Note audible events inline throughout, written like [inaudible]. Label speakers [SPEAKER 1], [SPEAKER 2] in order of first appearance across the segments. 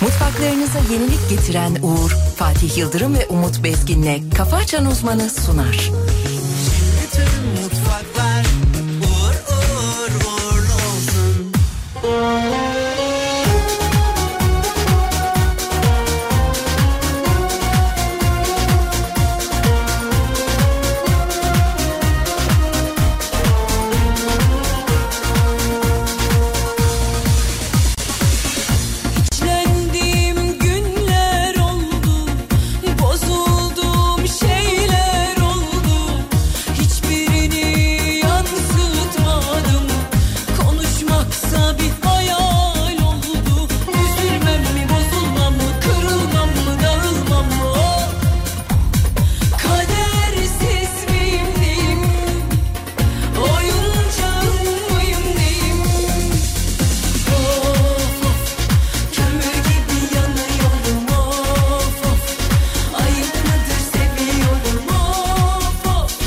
[SPEAKER 1] Kulaklarınıza yenilik getiren Uğur, Fatih Yıldırım ve Umut Bezgin'le Kafa Açan Uzmanı sunar.
[SPEAKER 2] Tüm mutfaklar uğur uğur uğurlu olsun.
[SPEAKER 3] İçlendiğim günler oldu, bozulduğum şeyler oldu. Hiçbirini yansıtmadım, konuşmaksa bir hayal oldu. Üzülmem mi, bozulmam mı, kırılmam mı, darılmam mı? Oh! Kadersiz miyim neyim, oyuncağım mıyım neyim? Of of. Kömür gibi yanıyorum of of Ayrıdır seviyorum of of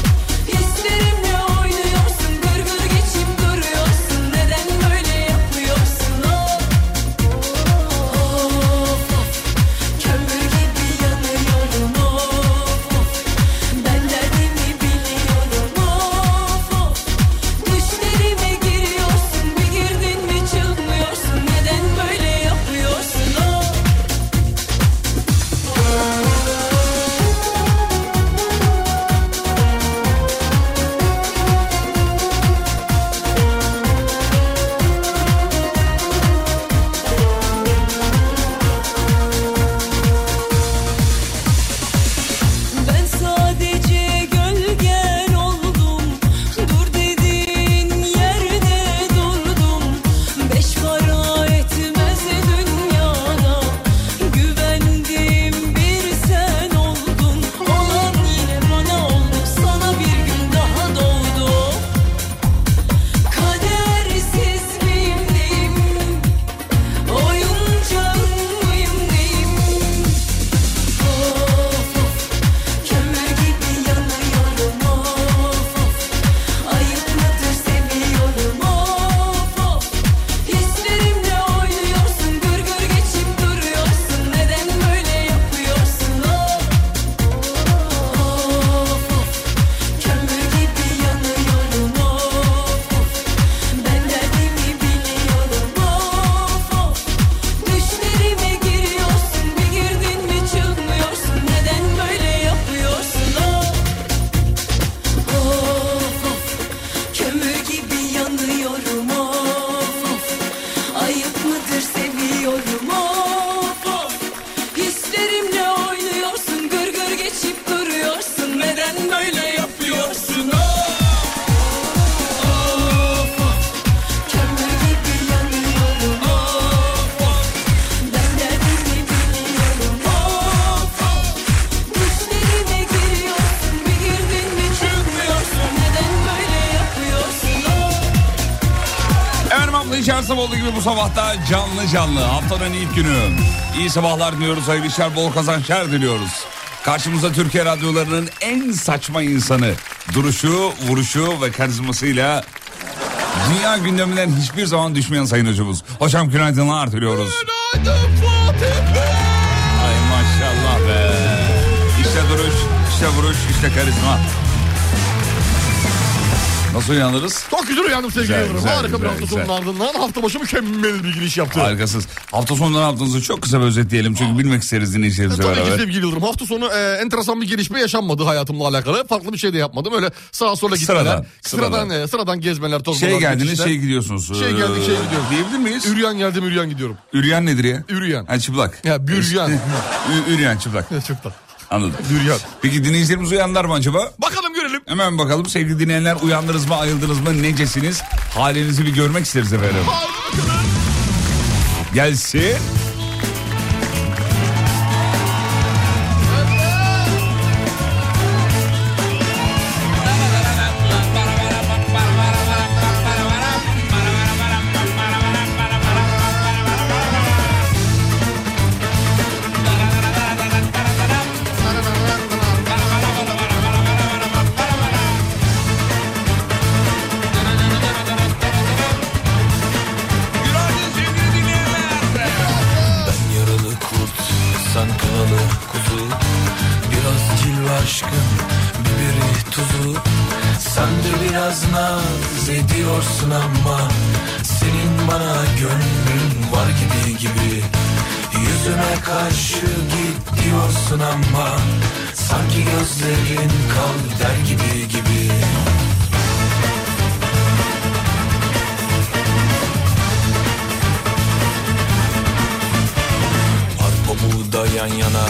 [SPEAKER 3] Hislerimle oynuyorsun Gırgır geçip duruyorsun Neden böyle yapıyorsun of Of of Kömür gibi yanıyorum of of Ben derdimi biliyorum of of Düşlerime giriyorsun bir girdin mi çıkmıyorsun neden böyle yapıyorsun Oh. o? Ben sadece gölgen oldum, dur dediğin yerde durdum. Beş para etmez dünyada, güvendim bir sen oldun. Olan yine bana oldu, sana bir gün daha doğdu. Kadersiz miyim neyim, oyuncağım mıyım neyim? Of of. Kömür gibi yanıyorum of of Ayıpladır seviyorum of of Hislerimle oynuyorsun gırgır geçip duruyorsun Neden böyle yapıyorsun of Of of Kömür gibi yanıyorum of of Ben derdimi biliyorum of of Düşlerime giriyorsun bir girdin mi çıkmıyorsun Neden böyle yapıyorsun of Of of Kömür gibi yanıyorum of of Ayıp mıdır seviyorum of of Hislerimle oynuyorsun gırgır geçip duruyorsun Neden böyle yapıyorsun of Of of Kömür gibi yanıyorum of of ben derdimi biliyorum of of Düşlerime giriyorsun bir girdin mi çıkmıyorsun Neden böyle yapıyorsun of
[SPEAKER 4] Efendim abla hiç her sabah olduğu gibi bu sabahta canlı canlı haftanın ilk günü. İyi sabahlar diliyoruz, hayırlı işler, bol kazançlar diliyoruz. Karşımıza Türkiye radyolarının en saçma insanı duruşu, vuruşu ve karizmasıyla dünya gündeminden hiçbir zaman düşmeyen sayın hocamız. Hocam günaydınlar diliyoruz. Ay maşallah be. İşte duruş, işte vuruş, işte karizma. Nasıl uyanırız?
[SPEAKER 5] Çok güzel uyandım sevgili
[SPEAKER 4] Güzel,
[SPEAKER 5] Yıldırım.
[SPEAKER 4] güzel,
[SPEAKER 5] Harika bir
[SPEAKER 4] güzel,
[SPEAKER 5] hafta
[SPEAKER 4] güzel.
[SPEAKER 5] sonunun ardından hafta başı mükemmel bir giriş yaptı.
[SPEAKER 4] Harikasınız. Hafta sonundan haftanızı çok kısa bir özetleyelim. Çünkü bilmek isteriz
[SPEAKER 5] E,
[SPEAKER 4] dinleyicilerimizle
[SPEAKER 5] Tabii ki
[SPEAKER 4] beraber.
[SPEAKER 5] sevgili Yıldırım. Hafta sonu e, enteresan bir gelişme yaşanmadı hayatımla alakalı. Farklı bir şey de yapmadım. Öyle sağa sola gitmeler.
[SPEAKER 4] Sıradan,
[SPEAKER 5] Sıradan.
[SPEAKER 4] sıradan.
[SPEAKER 5] Sıradan, e, sıradan gezmeler, tozmalar.
[SPEAKER 4] Şey geldiniz
[SPEAKER 5] geçişler.
[SPEAKER 4] şey gidiyorsunuz.
[SPEAKER 5] Şey geldik, şey gidiyoruz.
[SPEAKER 4] Diyebilir miyiz?
[SPEAKER 5] Üryan geldim, üryan gidiyorum.
[SPEAKER 4] Üryan nedir ya?
[SPEAKER 5] Üryan.
[SPEAKER 4] Ha çıplak.
[SPEAKER 5] Ya, büryan.
[SPEAKER 4] Ü- Üryan çıplak.
[SPEAKER 5] Çok da.
[SPEAKER 4] Anladım.
[SPEAKER 5] Üryan.
[SPEAKER 4] Peki dinleyicilerimiz uyanlar mı acaba?
[SPEAKER 5] Bakalım görelim.
[SPEAKER 4] Hemen bakalım sevgili dinleyenler uyandınız mı ayıldınız mı necesiniz? Halinizi bir görmek isteriz efendim.
[SPEAKER 5] Haydi bakalım.
[SPEAKER 4] Gelsin. Günaydın sevgili dinleyenler.
[SPEAKER 6] Sen kıvalı kuzu Biraz cilve aşkın Biberi tuzu Sen de biraz naz ediyorsun ama Senin bana gönlün var gibi gibi Yüzüme karşı git diyorsun ama Sanki gözlerin kal der gibi gibi Arpa buğday yan yana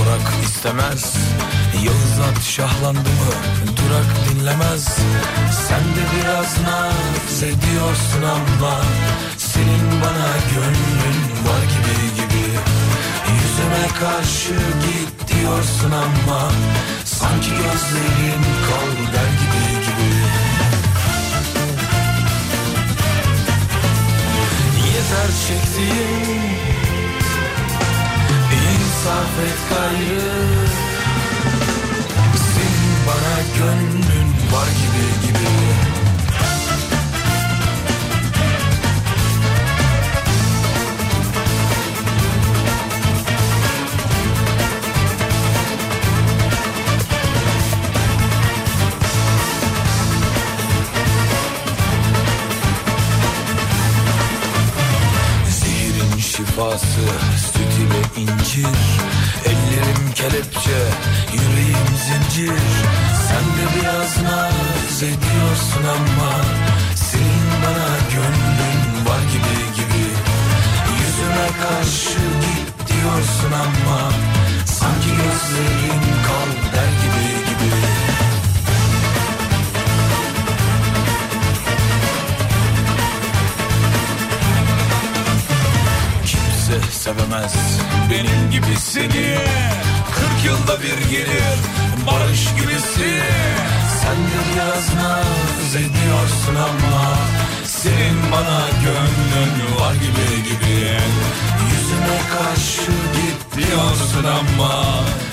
[SPEAKER 6] orak istemez Yağız at şahlandı mı durak dinlemez Sen de biraz naz ediyorsun ama Senin bana gönlün var gibi gibi Yüzüme karşı git diyorsun ama Sanki gözlerin kal der gibi gibi Yeter çektiğim İnsaf et gayrı Senin bana gönlün var gibi gibi Zehirin şifası süt ile incir Ellerim kelepçe yüreğim zincir Sen de biraz naz ediyorsun ama Senin bana gönlün var gibi gibi Yüzüme karşı git diyorsun ama Sanki gözlerin kal der gibi gibi Kimse sevemez benim gibi seni 40 yılda bir gelir barış gibisi Sen de biraz naz ediyorsun ama Senin bana gönlün var gibi gibi Yüzüme karşı git diyorsun ama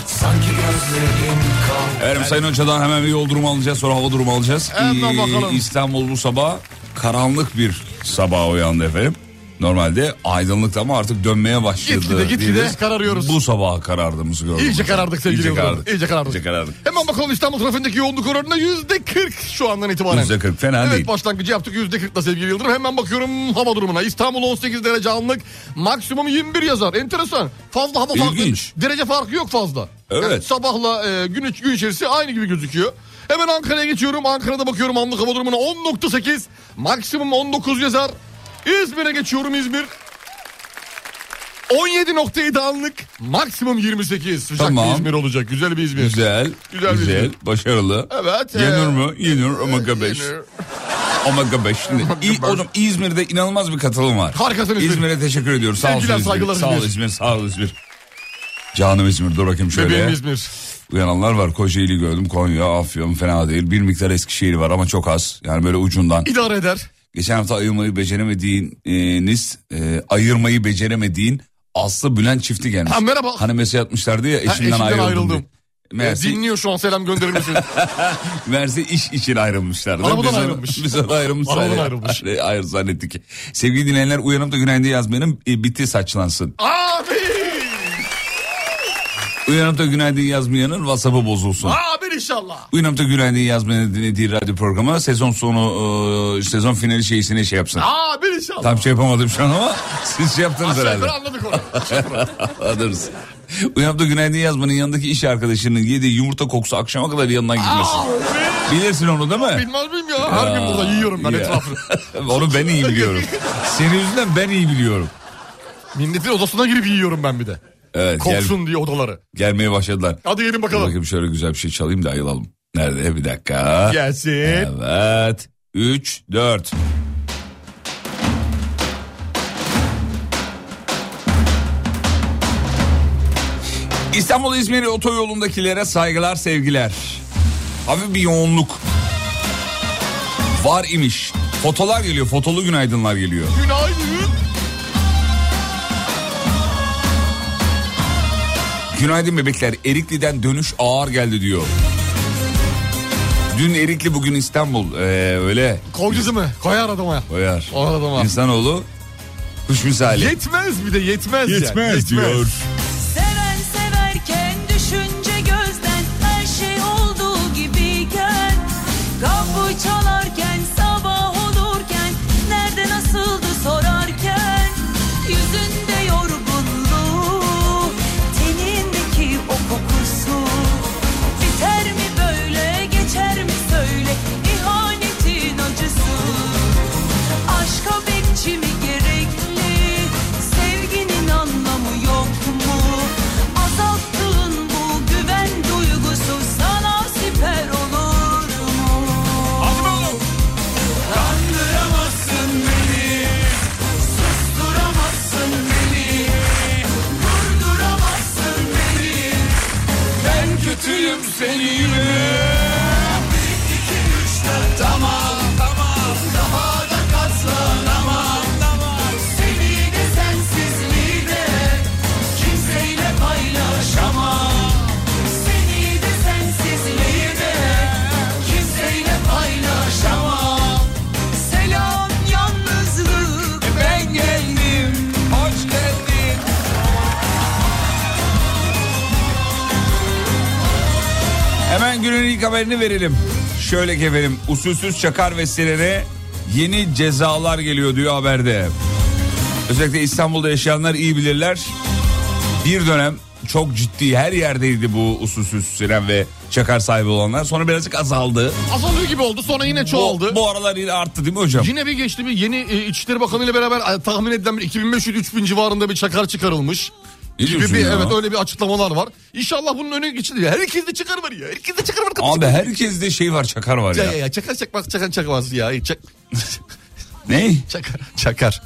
[SPEAKER 6] Sanki gözlerin kal
[SPEAKER 4] Efendim Sayın Hoca'dan hemen bir yol durumu alacağız sonra hava durumu alacağız.
[SPEAKER 5] Hemen bakalım.
[SPEAKER 4] İstanbul bu sabah karanlık bir sabah uyandı efendim. Normalde aydınlıktı ama artık dönmeye başladı.
[SPEAKER 5] Gitgide, gitgide
[SPEAKER 4] diyebiliriz.
[SPEAKER 5] kararıyoruz.
[SPEAKER 4] Bu sabah karardığımızı gördük.
[SPEAKER 5] İyice karardık sevgili
[SPEAKER 4] İyice
[SPEAKER 5] Yıldırım.
[SPEAKER 4] karardık.
[SPEAKER 5] İyice karardık.
[SPEAKER 4] İyice karardık.
[SPEAKER 5] Hemen bakalım İstanbul trafiğindeki yoğunluk oranına yüzde kırk şu andan itibaren.
[SPEAKER 4] Yüzde kırk, fena
[SPEAKER 5] evet,
[SPEAKER 4] değil.
[SPEAKER 5] başlangıcı yaptık yüzde kırkla sevgili Yıldırım. Hemen bakıyorum hava durumuna. İstanbul 18 derece anlık maksimum 21 yazar. Enteresan. Fazla hava farkı.
[SPEAKER 4] İlginç.
[SPEAKER 5] Derece farkı yok fazla.
[SPEAKER 4] Evet.
[SPEAKER 5] sabahla e, gün, iç- gün içerisi aynı gibi gözüküyor. Hemen Ankara'ya geçiyorum. Ankara'da bakıyorum anlık hava durumuna 10.8 maksimum 19 yazar. İzmir'e geçiyorum İzmir. 17.7 anlık maksimum 28 sıcak
[SPEAKER 4] Tamam.
[SPEAKER 5] bir İzmir olacak. Güzel bir İzmir.
[SPEAKER 4] Güzel. Güzel.
[SPEAKER 5] Güzel bir şey.
[SPEAKER 4] başarılı.
[SPEAKER 5] Evet. e,
[SPEAKER 4] Yenir mi? Yenir. Omega 5.
[SPEAKER 5] yenir.
[SPEAKER 4] Omega 5. Şimdi, İ- oğlum İzmir'de inanılmaz bir katılım var.
[SPEAKER 5] Harikasın İzmir.
[SPEAKER 4] İzmir'e teşekkür ediyoruz. Sağ olsun
[SPEAKER 5] Sevgiler,
[SPEAKER 4] İzmir.
[SPEAKER 5] saygılar
[SPEAKER 4] Sağ ol
[SPEAKER 5] İzmir.
[SPEAKER 4] İzmir. Sağ ol İzmir. Canım İzmir dur bakayım şöyle.
[SPEAKER 5] Bebeğim İzmir.
[SPEAKER 4] Uyananlar var. Kocaeli gördüm. Konya, Afyon fena değil. Bir miktar Eskişehir var ama çok az. Yani böyle ucundan.
[SPEAKER 5] İdare eder.
[SPEAKER 4] Geçen hafta ayırmayı beceremediğiniz, e, ayırmayı beceremediğin Aslı Bülent çifti gelmiş.
[SPEAKER 5] Ha, merhaba.
[SPEAKER 4] Hani mesaj atmışlardı ya eşimden,
[SPEAKER 5] eşimden
[SPEAKER 4] ayrıldım.
[SPEAKER 5] ayrıldım.
[SPEAKER 4] diye. Meğerse,
[SPEAKER 5] E, dinliyor şu an selam
[SPEAKER 4] [laughs]
[SPEAKER 5] gönderir misin?
[SPEAKER 4] meğerse iş için ayrılmışlardı.
[SPEAKER 5] Arabadan
[SPEAKER 4] Biz ona-
[SPEAKER 5] ayrılmış.
[SPEAKER 4] Biz ona ayrılmış.
[SPEAKER 5] Arabadan
[SPEAKER 4] zannet-
[SPEAKER 5] ayrılmış.
[SPEAKER 4] Ayrı zannettik. Sevgili dinleyenler uyanıp da günaydın yazmayanın e, biti saçlansın.
[SPEAKER 5] Abi!
[SPEAKER 4] Uyanıp da günaydın yazmayanın WhatsApp'ı bozulsun.
[SPEAKER 5] Abi inşallah.
[SPEAKER 4] Uyanıp da günaydın yazmayanın dinlediği radyo programı sezon sonu, e, sezon finali şeysine şey yapsın.
[SPEAKER 5] Abi inşallah.
[SPEAKER 4] Tam şey yapamadım şu an ama [laughs] siz şey yaptınız
[SPEAKER 5] Aşağı
[SPEAKER 4] herhalde.
[SPEAKER 5] yukarı anladık
[SPEAKER 4] [laughs]
[SPEAKER 5] onu.
[SPEAKER 4] Anladınız. Uyanıp da günaydın yazmanın yanındaki iş arkadaşının yediği yumurta kokusu akşama kadar yanından gitmesin.
[SPEAKER 5] Abi!
[SPEAKER 4] Bilirsin onu değil mi?
[SPEAKER 5] Bilmez miyim ya? Her gün burada yiyorum ben
[SPEAKER 4] Ya.
[SPEAKER 5] etrafını.
[SPEAKER 4] [laughs] onu ben iyi biliyorum. Senin yüzünden ben iyi biliyorum.
[SPEAKER 5] Milletin odasına girip yiyorum ben bir de.
[SPEAKER 4] Evet gel-
[SPEAKER 5] Koksun diye odaları.
[SPEAKER 4] gelmeye başladılar.
[SPEAKER 5] Hadi gelin
[SPEAKER 4] Dur
[SPEAKER 5] bakalım.
[SPEAKER 4] bakayım şöyle güzel bir şey çalayım da ayılalım. Nerede bir dakika.
[SPEAKER 5] Gelsin.
[SPEAKER 4] Evet. 3, 4. İstanbul İzmir otoyolundakilere saygılar sevgiler. Hafif bir yoğunluk. Var imiş. Fotolar geliyor. Fotolu günaydınlar geliyor.
[SPEAKER 5] Günaydın.
[SPEAKER 4] Günaydın bebekler. Erikli'den dönüş ağır geldi diyor. Dün Erikli bugün İstanbul. Ee, öyle.
[SPEAKER 5] Koycuzu mu? Koyar adamaya.
[SPEAKER 4] Koyar.
[SPEAKER 5] O adama.
[SPEAKER 4] İnsanoğlu kuş misali.
[SPEAKER 5] Yetmez bir de yetmez, yani.
[SPEAKER 4] diyor.
[SPEAKER 7] Seven
[SPEAKER 3] şey
[SPEAKER 4] gördüm seni yine. Tamam tamam daha da katlanamam tamam. Seni de sensizliği de kimseyle paylaşamam. Seni de sensizliği de kimseyle paylaşamam. Selam yalnızlık ben geldim hoş geldin. Hemen günün ilk haberini verelim. Şöyle ki efendim usulsüz çakar vesilelere yeni cezalar geliyor diyor haberde. Özellikle İstanbul'da yaşayanlar iyi bilirler. Bir dönem çok ciddi her yerdeydi bu usulsüz siren ve çakar sahibi olanlar. Sonra birazcık azaldı.
[SPEAKER 5] Azalıyor gibi oldu sonra yine çoğaldı.
[SPEAKER 4] Bu, bu aralar yine arttı değil mi hocam?
[SPEAKER 5] Yine bir geçti bir yeni e, İçişleri Bakanı ile beraber e, tahmin edilen 2500-3000 civarında bir çakar çıkarılmış.
[SPEAKER 4] Ne
[SPEAKER 5] gibi
[SPEAKER 4] diyorsun
[SPEAKER 5] bir,
[SPEAKER 4] ya?
[SPEAKER 5] evet öyle bir açıklamalar var. İnşallah bunun önü geçilir. Herkes de çakar var ya. Herkes de çakar var.
[SPEAKER 4] Abi herkeste şey var çakar var
[SPEAKER 5] Ya
[SPEAKER 4] ya.
[SPEAKER 5] ya ya çakar çakmaz çakar çakmaz ya. Çak,
[SPEAKER 4] Ne?
[SPEAKER 5] çakar
[SPEAKER 4] [laughs]
[SPEAKER 5] çakar.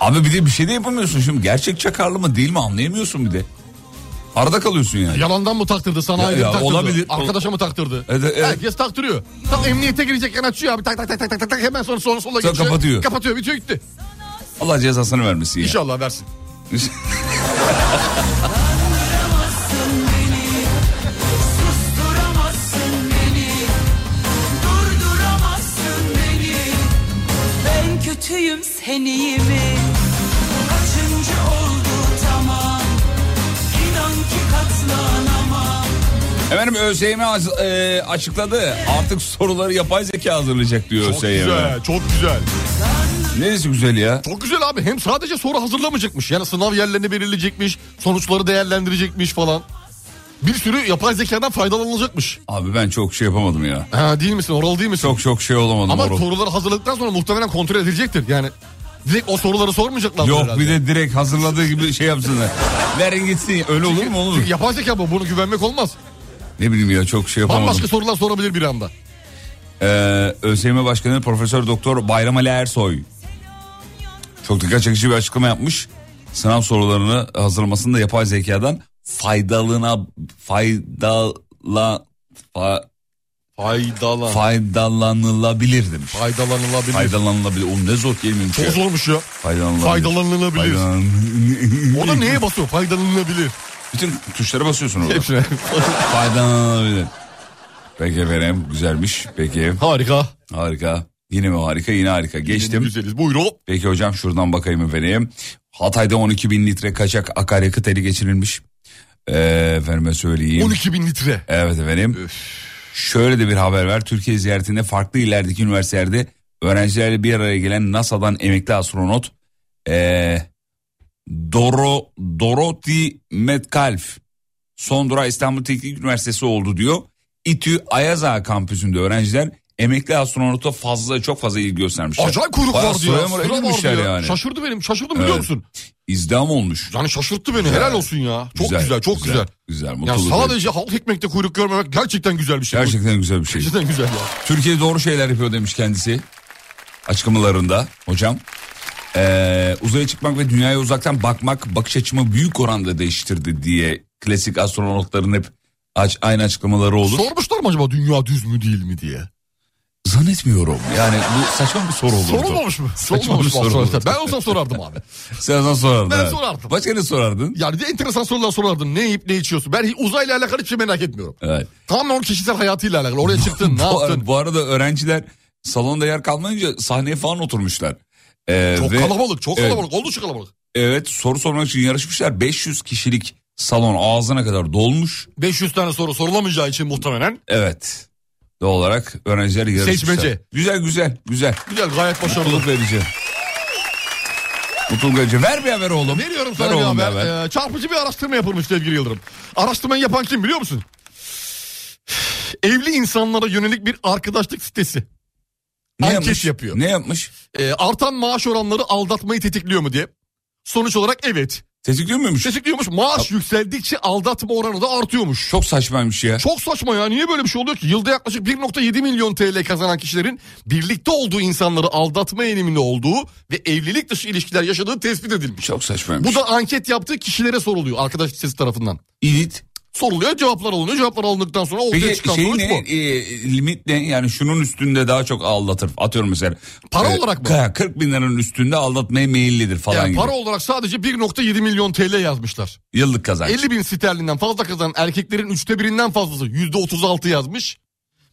[SPEAKER 4] Abi bir de bir şey de yapamıyorsun şimdi. Gerçek çakarlı mı değil mi anlayamıyorsun bir de. Arada kalıyorsun yani.
[SPEAKER 5] Yalandan mı taktırdı sana
[SPEAKER 4] Ya-
[SPEAKER 5] ayrı
[SPEAKER 4] ya
[SPEAKER 5] mı taktırdı?
[SPEAKER 4] olabilir.
[SPEAKER 5] Arkadaşa mı taktırdı?
[SPEAKER 4] Evet, evet.
[SPEAKER 5] Herkes taktırıyor. Tam emniyete girecekken açıyor abi tak tak tak tak tak, tak hemen sonra sonra sola
[SPEAKER 4] Sonra
[SPEAKER 5] geçiyor.
[SPEAKER 4] kapatıyor.
[SPEAKER 5] Kapatıyor bitiyor gitti.
[SPEAKER 4] Allah cezasını vermesin ya.
[SPEAKER 5] İnşallah versin.
[SPEAKER 2] Duramazsın beni, durduramazsın beni. Ben kötüyüm seniyim mi? Kaçıncı oldu tamam. İnan ki
[SPEAKER 5] [laughs]
[SPEAKER 2] katlanamam.
[SPEAKER 4] [laughs] Efendim ÖSYM az- e, açıkladı. Artık soruları yapay zeka hazırlayacak diyor
[SPEAKER 5] Çok
[SPEAKER 4] ÖSYM.
[SPEAKER 5] güzel, çok güzel.
[SPEAKER 4] Neresi güzel ya?
[SPEAKER 5] Çok güzel abi. Hem sadece soru hazırlamayacakmış. Yani sınav yerlerini belirleyecekmiş, sonuçları değerlendirecekmiş falan. Bir sürü yapay zekadan faydalanılacakmış.
[SPEAKER 4] Abi ben çok şey yapamadım ya.
[SPEAKER 5] Ha, değil misin? Oralı değil misin?
[SPEAKER 4] Çok çok şey olamadım.
[SPEAKER 5] Ama
[SPEAKER 4] Orhun.
[SPEAKER 5] soruları hazırladıktan sonra muhtemelen kontrol edilecektir. Yani direkt o soruları sormayacaklar.
[SPEAKER 4] Yok bir de direkt hazırladığı gibi şey yapsınlar. Verin gitsin. Öyle olur mu olur? mu?
[SPEAKER 5] Yapay zeka bu. Bunu güvenmek olmaz.
[SPEAKER 4] Ne bileyim ya çok şey yapamadım.
[SPEAKER 5] Bambaşka sorular sorabilir bir anda.
[SPEAKER 4] Ee, ÖSYM Başkanı Profesör Doktor Bayram Ali Ersoy çok dikkat çekici bir açıklama yapmış. Sınav sorularını hazırlamasında yapay zekadan faydalına faydala fa-
[SPEAKER 5] Faydalan.
[SPEAKER 4] faydalanılabilir demiş.
[SPEAKER 5] Faydalanılabilir.
[SPEAKER 4] Faydalanılabilir. Oğlum ne zor kelimeymiş
[SPEAKER 5] Çok
[SPEAKER 4] ya.
[SPEAKER 5] zormuş ya.
[SPEAKER 4] Faydalanılabilir.
[SPEAKER 5] Faydalanılabilir.
[SPEAKER 4] Faydalan-
[SPEAKER 5] O da neye basıyor? Faydalanılabilir.
[SPEAKER 4] Bütün tuşlara basıyorsun orada.
[SPEAKER 5] Hepsine.
[SPEAKER 4] Faydalanılabilir. Peki efendim güzelmiş. Peki
[SPEAKER 5] Harika.
[SPEAKER 4] harika. Yine mi harika yine harika. Geçtim.
[SPEAKER 5] Güzeliz. Buyurun.
[SPEAKER 4] Peki hocam şuradan bakayım efendim. Hatay'da 12 bin litre kaçak akaryakıt eli geçirilmiş. Ee, efendime söyleyeyim.
[SPEAKER 5] 12 bin litre. Ee,
[SPEAKER 4] Evet efendim. Şöyle de bir haber var. Türkiye ziyaretinde farklı illerdeki üniversitelerde öğrencilerle bir araya gelen NASA'dan emekli astronot ee, Doro, Dorothy Metcalf son durağı İstanbul Teknik Üniversitesi oldu diyor. İTÜ Ayaza kampüsünde öğrenciler emekli astronota fazla çok fazla ilgi göstermişler.
[SPEAKER 5] Acayip kuyruk
[SPEAKER 4] Bayağı
[SPEAKER 5] vardı ya.
[SPEAKER 4] sıraya mı-
[SPEAKER 5] Sıra vardı
[SPEAKER 4] edilmişler
[SPEAKER 5] ya.
[SPEAKER 4] yani.
[SPEAKER 5] Şaşırdı benim. Şaşırdım
[SPEAKER 4] Evet.
[SPEAKER 5] biliyor musun?
[SPEAKER 4] İzdiham olmuş.
[SPEAKER 5] Yani şaşırttı beni. Helal olsun ya. Çok güzel, çok güzel.
[SPEAKER 4] Güzel, güzel
[SPEAKER 5] Ya
[SPEAKER 4] mutluluk. verici.
[SPEAKER 5] sadece halk ekmekte kuyruk görmemek gerçekten güzel bir şey.
[SPEAKER 4] Gerçekten güzel bir şey.
[SPEAKER 5] Gerçekten güzel ya.
[SPEAKER 4] Türkiye doğru şeyler yapıyor demiş kendisi. Açıklamalarında hocam. Ee, uzaya çıkmak ve dünyaya uzaktan bakmak bakış açımı büyük oranda değiştirdi diye klasik astronotların hep aç, aynı açıklamaları olur.
[SPEAKER 5] Sormuşlar mı acaba dünya düz mü değil mi diye?
[SPEAKER 4] Zannetmiyorum. Yani bu saçma bir soru olurdu.
[SPEAKER 5] Sorulmamış mı? Sorulmamış mı?
[SPEAKER 4] soru
[SPEAKER 5] Sorulmamış.
[SPEAKER 4] oldu.
[SPEAKER 5] Ben olsam
[SPEAKER 4] [laughs]
[SPEAKER 5] sorardım abi.
[SPEAKER 4] [laughs] Sen sana sorardın.
[SPEAKER 5] Ben
[SPEAKER 4] evet.
[SPEAKER 5] sorardım.
[SPEAKER 4] Başka ne sorardın?
[SPEAKER 5] Yani de enteresan sorular sorardım. Ne yiyip ne içiyorsun? Ben hi- uzayla alakalı hiçbir şey merak etmiyorum.
[SPEAKER 4] Evet.
[SPEAKER 5] Tamamen onun kişisel hayatıyla alakalı. Oraya
[SPEAKER 4] [laughs]
[SPEAKER 5] çıktın, ne
[SPEAKER 4] Bu, ar-
[SPEAKER 5] yaptın?
[SPEAKER 4] bu arada öğrenciler salonda yer kalmayınca sahneye falan oturmuşlar. Ee,
[SPEAKER 5] Çok
[SPEAKER 4] ve-
[SPEAKER 5] kalabalık, çok
[SPEAKER 4] Evet.
[SPEAKER 5] kalabalık. Oldukça kalabalık.
[SPEAKER 4] Evet soru sormak için yarışmışlar. 500 kişilik salon ağzına kadar dolmuş.
[SPEAKER 5] 500 tane soru sorulamayacağı için muhtemelen.
[SPEAKER 4] Evet. Doğal olarak öğrenciler yarışmışlar.
[SPEAKER 5] Seçmece.
[SPEAKER 4] Güzel güzel güzel.
[SPEAKER 5] Güzel, gayet başarılı.
[SPEAKER 4] Mutluluk verici. Mutluluk verici. Ver bir haber oğlum.
[SPEAKER 5] Veriyorum
[SPEAKER 4] Ver
[SPEAKER 5] sana bir
[SPEAKER 4] oğlum
[SPEAKER 5] haber. Ee, çarpıcı bir araştırma yapılmış sevgili Yıldırım. Araştırmayı yapan kim biliyor musun? Evli insanlara yönelik bir arkadaşlık sitesi.
[SPEAKER 4] ne
[SPEAKER 5] anket
[SPEAKER 4] yapmış?
[SPEAKER 5] yapıyor.
[SPEAKER 4] Ne yapmış?
[SPEAKER 5] Ee, artan maaş oranları aldatmayı tetikliyor mu diye. Sonuç olarak evet.
[SPEAKER 4] Tetikliyor muymuş?
[SPEAKER 5] Tetikliyormuş. Maaş yükseldikçe aldatma oranı da artıyormuş.
[SPEAKER 4] Çok saçmaymış ya.
[SPEAKER 5] Çok saçma ya. Niye böyle bir şey oluyor ki? Yılda yaklaşık 1.7 milyon TL kazanan kişilerin birlikte olduğu insanları aldatma eğiliminde olduğu ve evlilik dışı ilişkiler yaşadığı tespit edilmiş.
[SPEAKER 4] Çok saçmaymış.
[SPEAKER 5] Bu da anket yaptığı kişilere soruluyor arkadaş sitesi tarafından.
[SPEAKER 4] İlit.
[SPEAKER 5] soruluyor cevaplar alınıyor. Cevaplar alındıktan sonra ortaya
[SPEAKER 4] Peki
[SPEAKER 5] çıkan
[SPEAKER 4] şey
[SPEAKER 5] sonuç
[SPEAKER 4] ne?
[SPEAKER 5] bu.
[SPEAKER 4] E, limit ne? Yani şunun üstünde daha çok aldatır. Atıyorum mesela.
[SPEAKER 5] Para olarak mı?
[SPEAKER 4] ka- 40 bin liranın üstünde aldatmaya meyillidir falan
[SPEAKER 5] Yani
[SPEAKER 4] gibi.
[SPEAKER 5] para olarak sadece 1.7 milyon TL yazmışlar.
[SPEAKER 4] Yıllık kazanç.
[SPEAKER 5] 50 bin sterlinden fazla kazanan erkeklerin üçte birinden fazlası %36 yazmış.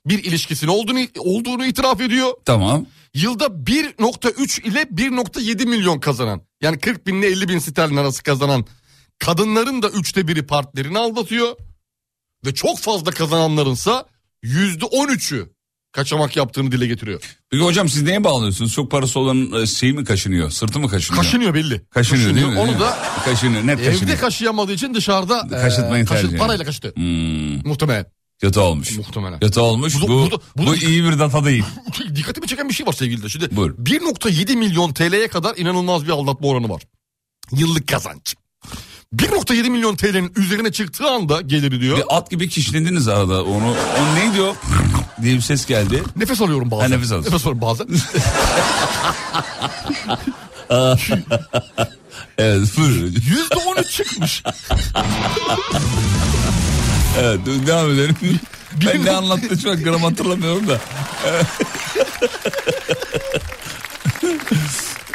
[SPEAKER 5] Bir ilişkisinin olduğunu, olduğunu itiraf ediyor.
[SPEAKER 4] Tamam.
[SPEAKER 5] Yılda 1.3 ile 1.7 milyon kazanan yani 40 bin ile 50 bin sterlin arası kazanan kadınların da üçte biri partnerini aldatıyor. Ve çok fazla kazananlarınsa %13'ü kaçamak yaptığını dile getiriyor.
[SPEAKER 4] Peki hocam siz neye bağlıyorsunuz? Çok parası olan e, şey mi kaşınıyor? Sırtı mı kaşınıyor?
[SPEAKER 5] Kaşınıyor belli.
[SPEAKER 4] Kaşınıyor, değil mi?
[SPEAKER 5] Onu da
[SPEAKER 4] Kaşınıyor. Net kaşınıyor.
[SPEAKER 5] evde kaşıyamadığı için dışarıda
[SPEAKER 4] Kaşıtmayı
[SPEAKER 5] e, kaşı-
[SPEAKER 4] tercih ediyor.
[SPEAKER 5] parayla kaşıtı.
[SPEAKER 4] Hmm,
[SPEAKER 5] Muhtemelen.
[SPEAKER 4] kötü olmuş.
[SPEAKER 5] Muhtemelen.
[SPEAKER 4] Kötü olmuş. Bu,
[SPEAKER 5] Bu da-
[SPEAKER 4] bu,
[SPEAKER 5] bu da- bu da-
[SPEAKER 4] iyi bir data değil.
[SPEAKER 5] Dikkatimi çeken bir şey var sevgili de. Şimdi
[SPEAKER 4] Buyur.
[SPEAKER 5] 1.7 milyon TL'ye kadar inanılmaz bir aldatma oranı var. Yıllık kazanç. 1.7 milyon TL'nin üzerine çıktığı anda geliri diyor.
[SPEAKER 4] Bir at gibi kişnediniz arada. Onu, o neydi o? diye bir ses geldi.
[SPEAKER 5] Nefes alıyorum bazen.
[SPEAKER 4] Ha, nefes alıyorsun.
[SPEAKER 5] Nefes
[SPEAKER 4] [laughs]
[SPEAKER 5] alıyorum bazen.
[SPEAKER 4] [laughs] Evet. buyurun.
[SPEAKER 5] %13 çıkmış.
[SPEAKER 4] [laughs] Evet dur, devam edelim. Ben ne anlattı şu an gram hatırlamıyorum
[SPEAKER 5] [laughs]
[SPEAKER 4] da.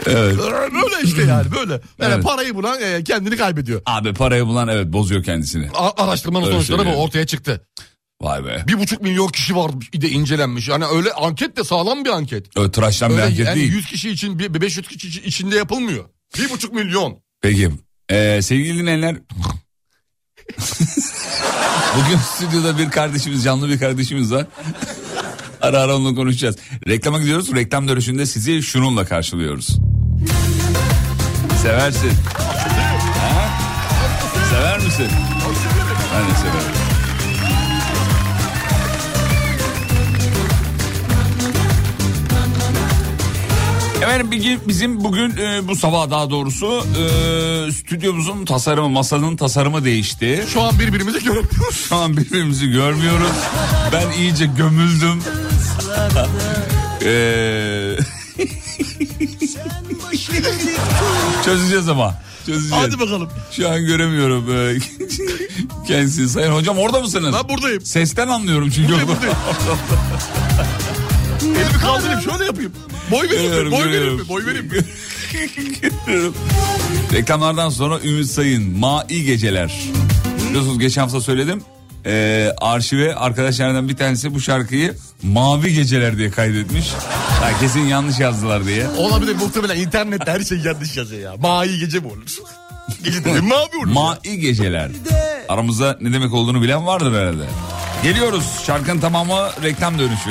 [SPEAKER 4] evet.
[SPEAKER 5] böyle işte yani
[SPEAKER 4] [laughs]
[SPEAKER 5] böyle. Yani
[SPEAKER 4] Evet.
[SPEAKER 5] parayı bulan e, kendini kaybediyor.
[SPEAKER 4] Abi parayı bulan evet bozuyor kendisini.
[SPEAKER 5] A- araştırmanın
[SPEAKER 4] Öyle
[SPEAKER 5] sonuçları bu
[SPEAKER 4] söylüyor.
[SPEAKER 5] ortaya çıktı.
[SPEAKER 4] Vay be.
[SPEAKER 5] Bir buçuk milyon kişi varmış de incelenmiş. Yani öyle anket de sağlam bir anket.
[SPEAKER 4] Öyle tıraştan bir
[SPEAKER 5] Öyle
[SPEAKER 4] hareket
[SPEAKER 5] yani
[SPEAKER 4] değil.
[SPEAKER 5] 100 kişi için bir- 500 kişi için- içinde yapılmıyor. Bir buçuk milyon.
[SPEAKER 4] Peki. Ee, sevgili dinleyenler. [laughs] Bugün stüdyoda bir kardeşimiz, canlı bir kardeşimiz var. [laughs] ara ara onunla konuşacağız. Reklama gidiyoruz. Reklam dönüşünde sizi şununla karşılıyoruz. Seversin. Ha? Sever misin? Ben de severim. Efendim bir- bizim bugün e, bu sabah daha doğrusu e, stüdyomuzun tasarımı, masanın tasarımı değişti.
[SPEAKER 5] Şu an birbirimizi göremiyoruz.
[SPEAKER 4] Şu an birbirimizi görmüyoruz. Ben iyice gömüldüm. [laughs] Ee, [laughs] Çözeceğiz ama. Çözeceğiz.
[SPEAKER 5] Hadi bakalım.
[SPEAKER 4] Şu an göremiyorum ee, [laughs] kendisini. Sayın hocam orada mısınız?
[SPEAKER 5] Ben buradayım.
[SPEAKER 4] Sesten anlıyorum çünkü.
[SPEAKER 5] Buradayım, buradayım.
[SPEAKER 4] [laughs]
[SPEAKER 5] Elimi kaldırayım şöyle yapayım. Boy vereyim mi?
[SPEAKER 4] Görüyorum,
[SPEAKER 5] Boy vereyim
[SPEAKER 4] görüyorum.
[SPEAKER 5] mi? Boy vereyim mi? [laughs]
[SPEAKER 4] Görüyorum. Reklamlardan sonra Ümit Sayın Mai Geceler. Biliyorsunuz geçen hafta söyledim. Ee, arşive arkadaşlardan bir tanesi bu şarkıyı Mavi Geceler diye kaydetmiş. Ha, kesin yanlış yazdılar diye.
[SPEAKER 5] Olabilir muhtemelen internette her şey yanlış yazıyor ya. Mavi gece mi olur?
[SPEAKER 4] [laughs]
[SPEAKER 5] Gece dedim mavi olur. ya.
[SPEAKER 4] Mai Geceler. Aramızda ne demek olduğunu bilen vardır herhalde. Geliyoruz. Şarkının tamamı reklam dönüşü.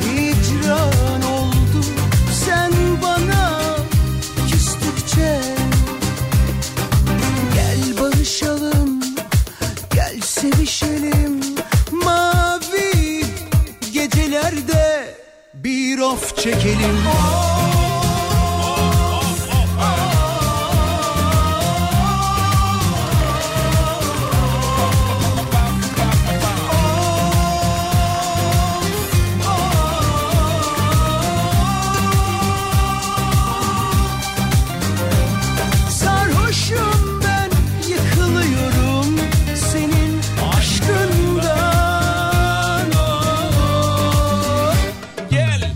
[SPEAKER 8] hicran oldu Sen bana küstükçe Gel barışalım, gel sevişelim Mavi gecelerde bir of çekelim Sarhoşum ben yıkılıyorum senin aşkından Oy. Gel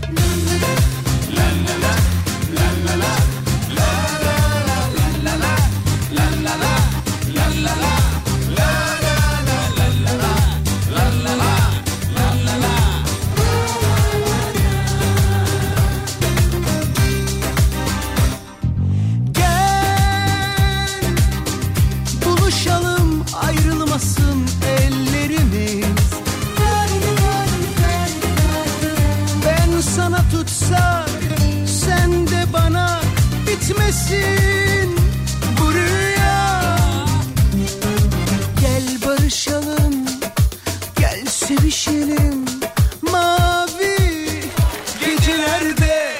[SPEAKER 8] sana tutsak sen de bana bitmesin bu rüya Gel barışalım gel sevişelim mavi gecelerde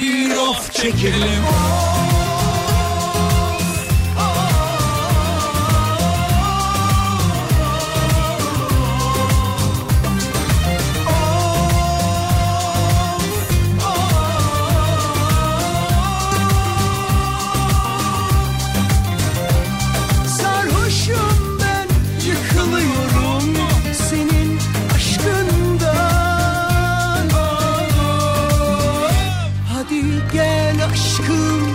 [SPEAKER 9] Bir of çekelim
[SPEAKER 8] Sarhoşum ben yıkılıyorum senin aşkından Hadi gel aşkım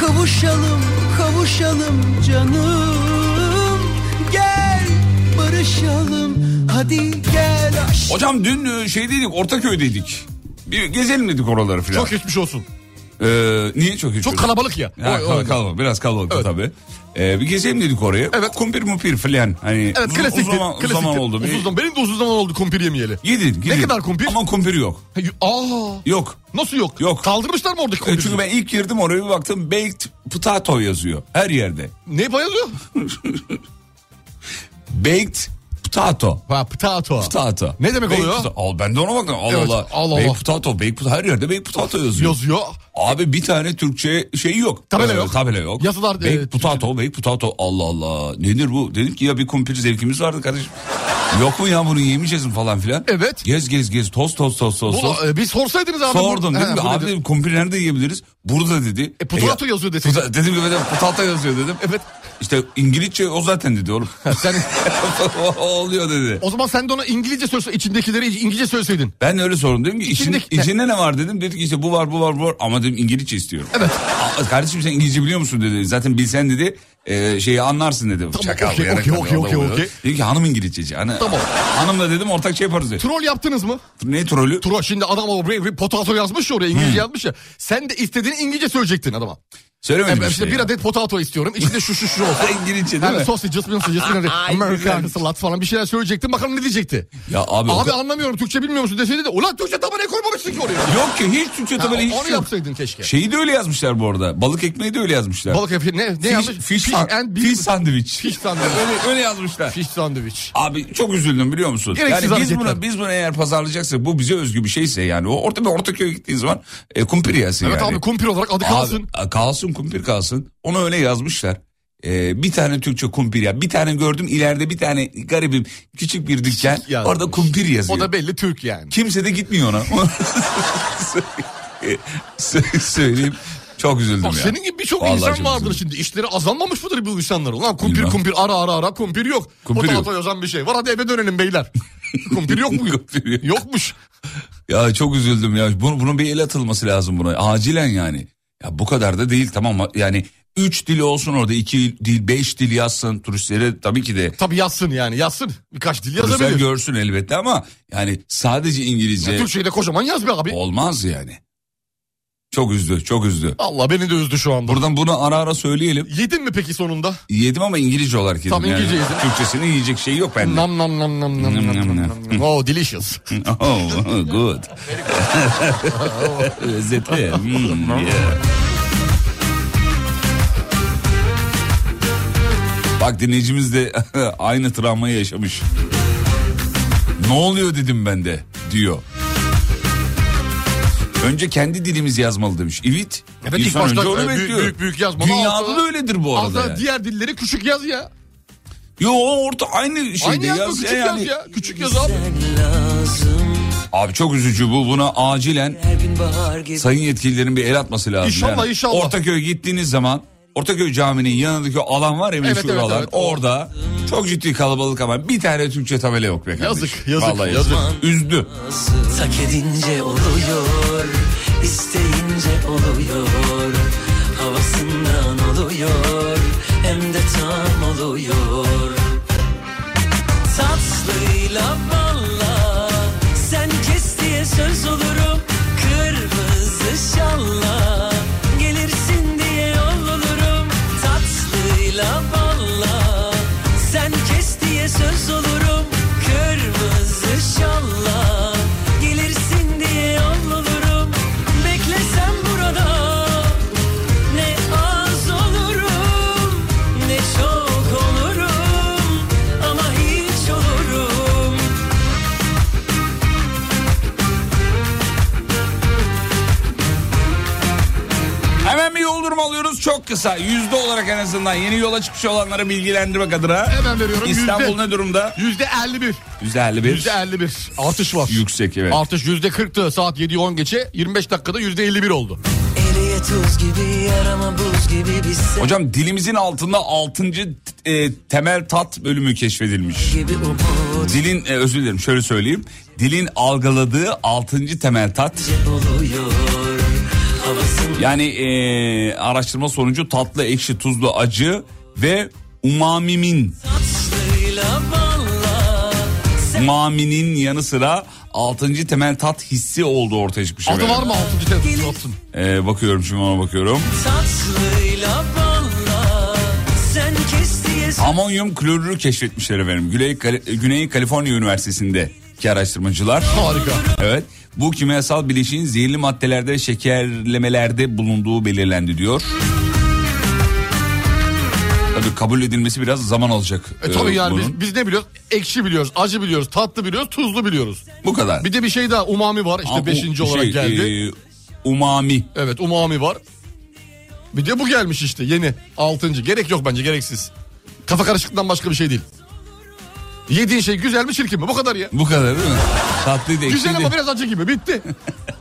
[SPEAKER 8] kavuşalım kavuşalım canım Gel barışalım hadi gel aşkım
[SPEAKER 4] Hocam dün e, şeydeydik Ortaköy'deydik. Bir gezelim dedik oraları filan.
[SPEAKER 5] Çok geçmiş olsun.
[SPEAKER 4] Ee, niye çok
[SPEAKER 5] Çok
[SPEAKER 4] içiyoruz?
[SPEAKER 5] kalabalık ya.
[SPEAKER 4] Ha,
[SPEAKER 5] O-
[SPEAKER 4] kal-
[SPEAKER 5] o-
[SPEAKER 4] kalabalık, biraz kalabalık
[SPEAKER 5] Evet.
[SPEAKER 4] tabii. Ee, bir gezelim dedik oraya.
[SPEAKER 5] Evet.
[SPEAKER 4] Kumpir mupir filan. Hani
[SPEAKER 5] Evet
[SPEAKER 4] uzun,
[SPEAKER 5] klasiktir.
[SPEAKER 4] uzun zaman, uzun
[SPEAKER 5] klasiktir.
[SPEAKER 4] zaman oldu. Bir-
[SPEAKER 5] Uzun zaman- Benim de uzun zaman oldu kumpir yemeyeli.
[SPEAKER 4] Yedin, gidin.
[SPEAKER 5] kadar kumpir?
[SPEAKER 4] Ama kumpir yok.
[SPEAKER 5] Ha, y- Aa,
[SPEAKER 4] Yok.
[SPEAKER 5] nasıl yok?
[SPEAKER 4] Yok.
[SPEAKER 5] Kaldırmışlar mı oradaki
[SPEAKER 4] E,
[SPEAKER 5] kumpiri?
[SPEAKER 4] Çünkü ben ilk girdim oraya bir baktım baked potato yazıyor her yerde.
[SPEAKER 5] Ne bayılıyor?
[SPEAKER 4] Baked potato.
[SPEAKER 5] Ha potato.
[SPEAKER 4] Potato.
[SPEAKER 5] Ne demek
[SPEAKER 4] Baked
[SPEAKER 5] oluyor?
[SPEAKER 4] pota- Al ben de ona baktım. Allah
[SPEAKER 5] Evet,
[SPEAKER 4] Allah.
[SPEAKER 5] Allah
[SPEAKER 4] Baked
[SPEAKER 5] Allah.
[SPEAKER 4] potato, baked potato. Her yerde baked potato yazıyor.
[SPEAKER 5] Yazıyor.
[SPEAKER 4] Abi bir tane Türkçe şey yok.
[SPEAKER 5] Tabela yok.
[SPEAKER 4] Tabela yok.
[SPEAKER 5] Yazılar-
[SPEAKER 4] Baked
[SPEAKER 5] e,
[SPEAKER 4] potato, baked potato. Allah Allah. Nedir bu? Dedim ki ya bir kumpir zevkimiz vardı kardeşim. yok mu ya bunu yemeyeceğiz mi falan filan.
[SPEAKER 5] Evet.
[SPEAKER 4] Gez gez gez. Toz toz toz toz. toz.
[SPEAKER 5] Bu, e, bir sorsaydınız abi.
[SPEAKER 4] Sordum
[SPEAKER 5] bu-
[SPEAKER 4] dedim
[SPEAKER 5] He,
[SPEAKER 4] ki
[SPEAKER 5] bu
[SPEAKER 4] abi
[SPEAKER 5] nedir?
[SPEAKER 4] dedim, kumpir nerede yiyebiliriz? Burada dedi.
[SPEAKER 5] E, potato
[SPEAKER 4] ya-
[SPEAKER 5] yazıyor deseydin.
[SPEAKER 4] Puta- Dedim ki dedim, potato yazıyor dedim.
[SPEAKER 5] Evet.
[SPEAKER 4] İşte İngilizce o zaten dedi oğlum.
[SPEAKER 5] Sen,
[SPEAKER 4] [laughs] O oluyor dedi.
[SPEAKER 5] o zaman sen de ona İngilizce söylesen içindekileri İngilizce söyleseydin.
[SPEAKER 4] Ben de öyle sordum dedim ki içinde,
[SPEAKER 5] İçindeki-
[SPEAKER 4] içinde ne var dedim. Dedi ki işte bu var bu var bu var ama dedim İngilizce istiyorum.
[SPEAKER 5] Evet.
[SPEAKER 4] Aa, kardeşim sen İngilizce biliyor musun dedi. Zaten bilsen dedi e, şeyi anlarsın dedi. Tamam
[SPEAKER 5] okey, okey, okey, okey, okey.
[SPEAKER 4] Dedim ki hanım İngilizceci. Hani,
[SPEAKER 5] Tamam.
[SPEAKER 4] Hanımla dedim ortak şey yaparız dedi.
[SPEAKER 5] Troll yaptınız mı?
[SPEAKER 4] ne trolü?
[SPEAKER 5] Troll şimdi adam o bir, bir potato yazmış ya oraya İngilizce yazmış ya. Sen de istediğini İngilizce söyleyecektin adama.
[SPEAKER 4] Söylemedim
[SPEAKER 5] Evet,
[SPEAKER 4] işte.
[SPEAKER 5] işte bir
[SPEAKER 4] ya.
[SPEAKER 5] adet potato istiyorum. İçinde şu şu
[SPEAKER 4] [laughs]
[SPEAKER 5] şu olsun.
[SPEAKER 4] İngilizce değil
[SPEAKER 5] Yani
[SPEAKER 4] mi?
[SPEAKER 5] sausages,
[SPEAKER 4] [laughs]
[SPEAKER 5] bir sausages, hani Amerikan salat falan bir şeyler söyleyecektin. Bakalım ne diyecekti?
[SPEAKER 4] Ya abi o
[SPEAKER 5] Abi
[SPEAKER 4] ka-
[SPEAKER 5] anlamıyorum Türkçe bilmiyor musun deseydi de ulan Türkçe tabanı koymamışsın ki oraya.
[SPEAKER 4] Yok ki hiç Türkçe
[SPEAKER 5] Ha,
[SPEAKER 4] tabela hiç
[SPEAKER 5] onu
[SPEAKER 4] şey yok.
[SPEAKER 5] yapsaydın keşke.
[SPEAKER 4] Şeyi de öyle yazmışlar bu arada. Balık ekmeği de öyle yazmışlar.
[SPEAKER 5] Balık yapıyor. Ne, ne
[SPEAKER 4] fish,
[SPEAKER 5] yazmış?
[SPEAKER 4] fish, san-
[SPEAKER 5] and
[SPEAKER 4] fish sandviç.
[SPEAKER 5] Fish sandviç.
[SPEAKER 4] öyle, öyle yazmışlar.
[SPEAKER 5] Fish sandviç.
[SPEAKER 4] Abi çok üzüldüm biliyor musun?
[SPEAKER 5] Gereksiz
[SPEAKER 4] yani biz
[SPEAKER 5] hareketler.
[SPEAKER 4] bunu, biz bunu eğer pazarlayacaksak bu bize özgü bir şeyse yani. O orta bir Ortaköy'e gittiğin zaman e, kumpir yersin
[SPEAKER 5] Evet
[SPEAKER 4] yani.
[SPEAKER 5] abi kumpir olarak adı kalsın.
[SPEAKER 4] Abi, kalsın kumpir kalsın. Onu öyle yazmışlar. E, bir tane Türkçe kumpir ya. Bir tane gördüm ileride bir tane garibim küçük bir dükkan.
[SPEAKER 5] yazmış.
[SPEAKER 4] Orada kumpir yazıyor.
[SPEAKER 5] O da belli Türk yani.
[SPEAKER 4] Kimse de gitmiyor
[SPEAKER 5] [laughs]
[SPEAKER 4] ona. Sö- Söyleyeyim. Çok üzüldüm
[SPEAKER 5] Bak
[SPEAKER 4] ya.
[SPEAKER 5] senin gibi birçok
[SPEAKER 4] Vallahi
[SPEAKER 5] insan
[SPEAKER 4] çok
[SPEAKER 5] vardır
[SPEAKER 4] üzüldüm.
[SPEAKER 5] şimdi. İşleri azalmamış mıdır bu insanlar? Ulan kumpir
[SPEAKER 4] Bilmem.
[SPEAKER 5] kumpir ara ara ara kumpir yok.
[SPEAKER 4] Kumpir
[SPEAKER 5] Kumpir
[SPEAKER 4] yok.
[SPEAKER 5] yazan bir şey var hadi eve dönelim beyler. [laughs] kumpir yok mu?
[SPEAKER 4] Kumpir yok.
[SPEAKER 5] Yokmuş.
[SPEAKER 4] Ya çok üzüldüm ya. Bunu, bunun bir el atılması lazım buna. Acilen yani. Ya bu kadar da değil tamam mı? Yani üç dil olsun orada iki dil beş dil yazsın turistlere tabii ki de
[SPEAKER 5] Tabii yazsın yani yazsın. Birkaç dil
[SPEAKER 4] turistler
[SPEAKER 5] yazabilir.
[SPEAKER 4] görsün elbette ama yani sadece İngilizce
[SPEAKER 5] Ya, Türkçeyi de kocaman yaz be abi.
[SPEAKER 4] olmaz yani. Çok üzdü çok üzdü.
[SPEAKER 5] Allah beni de üzdü şu anda.
[SPEAKER 4] Buradan bunu ara ara söyleyelim.
[SPEAKER 5] Yedin mi peki sonunda?
[SPEAKER 4] Yedim ama İngilizce olarak yedim.
[SPEAKER 5] Tam
[SPEAKER 4] yani.
[SPEAKER 5] İngilizce yedim.
[SPEAKER 4] Türkçesini yiyecek şey yok bende.
[SPEAKER 5] Nam nam nam nam
[SPEAKER 4] Nam,
[SPEAKER 5] nam nam
[SPEAKER 4] nam,
[SPEAKER 5] nam
[SPEAKER 4] nam.
[SPEAKER 5] nam. Oh delicious.
[SPEAKER 4] [laughs] Oh,
[SPEAKER 5] [laughs]
[SPEAKER 4] good. Lezzetli. Hmm, yeah. Bak dinleyicimiz de [laughs] aynı travmayı yaşamış. Ne oluyor dedim ben de diyor. Önce kendi dilimiz yazmalı demiş. Evet.
[SPEAKER 5] Evet, ilk
[SPEAKER 4] insan
[SPEAKER 5] başta,
[SPEAKER 4] önce onu
[SPEAKER 5] e, büyük-
[SPEAKER 4] bekliyor.
[SPEAKER 5] büyük- büyük yazmalı.
[SPEAKER 4] Dünyada
[SPEAKER 5] Altına-
[SPEAKER 4] da öyledir bu
[SPEAKER 5] Az
[SPEAKER 4] arada.
[SPEAKER 5] daha
[SPEAKER 4] yani.
[SPEAKER 5] diğer dilleri küçük yaz ya.
[SPEAKER 4] Yo orta aynı şeyde
[SPEAKER 5] Aynı yaz mı?
[SPEAKER 4] yaz
[SPEAKER 5] Küçük
[SPEAKER 4] ya yani.
[SPEAKER 5] yaz ya. Küçük yaz abi.
[SPEAKER 4] Abi çok üzücü bu. Buna acilen sayın yetkililerin bir el atması lazım.
[SPEAKER 5] İnşallah,
[SPEAKER 4] yani.
[SPEAKER 5] inşallah.
[SPEAKER 4] Ortaköy'e gittiğiniz zaman Ortaköy Camii'nin yanındaki o alan var ya meşhur
[SPEAKER 5] evet,
[SPEAKER 4] alan.
[SPEAKER 5] evet.
[SPEAKER 4] Orada çok ciddi kalabalık ama bir tane Türkçe tabela yok be kardeşim.
[SPEAKER 5] Yazık, yazık,
[SPEAKER 4] Vallahi
[SPEAKER 5] yazık.
[SPEAKER 4] Üzdü.
[SPEAKER 6] Tak edince oluyor isteyince oluyor Havasından oluyor Hem de tam oluyor Tatlıyla balla Sen kes diye söz olurum Kırmızı şalla Gelirsin diye yol olurum Tatlıyla balla Sen kes diye söz olurum Kırmızı şalla Gelirsin diye yol olurum
[SPEAKER 4] Çok kısa yüzde olarak en azından yeni yola çıkmış olanları bilgilendirmek adına.
[SPEAKER 5] Hemen veriyorum.
[SPEAKER 4] İstanbul
[SPEAKER 5] Yüzde-
[SPEAKER 4] ne durumda?
[SPEAKER 5] Yüzde 51.
[SPEAKER 4] Yüzde 51.
[SPEAKER 5] Yüzde 51. Artış var.
[SPEAKER 4] Yüksek evet.
[SPEAKER 5] Artış yüzde 40'tı saat 7'yi 10 geçe 25 dakikada yüzde 51 oldu.
[SPEAKER 6] Eriye tuz gibi yarama buz gibi biz sen
[SPEAKER 4] Hocam dilimizin altında 6. temel tat bölümü keşfedilmiş.
[SPEAKER 6] gibi umut
[SPEAKER 4] Dilin e, özür dilerim şöyle söyleyeyim. Dilin algıladığı 6. temel tat.
[SPEAKER 6] oluyor Havasın
[SPEAKER 4] Yani e, araştırma sonucu tatlı, ekşi, tuzlu, acı ve umamimin,
[SPEAKER 6] tatlıyla balla
[SPEAKER 4] umaminin yanı sıra 6. temel tat hissi olduğu ortaya çıkmış.
[SPEAKER 5] Adı
[SPEAKER 4] efendim.
[SPEAKER 5] var mı 6. telefonu olsun?
[SPEAKER 4] E, bakıyorum şimdi ona bakıyorum.
[SPEAKER 6] Tatlıyla balla Sen kes diye
[SPEAKER 4] Amonyum klorürü keşfetmişler efendim. Güney, Kal- Güney Kaliforniya Üniversitesi'ndeki araştırmacılar.
[SPEAKER 5] Harika.
[SPEAKER 4] Evet. Bu kimyasal bileşiğin zehirli maddelerde ve şekerlemelerde bulunduğu belirlendi diyor. Tabii kabul edilmesi biraz zaman alacak.
[SPEAKER 5] E tabii
[SPEAKER 4] e,
[SPEAKER 5] yani
[SPEAKER 4] bunun.
[SPEAKER 5] biz, biz ne biliyoruz? Ekşi biliyoruz, acı biliyoruz, tatlı biliyoruz, tuzlu biliyoruz.
[SPEAKER 4] Bu kadar.
[SPEAKER 5] Bir de bir şey daha umami var
[SPEAKER 4] Ama
[SPEAKER 5] işte
[SPEAKER 4] bu
[SPEAKER 5] 5. olarak
[SPEAKER 4] şey,
[SPEAKER 5] geldi.
[SPEAKER 4] e, umami.
[SPEAKER 5] Evet umami var. Bir de bu gelmiş işte yeni 6. Gerek yok bence gereksiz. Kafa karışıklığından başka bir şey değil. Yediğin şey güzel mi çirkin mi? Bu kadar ya.
[SPEAKER 4] Bu kadar değil mi? Tatlıydı,
[SPEAKER 5] Güzel
[SPEAKER 4] ekşiydi.
[SPEAKER 5] ama biraz acı gibi bitti.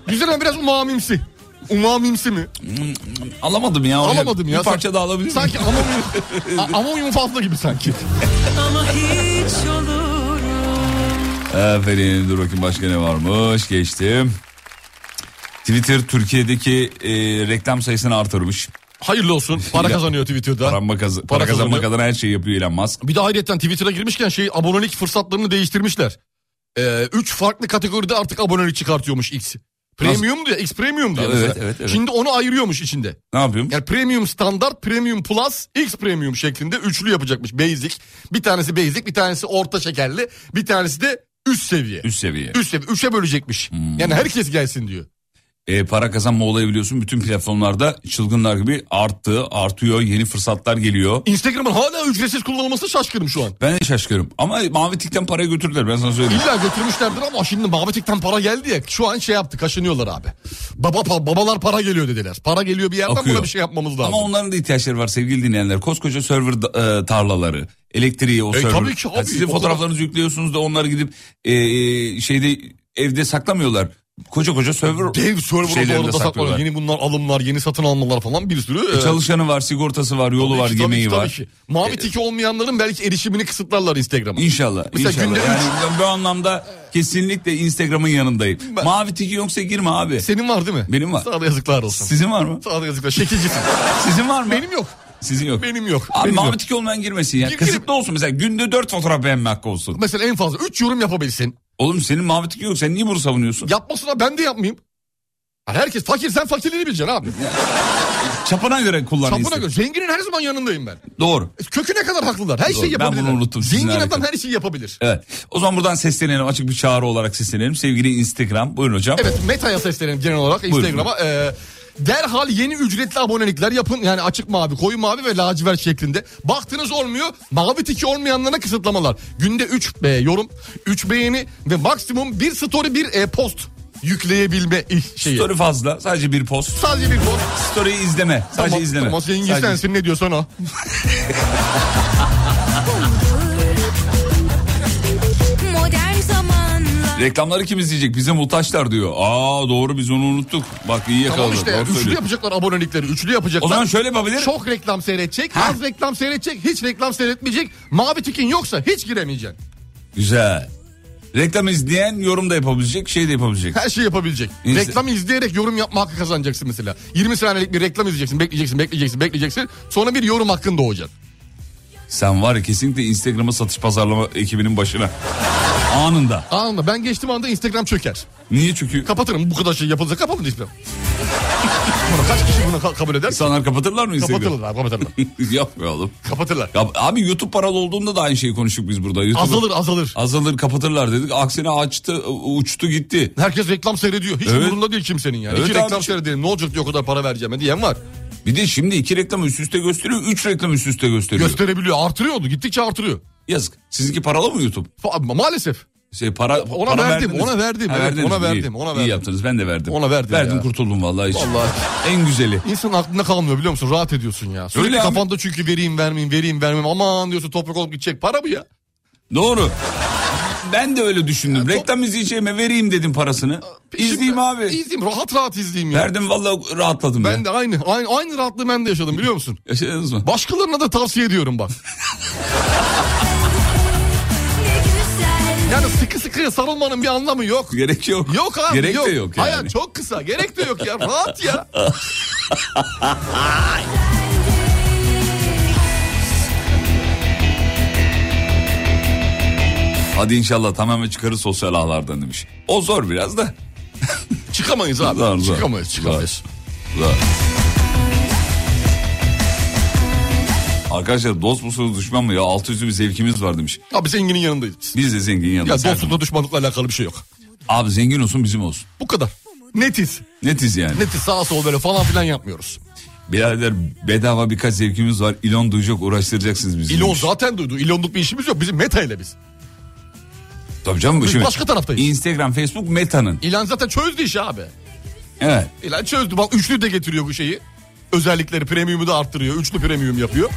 [SPEAKER 5] güzel ama biraz umamimsi. Umamimsi mi?
[SPEAKER 4] Alamadım ya. hocam.
[SPEAKER 5] Alamadım ya.
[SPEAKER 4] Bir parça daha alabilir miyim? [laughs]
[SPEAKER 5] Sanki amonyum, a- amonyum fazla gibi sanki.
[SPEAKER 6] ama hiç olur
[SPEAKER 4] Aferin dur bakayım başka ne varmış geçtim. Twitter Türkiye'deki e, reklam sayısını artırmış.
[SPEAKER 5] Hayırlı olsun.
[SPEAKER 4] [laughs]
[SPEAKER 5] Para kazanıyor Twitter'da.
[SPEAKER 4] Para, kazı, para,
[SPEAKER 5] Para
[SPEAKER 4] kazanmak
[SPEAKER 5] kazanıyor.
[SPEAKER 4] adına her şeyi yapıyor Elon Musk.
[SPEAKER 5] Bir de ayrıca Twitter'a girmişken şey abonelik fırsatlarını değiştirmişler. Ee, üç farklı kategoride artık abonelik çıkartıyormuş X. Premium'du ya X Premium'du ya
[SPEAKER 4] Evet,
[SPEAKER 5] mesela.
[SPEAKER 4] evet, evet.
[SPEAKER 5] Şimdi onu ayırıyormuş içinde.
[SPEAKER 4] Ne yapıyorum?
[SPEAKER 5] Yani Premium Standart, Premium Plus, X Premium şeklinde üçlü yapacakmış Basic. Bir tanesi Basic, bir tanesi orta şekerli, bir tanesi de üst seviye.
[SPEAKER 4] Üst seviye. Hmm.
[SPEAKER 5] Üst seviye, üçe bölecekmiş. Yani herkes gelsin diyor.
[SPEAKER 4] E, para kazanma olayı biliyorsun bütün platformlarda çılgınlar gibi arttı, artıyor, yeni fırsatlar geliyor.
[SPEAKER 5] Instagram'ın hala ücretsiz kullanılması şaşkınım şu an.
[SPEAKER 4] Ben de şaşkıyorum ama mavi tikten parayı götürdüler ben sana söyleyeyim.
[SPEAKER 5] İlla götürmüşlerdir ama şimdi Babatik'ten para geldi ya şu an şey yaptı kaşınıyorlar abi. Baba pa- babalar para geliyor dediler. Para geliyor bir yerden
[SPEAKER 4] Akıyor.
[SPEAKER 5] buna bir şey yapmamız lazım.
[SPEAKER 4] Ama onların da ihtiyaçları var sevgili dinleyenler. Koskoca server da- e, tarlaları, elektriği o
[SPEAKER 5] E,
[SPEAKER 4] server.
[SPEAKER 5] tabii ki abi,
[SPEAKER 4] Yani sizin
[SPEAKER 5] o
[SPEAKER 4] fotoğraflarınızı yüklüyorsunuz da onlar gidip e, e, şeyde evde saklamıyorlar. Koca koca server
[SPEAKER 5] Dev server'ı
[SPEAKER 4] şeylerinde
[SPEAKER 5] bu arada saklıyorlar.
[SPEAKER 4] saklıyorlar.
[SPEAKER 5] Yeni bunlar alımlar, yeni satın almalar falan bir sürü.
[SPEAKER 4] E,
[SPEAKER 5] e,
[SPEAKER 4] Çalışanı var, sigortası var, yolu
[SPEAKER 5] tabii
[SPEAKER 4] var,
[SPEAKER 5] ki, tabii
[SPEAKER 4] yemeği
[SPEAKER 5] ki, tabii
[SPEAKER 4] var.
[SPEAKER 5] ki. Mavi tiki olmayanların belki erişimini kısıtlarlar Instagram'a.
[SPEAKER 4] İnşallah.
[SPEAKER 5] Mesela
[SPEAKER 4] inşallah.
[SPEAKER 5] günde
[SPEAKER 4] Yani ben bu anlamda kesinlikle Instagram'ın yanındayım.
[SPEAKER 5] Ben-
[SPEAKER 4] Mavi tiki yoksa girme abi.
[SPEAKER 5] Senin var değil mi?
[SPEAKER 4] Benim var.
[SPEAKER 5] Sana da yazıklar olsun.
[SPEAKER 4] Sizin var mı?
[SPEAKER 5] Sana da yazıklar. Şekilcisin.
[SPEAKER 4] [laughs] Sizin var mı?
[SPEAKER 5] Benim yok.
[SPEAKER 4] Sizin yok.
[SPEAKER 5] Benim yok.
[SPEAKER 4] Abi
[SPEAKER 5] Benim
[SPEAKER 4] mavi
[SPEAKER 5] yok.
[SPEAKER 4] tiki olmayan girmesin ya.
[SPEAKER 5] Gir-
[SPEAKER 4] Kısıtlı olsun mesela günde 4 fotoğraf beğenme hakkı olsun.
[SPEAKER 5] Mesela en fazla 3 yorum yapabilsin.
[SPEAKER 4] Oğlum senin mavi tiki yok sen niye bunu savunuyorsun?
[SPEAKER 5] Yapmasına ben de yapmayayım. Yani herkes fakir sen fakirliğini bileceksin abi.
[SPEAKER 4] Çapına göre kullan.
[SPEAKER 5] Çapına
[SPEAKER 4] Instagram.
[SPEAKER 5] göre. Zenginin her zaman yanındayım ben.
[SPEAKER 4] Doğru.
[SPEAKER 5] Köküne kadar haklılar. Her
[SPEAKER 4] Doğru.
[SPEAKER 5] şeyi
[SPEAKER 4] Ben
[SPEAKER 5] yapabilirler.
[SPEAKER 4] bunu unuttum. Sizin
[SPEAKER 5] Zengin adam
[SPEAKER 4] harika.
[SPEAKER 5] her şeyi yapabilir.
[SPEAKER 4] Evet. O zaman buradan seslenelim açık bir çağrı olarak seslenelim. Sevgili Instagram buyurun hocam.
[SPEAKER 5] Evet Meta'ya seslenelim genel olarak Instagram'a. Ee, derhal yeni ücretli abonelikler yapın. Yani açık mavi, koyu mavi ve lacivert şeklinde. Baktınız olmuyor. Mavi tiki olmayanlara kısıtlamalar. Günde 3 be yorum, 3 beğeni ve maksimum bir story bir e, post yükleyebilme iş- şeyi.
[SPEAKER 4] Story fazla sadece bir post.
[SPEAKER 5] Sadece bir post.
[SPEAKER 4] Story'yi izleme. Sadece
[SPEAKER 5] Tamam,
[SPEAKER 4] izleme.
[SPEAKER 5] Tamam zengin
[SPEAKER 4] Sadece-
[SPEAKER 5] sensin ne diyorsan o.
[SPEAKER 3] Modern zamanlar
[SPEAKER 4] Reklamları kim izleyecek? Bize muhtaçlar diyor. Aa doğru biz onu unuttuk. Bak iyi yakaladık.
[SPEAKER 5] Tamam işte
[SPEAKER 4] doğru
[SPEAKER 5] üçlü
[SPEAKER 4] söylüyor.
[SPEAKER 5] yapacaklar abonelikleri. Üçlü yapacaklar.
[SPEAKER 4] O zaman şöyle yapabilir.
[SPEAKER 5] Çok reklam seyredecek, az reklam seyredecek, hiç reklam seyretmeyecek. Mavi tikin yoksa hiç giremeyeceksin.
[SPEAKER 4] Güzel. Reklam izleyen yorum da yapabilecek, şey de yapabilecek.
[SPEAKER 5] Her şeyi yapabilecek.
[SPEAKER 4] İnse-
[SPEAKER 5] Reklam izleyerek yorum yapma hakkı kazanacaksın mesela. 20 saniyelik bir reklam izleyeceksin, bekleyeceksin, bekleyeceksin, bekleyeceksin. Sonra bir yorum hakkın doğacak.
[SPEAKER 4] Sen var ya kesinlikle Instagram'a satış pazarlama ekibinin başına. Anında.
[SPEAKER 5] Anında ben geçtiğim anda Instagram çöker.
[SPEAKER 4] Niye çünkü
[SPEAKER 5] Kapatırım bu kadar şey yapılacak kapatın Instagram. [laughs] Bunu kaç kişi bunu ka- kabul eder?
[SPEAKER 4] insanlar kapatırlar mı Instagram'ı? [laughs]
[SPEAKER 5] Kapatırlar, kapatırlar.
[SPEAKER 4] Yapmayalım.
[SPEAKER 5] kapatırlar.
[SPEAKER 4] Ya, abi YouTube paralı olduğunda da aynı şeyi konuştuk biz burada. YouTube
[SPEAKER 5] Azalır, azalır.
[SPEAKER 4] Azalır kapatırlar dedik. Aksine açtı uçtu gitti.
[SPEAKER 5] Herkes reklam seyrediyor. Hiç
[SPEAKER 4] Evet.
[SPEAKER 5] umurunda değil kimsenin yani.
[SPEAKER 4] Evet
[SPEAKER 5] İki reklam
[SPEAKER 4] abiciğim.
[SPEAKER 5] seyredelim. Ne olacak diye o kadar para vereceğime diyen var.
[SPEAKER 4] Bir de şimdi iki reklam üst üste gösteriyor. Üç reklam üst üste gösteriyor.
[SPEAKER 5] Gösterebiliyor. Artırıyordu. Gittikçe artırıyor.
[SPEAKER 4] Yazık. Sizinki paralı mı YouTube?
[SPEAKER 5] Fa- Maalesef.
[SPEAKER 4] Şey para
[SPEAKER 5] Ona
[SPEAKER 4] para
[SPEAKER 5] verdim,
[SPEAKER 4] verdiniz.
[SPEAKER 5] ona verdim, evet,
[SPEAKER 4] verdiniz.
[SPEAKER 5] ona
[SPEAKER 4] İyi.
[SPEAKER 5] verdim, ona
[SPEAKER 4] İyi
[SPEAKER 5] verdim.
[SPEAKER 4] yaptınız ben de verdim.
[SPEAKER 5] Ona verdim
[SPEAKER 4] Verdim
[SPEAKER 5] ya.
[SPEAKER 4] kurtuldum vallahi hiç.
[SPEAKER 5] Vallahi.
[SPEAKER 4] En güzeli.
[SPEAKER 5] İnsanın aklında kalmıyor biliyor musun? Rahat ediyorsun ya. Sürekli
[SPEAKER 4] Öyle abi.
[SPEAKER 5] kafanda çünkü vereyim vermeyeyim vereyim vermeyeyim. Aman diyorsun toprak olup gidecek. Para bu ya.
[SPEAKER 4] Doğru. Ben de öyle düşündüm. Reklam izleyeceğime vereyim dedim parasını. İzleyeyim
[SPEAKER 5] Şimdi-
[SPEAKER 4] abi.
[SPEAKER 5] İzleyeyim rahat rahat izleyeyim ya.
[SPEAKER 4] Verdim vallahi rahatladım
[SPEAKER 5] Ben
[SPEAKER 4] ya.
[SPEAKER 5] de aynı, aynı aynı rahatlığı ben de yaşadım biliyor musun?
[SPEAKER 4] Yaşadınız mı?
[SPEAKER 5] Başkalarına da tavsiye ediyorum bak.
[SPEAKER 3] Ne güzel
[SPEAKER 5] Yani sıkı sıkıya sarılmanın bir anlamı yok.
[SPEAKER 4] Gerek yok.
[SPEAKER 5] Yok abi
[SPEAKER 4] Gerek de yok yani.
[SPEAKER 5] Hayat çok kısa. Gerek de yok ya. Rahat
[SPEAKER 4] [laughs]
[SPEAKER 5] ya.
[SPEAKER 4] Hadi inşallah tamamen çıkarız sosyal ağlardan demiş. O zor biraz da.
[SPEAKER 5] Çıkamayız abi.
[SPEAKER 4] Zor, zor.
[SPEAKER 5] çıkamayız çıkamayız.
[SPEAKER 4] Zor. Arkadaşlar dost musunuz düşman mı ya? Altı yüzlü bir zevkimiz var demiş.
[SPEAKER 5] Abi zenginin yanındayız.
[SPEAKER 4] Biz de zengin
[SPEAKER 5] Ya
[SPEAKER 4] yanındayız.
[SPEAKER 5] dostlukla düşmanlıkla alakalı bir şey yok.
[SPEAKER 4] Abi zengin olsun bizim olsun.
[SPEAKER 5] Bu kadar. Netiz.
[SPEAKER 4] Netiz yani.
[SPEAKER 5] Netiz sağa sol böyle falan filan yapmıyoruz.
[SPEAKER 4] Birader bedava birkaç zevkimiz var. İlon duyacak uğraştıracaksınız bizi.
[SPEAKER 5] İlon
[SPEAKER 4] demiş.
[SPEAKER 5] zaten duydu. İlonluk bir işimiz yok. Bizim meta ile biz.
[SPEAKER 4] Tabii canım.
[SPEAKER 5] Biz
[SPEAKER 4] şimdi-
[SPEAKER 5] başka taraftayız.
[SPEAKER 4] Instagram, Facebook metanın.
[SPEAKER 5] İlan zaten çözdü işi abi.
[SPEAKER 4] Evet.
[SPEAKER 5] İlan çözdü. Bak üçlü de getiriyor bu şeyi. Özellikleri premium'u da arttırıyor. Üçlü premium yapıyor.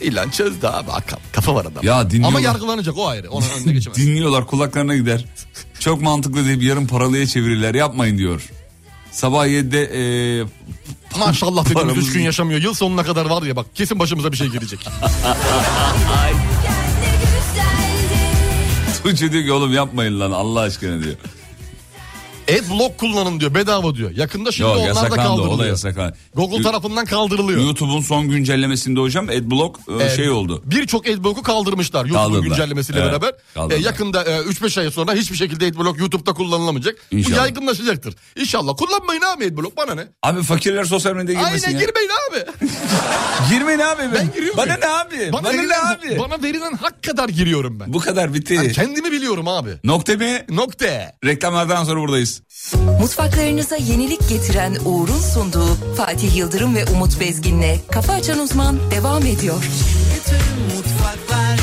[SPEAKER 5] İlan çözdü abi. Akal. Kafa var adam.
[SPEAKER 4] Ya dinliyorlar.
[SPEAKER 5] Ama yargılanacak o ayrı. Ona
[SPEAKER 4] [laughs]
[SPEAKER 5] önüne geçemez.
[SPEAKER 4] Dinliyorlar kulaklarına gider. Çok mantıklı deyip yarın paralıya çevirirler yapmayın diyor. Sabah 7'de e, [laughs]
[SPEAKER 5] Maşallah dediğimiz
[SPEAKER 4] Paramız-
[SPEAKER 5] üç gün yaşamıyor. Yıl sonuna kadar var ya bak kesin başımıza bir
[SPEAKER 4] [laughs]
[SPEAKER 5] şey gelecek.
[SPEAKER 3] ne güzeldi
[SPEAKER 4] Tuğçe diyor ki oğlum yapmayın lan Allah aşkına diyor.
[SPEAKER 5] Adblock kullanın diyor bedava diyor. Yakında şimdi
[SPEAKER 4] Yok
[SPEAKER 5] onlar da
[SPEAKER 4] yasaklandı o da
[SPEAKER 5] kaldırılıyor.
[SPEAKER 4] yasaklandı.
[SPEAKER 5] Google tarafından kaldırılıyor.
[SPEAKER 4] YouTube'un son güncellemesinde hocam adblock e,
[SPEAKER 5] Ee,
[SPEAKER 4] şey oldu.
[SPEAKER 5] Birçok adblock'u kaldırmışlar YouTube'un
[SPEAKER 4] Kaldırdılar.
[SPEAKER 5] güncellemesiyle
[SPEAKER 4] Evet,
[SPEAKER 5] beraber.
[SPEAKER 4] kaldırdılar.
[SPEAKER 5] Ee, yakında e, 3-5 ay sonra hiçbir şekilde adblock YouTube'da kullanılamayacak.
[SPEAKER 4] İnşallah.
[SPEAKER 5] Bu yaygınlaşacaktır. İnşallah kullanmayın abi adblock bana ne?
[SPEAKER 4] Abi fakirler sosyal medyaya girmesin
[SPEAKER 5] Aynen
[SPEAKER 4] ya.
[SPEAKER 5] girmeyin abi.
[SPEAKER 4] Girmeyin abi.
[SPEAKER 5] Ben giriyorum.
[SPEAKER 4] Bana ne abi? Bana, ne
[SPEAKER 5] verilen,
[SPEAKER 4] abi?
[SPEAKER 5] Bana verilen hak kadar giriyorum ben.
[SPEAKER 4] Bu kadar bitti.
[SPEAKER 5] Ben kendimi biliyorum abi.
[SPEAKER 4] Nokta mı?
[SPEAKER 5] Nokta.
[SPEAKER 4] Reklamlardan sonra buradayız.
[SPEAKER 1] Mutfaklarınıza yenilik getiren Uğur'un sunduğu Fatih Yıldırım ve Umut Bezgin'le Kafa Açan Uzman devam ediyor.
[SPEAKER 2] Bütün mutfaklar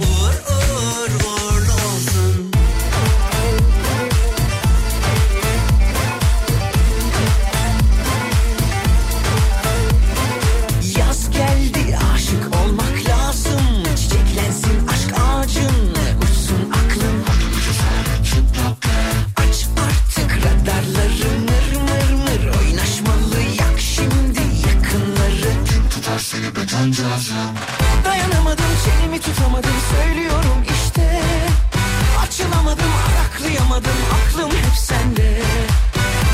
[SPEAKER 2] uğur uğur uğurlu olsun. Yaz geldi aşık olmak lazım. Çiçeklensin aşk ağacın. Uçsun aklın. Aç artık radarları mır mır mır oynaşmalı yak şimdi yakınları. Dayanamadım çenemi tutamadım söylüyorum işte Açılamadım araklayamadım aklım hep sende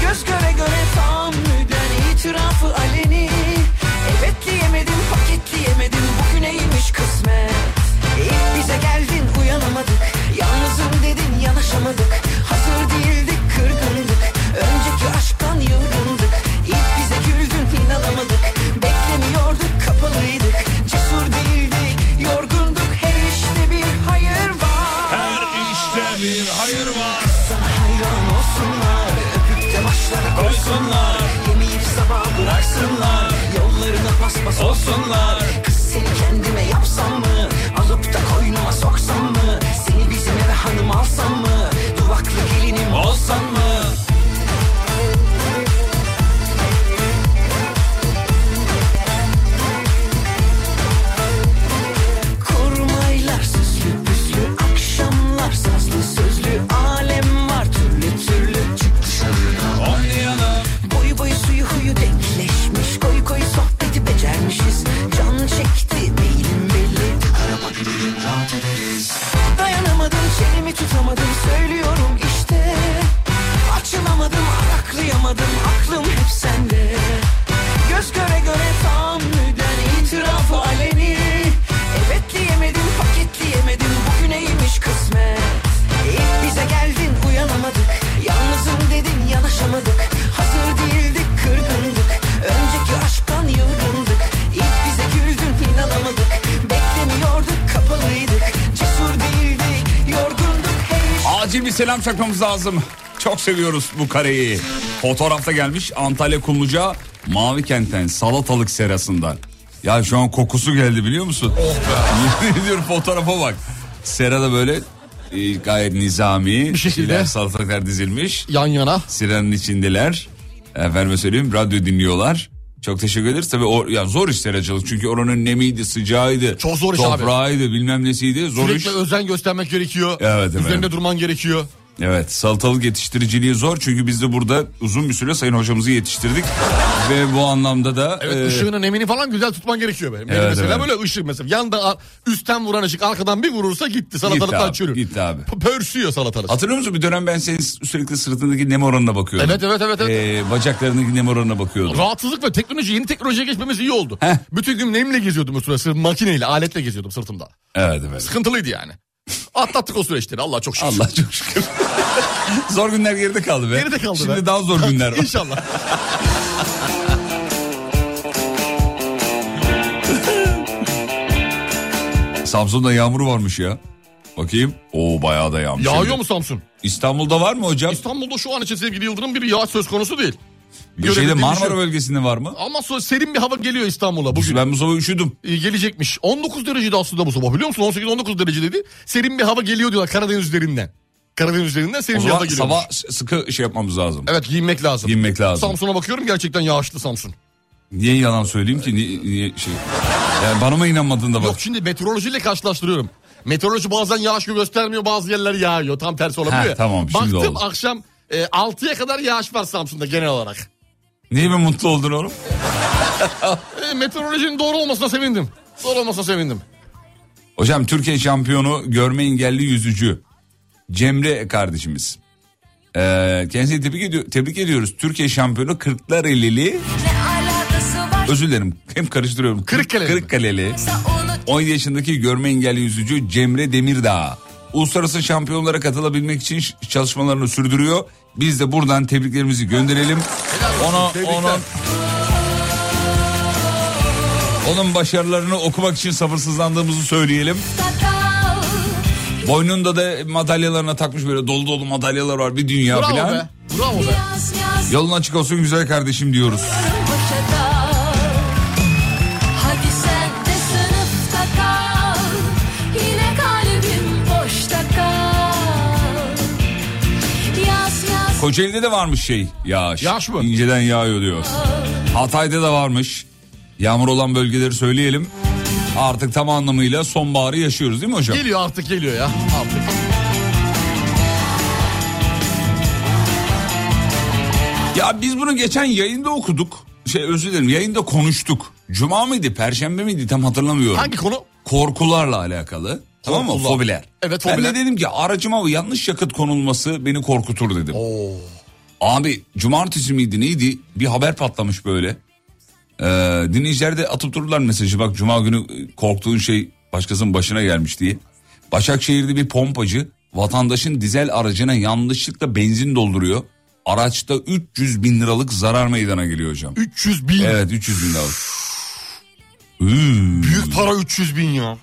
[SPEAKER 2] Göz göre göre tahammüden itirafı aleni Evet diyemedim paketleyemedim bugüneymiş kısmet İlk bize geldin uyanamadık Yalnızım dedin yanaşamadık Hazır değildik kırgındık Önceki aşktan yılgındık İlk bize güldün inanamadık Beklemiyorduk kapalıydık Cesur değildik yorgunduk Her işte bir hayır var Her işte bir hayır var Sana hayran olsunlar Öpüp de başlara koysunlar Yemeyip sabah bıraksınlar Yollarına paspas olsunlar Kız seni kendime yapsam mı Alıp da koynuma soksam mı Seni bizim eve hanım alsam mı Duvaklı gelinim olsan mı Kurmaylar süslü püslü akşamlar sazlı sözlü alem var türlü türlü çık dışarı Boy boy suyu huyu denkleşmiş koy koy sohbeti becermişiz can çekti beynim belli araba gidelim rahat ederiz Dayanamadım çenemi tutamadım söylüyorum işte Açılamadım araklayamadım aklım hep sende Göz göre göre tahammüden itirafı aleni Evet diyemedim paketleyemedim bugüneymiş kısmet İlk bize geldin uyanamadık Yalnızım dedin yanaşamadık Hazır değildik kırgındık Önceki aşktan yılgındık İlk bize güldün inanamadık Beklemiyorduk kapalıydık Cesur değildik yorgunduk Her iş
[SPEAKER 4] Acil bir selam çakmamız lazım. Çok seviyoruz bu kareyi. Fotoğrafta gelmiş Antalya Kumluca Mavi Kent'ten Salatalık Serası'ndan. Ya
[SPEAKER 5] Oh
[SPEAKER 4] şu an kokusu geldi biliyor musun? Yemin ediyorum fotoğrafa bak. Serada böyle e, gayet nizami bir
[SPEAKER 5] şekilde.
[SPEAKER 4] şeyler salatalıklar dizilmiş.
[SPEAKER 5] Yan yana.
[SPEAKER 4] Sirenin içindeler. Efendime söyleyeyim radyo dinliyorlar. Çok teşekkür ederiz. Tabii o, ya zor işler açılık. Çünkü oranın nemiydi, sıcağıydı.
[SPEAKER 5] Çok zor iş abi.
[SPEAKER 4] Toprağıydı, bilmem nesiydi. Zor
[SPEAKER 5] Sürekli
[SPEAKER 4] iş.
[SPEAKER 5] özen göstermek gerekiyor.
[SPEAKER 4] Evet, evet.
[SPEAKER 5] Üzerinde durman gerekiyor.
[SPEAKER 4] Evet salatalık yetiştiriciliği zor çünkü biz de burada uzun bir süre sayın hocamızı yetiştirdik. Ve bu anlamda da...
[SPEAKER 5] Evet
[SPEAKER 4] e,
[SPEAKER 5] ışığının nemini falan güzel tutman gerekiyor benim. Benim
[SPEAKER 4] Evet,
[SPEAKER 5] mesela
[SPEAKER 4] evet.
[SPEAKER 5] böyle ışık mesela. Yanda a- üstten vuran ışık arkadan bir vurursa gitti. Salatalıktan
[SPEAKER 4] gitti abi,
[SPEAKER 5] çürür.
[SPEAKER 4] gitti abi.
[SPEAKER 5] P- Pörsüyor salatalık.
[SPEAKER 4] Hatırlıyor musun bir dönem ben senin sürekli sırtındaki nem oranına bakıyordum.
[SPEAKER 5] Evet, evet, evet, evet.
[SPEAKER 4] E, bacaklarındaki nem oranına bakıyordum.
[SPEAKER 5] Rahatsızlık ve teknoloji yeni teknolojiye geçmemiz iyi oldu.
[SPEAKER 4] Heh.
[SPEAKER 5] Bütün gün nemle geziyordum o süre. Sırf makineyle aletle geziyordum sırtımda.
[SPEAKER 4] Evet evet.
[SPEAKER 5] Sıkıntılıydı yani. Atlattık o süreçleri Allah çok şükür.
[SPEAKER 4] Allah çok
[SPEAKER 5] [laughs]
[SPEAKER 4] şükür. zor günler geride kaldı be.
[SPEAKER 5] Geride kaldı
[SPEAKER 4] Şimdi
[SPEAKER 5] be.
[SPEAKER 4] daha
[SPEAKER 5] [laughs]
[SPEAKER 4] zor günler var.
[SPEAKER 5] İnşallah.
[SPEAKER 4] Samsun'da yağmur varmış ya. Bakayım. Oo bayağı da yağmış.
[SPEAKER 5] Yağıyor
[SPEAKER 4] Şimdi.
[SPEAKER 5] mu Samsun?
[SPEAKER 4] İstanbul'da var mı hocam?
[SPEAKER 5] İstanbul'da şu an için sevgili Yıldırım bir yağış söz konusu değil.
[SPEAKER 4] Bir şeyde
[SPEAKER 5] Görebildiğim
[SPEAKER 4] Marmara
[SPEAKER 5] bir şey yok.
[SPEAKER 4] bölgesinde var mı?
[SPEAKER 5] Ama so- serin bir hava geliyor İstanbul'a bugün.
[SPEAKER 4] Ben bu sabah üşüdüm.
[SPEAKER 5] Ee, gelecekmiş. 19 derecede aslında bu sabah biliyor musun? 18-19 derece dedi. Serin bir hava geliyor diyorlar Karadeniz üzerinden. Karadeniz üzerinden serin
[SPEAKER 4] O
[SPEAKER 5] bir hava
[SPEAKER 4] zaman
[SPEAKER 5] geliyor.
[SPEAKER 4] sabah s- sıkı şey yapmamız lazım.
[SPEAKER 5] Evet giyinmek lazım.
[SPEAKER 4] Giyinmek lazım.
[SPEAKER 5] Samsun'a bakıyorum gerçekten yağışlı Samsun.
[SPEAKER 4] Niye yalan söyleyeyim ki? Niye, niye şey? Yani bana mı inanmadın da bak.
[SPEAKER 5] Yok şimdi meteorolojiyle karşılaştırıyorum. Meteoroloji bazen yağış göstermiyor bazı yerler yağıyor. Tam tersi olabiliyor.
[SPEAKER 4] Ha, tamam, şimdi
[SPEAKER 5] Baktım
[SPEAKER 4] oldu.
[SPEAKER 5] akşam e, 6'ya kadar yağış var Samsun'da genel olarak.
[SPEAKER 4] Niye mi mutlu oldun oğlum?
[SPEAKER 5] E, meteorolojinin doğru olmasına sevindim. Doğru olmasına sevindim.
[SPEAKER 4] Hocam Türkiye şampiyonu görme engelli yüzücü Cemre kardeşimiz. Ee, kendisini tebrik, ediyor- tebrik ediyoruz. Türkiye şampiyonu Kırklarelili.
[SPEAKER 3] Ne alakası var?
[SPEAKER 4] Özür dilerim. Hem karıştırıyorum.
[SPEAKER 5] Kırıkkaleli mi?
[SPEAKER 4] Kırıkkaleli.
[SPEAKER 3] Sa onu
[SPEAKER 4] 10 yaşındaki görme engelli yüzücü Cemre Demirdağ. Uluslararası şampiyonlara katılabilmek için ş- çalışmalarını sürdürüyor. Biz de buradan tebriklerimizi gönderelim. Ona, onun, onun başarılarını okumak için sabırsızlandığımızı söyleyelim.
[SPEAKER 3] sakal
[SPEAKER 4] Boynunda da madalyalarına takmış böyle dolu dolu madalyalar var bir dünya
[SPEAKER 5] Bravo
[SPEAKER 4] filan.
[SPEAKER 5] be. Bravo be.
[SPEAKER 3] Yaz yaz
[SPEAKER 4] Yolun açık olsun güzel kardeşim diyoruz.
[SPEAKER 3] başa kal Hadi sen de sınıfta kal Yine kalbim boşta kal Yaz yaz
[SPEAKER 4] Kocaeli'de de varmış şey yağış.
[SPEAKER 5] Yağış mı?
[SPEAKER 4] İnceden yağıyor diyor. Hatay'da da varmış. Yağmur olan bölgeleri söyleyelim. Artık tam anlamıyla sonbaharı yaşıyoruz değil mi hocam?
[SPEAKER 5] Geliyor artık geliyor ya. Artık.
[SPEAKER 4] Ya biz bunu geçen yayında okuduk. Şey özür dilerim yayında konuştuk. Cuma mıydı perşembe miydi tam hatırlamıyorum.
[SPEAKER 5] Hangi konu?
[SPEAKER 4] Korkularla alakalı. Tamam mı?
[SPEAKER 5] Korkular.
[SPEAKER 4] Fobiler.
[SPEAKER 5] Evet,
[SPEAKER 4] Ben
[SPEAKER 5] fobiler.
[SPEAKER 4] de dedim ki aracıma yanlış yakıt konulması beni korkutur dedim. Abi cumartesi miydi neydi bir haber patlamış böyle. Ee, dinleyiciler de atıp dururlar mesajı bak cuma günü e, korktuğun şey başkasının başına gelmiş diye. Başakşehir'de bir pompacı vatandaşın dizel aracına yanlışlıkla benzin dolduruyor. Araçta 300 bin liralık zarar meydana geliyor hocam.
[SPEAKER 5] 300 bin.
[SPEAKER 4] Evet 300 bin liralık. Hmm,
[SPEAKER 5] Büyük para 300 bin ya.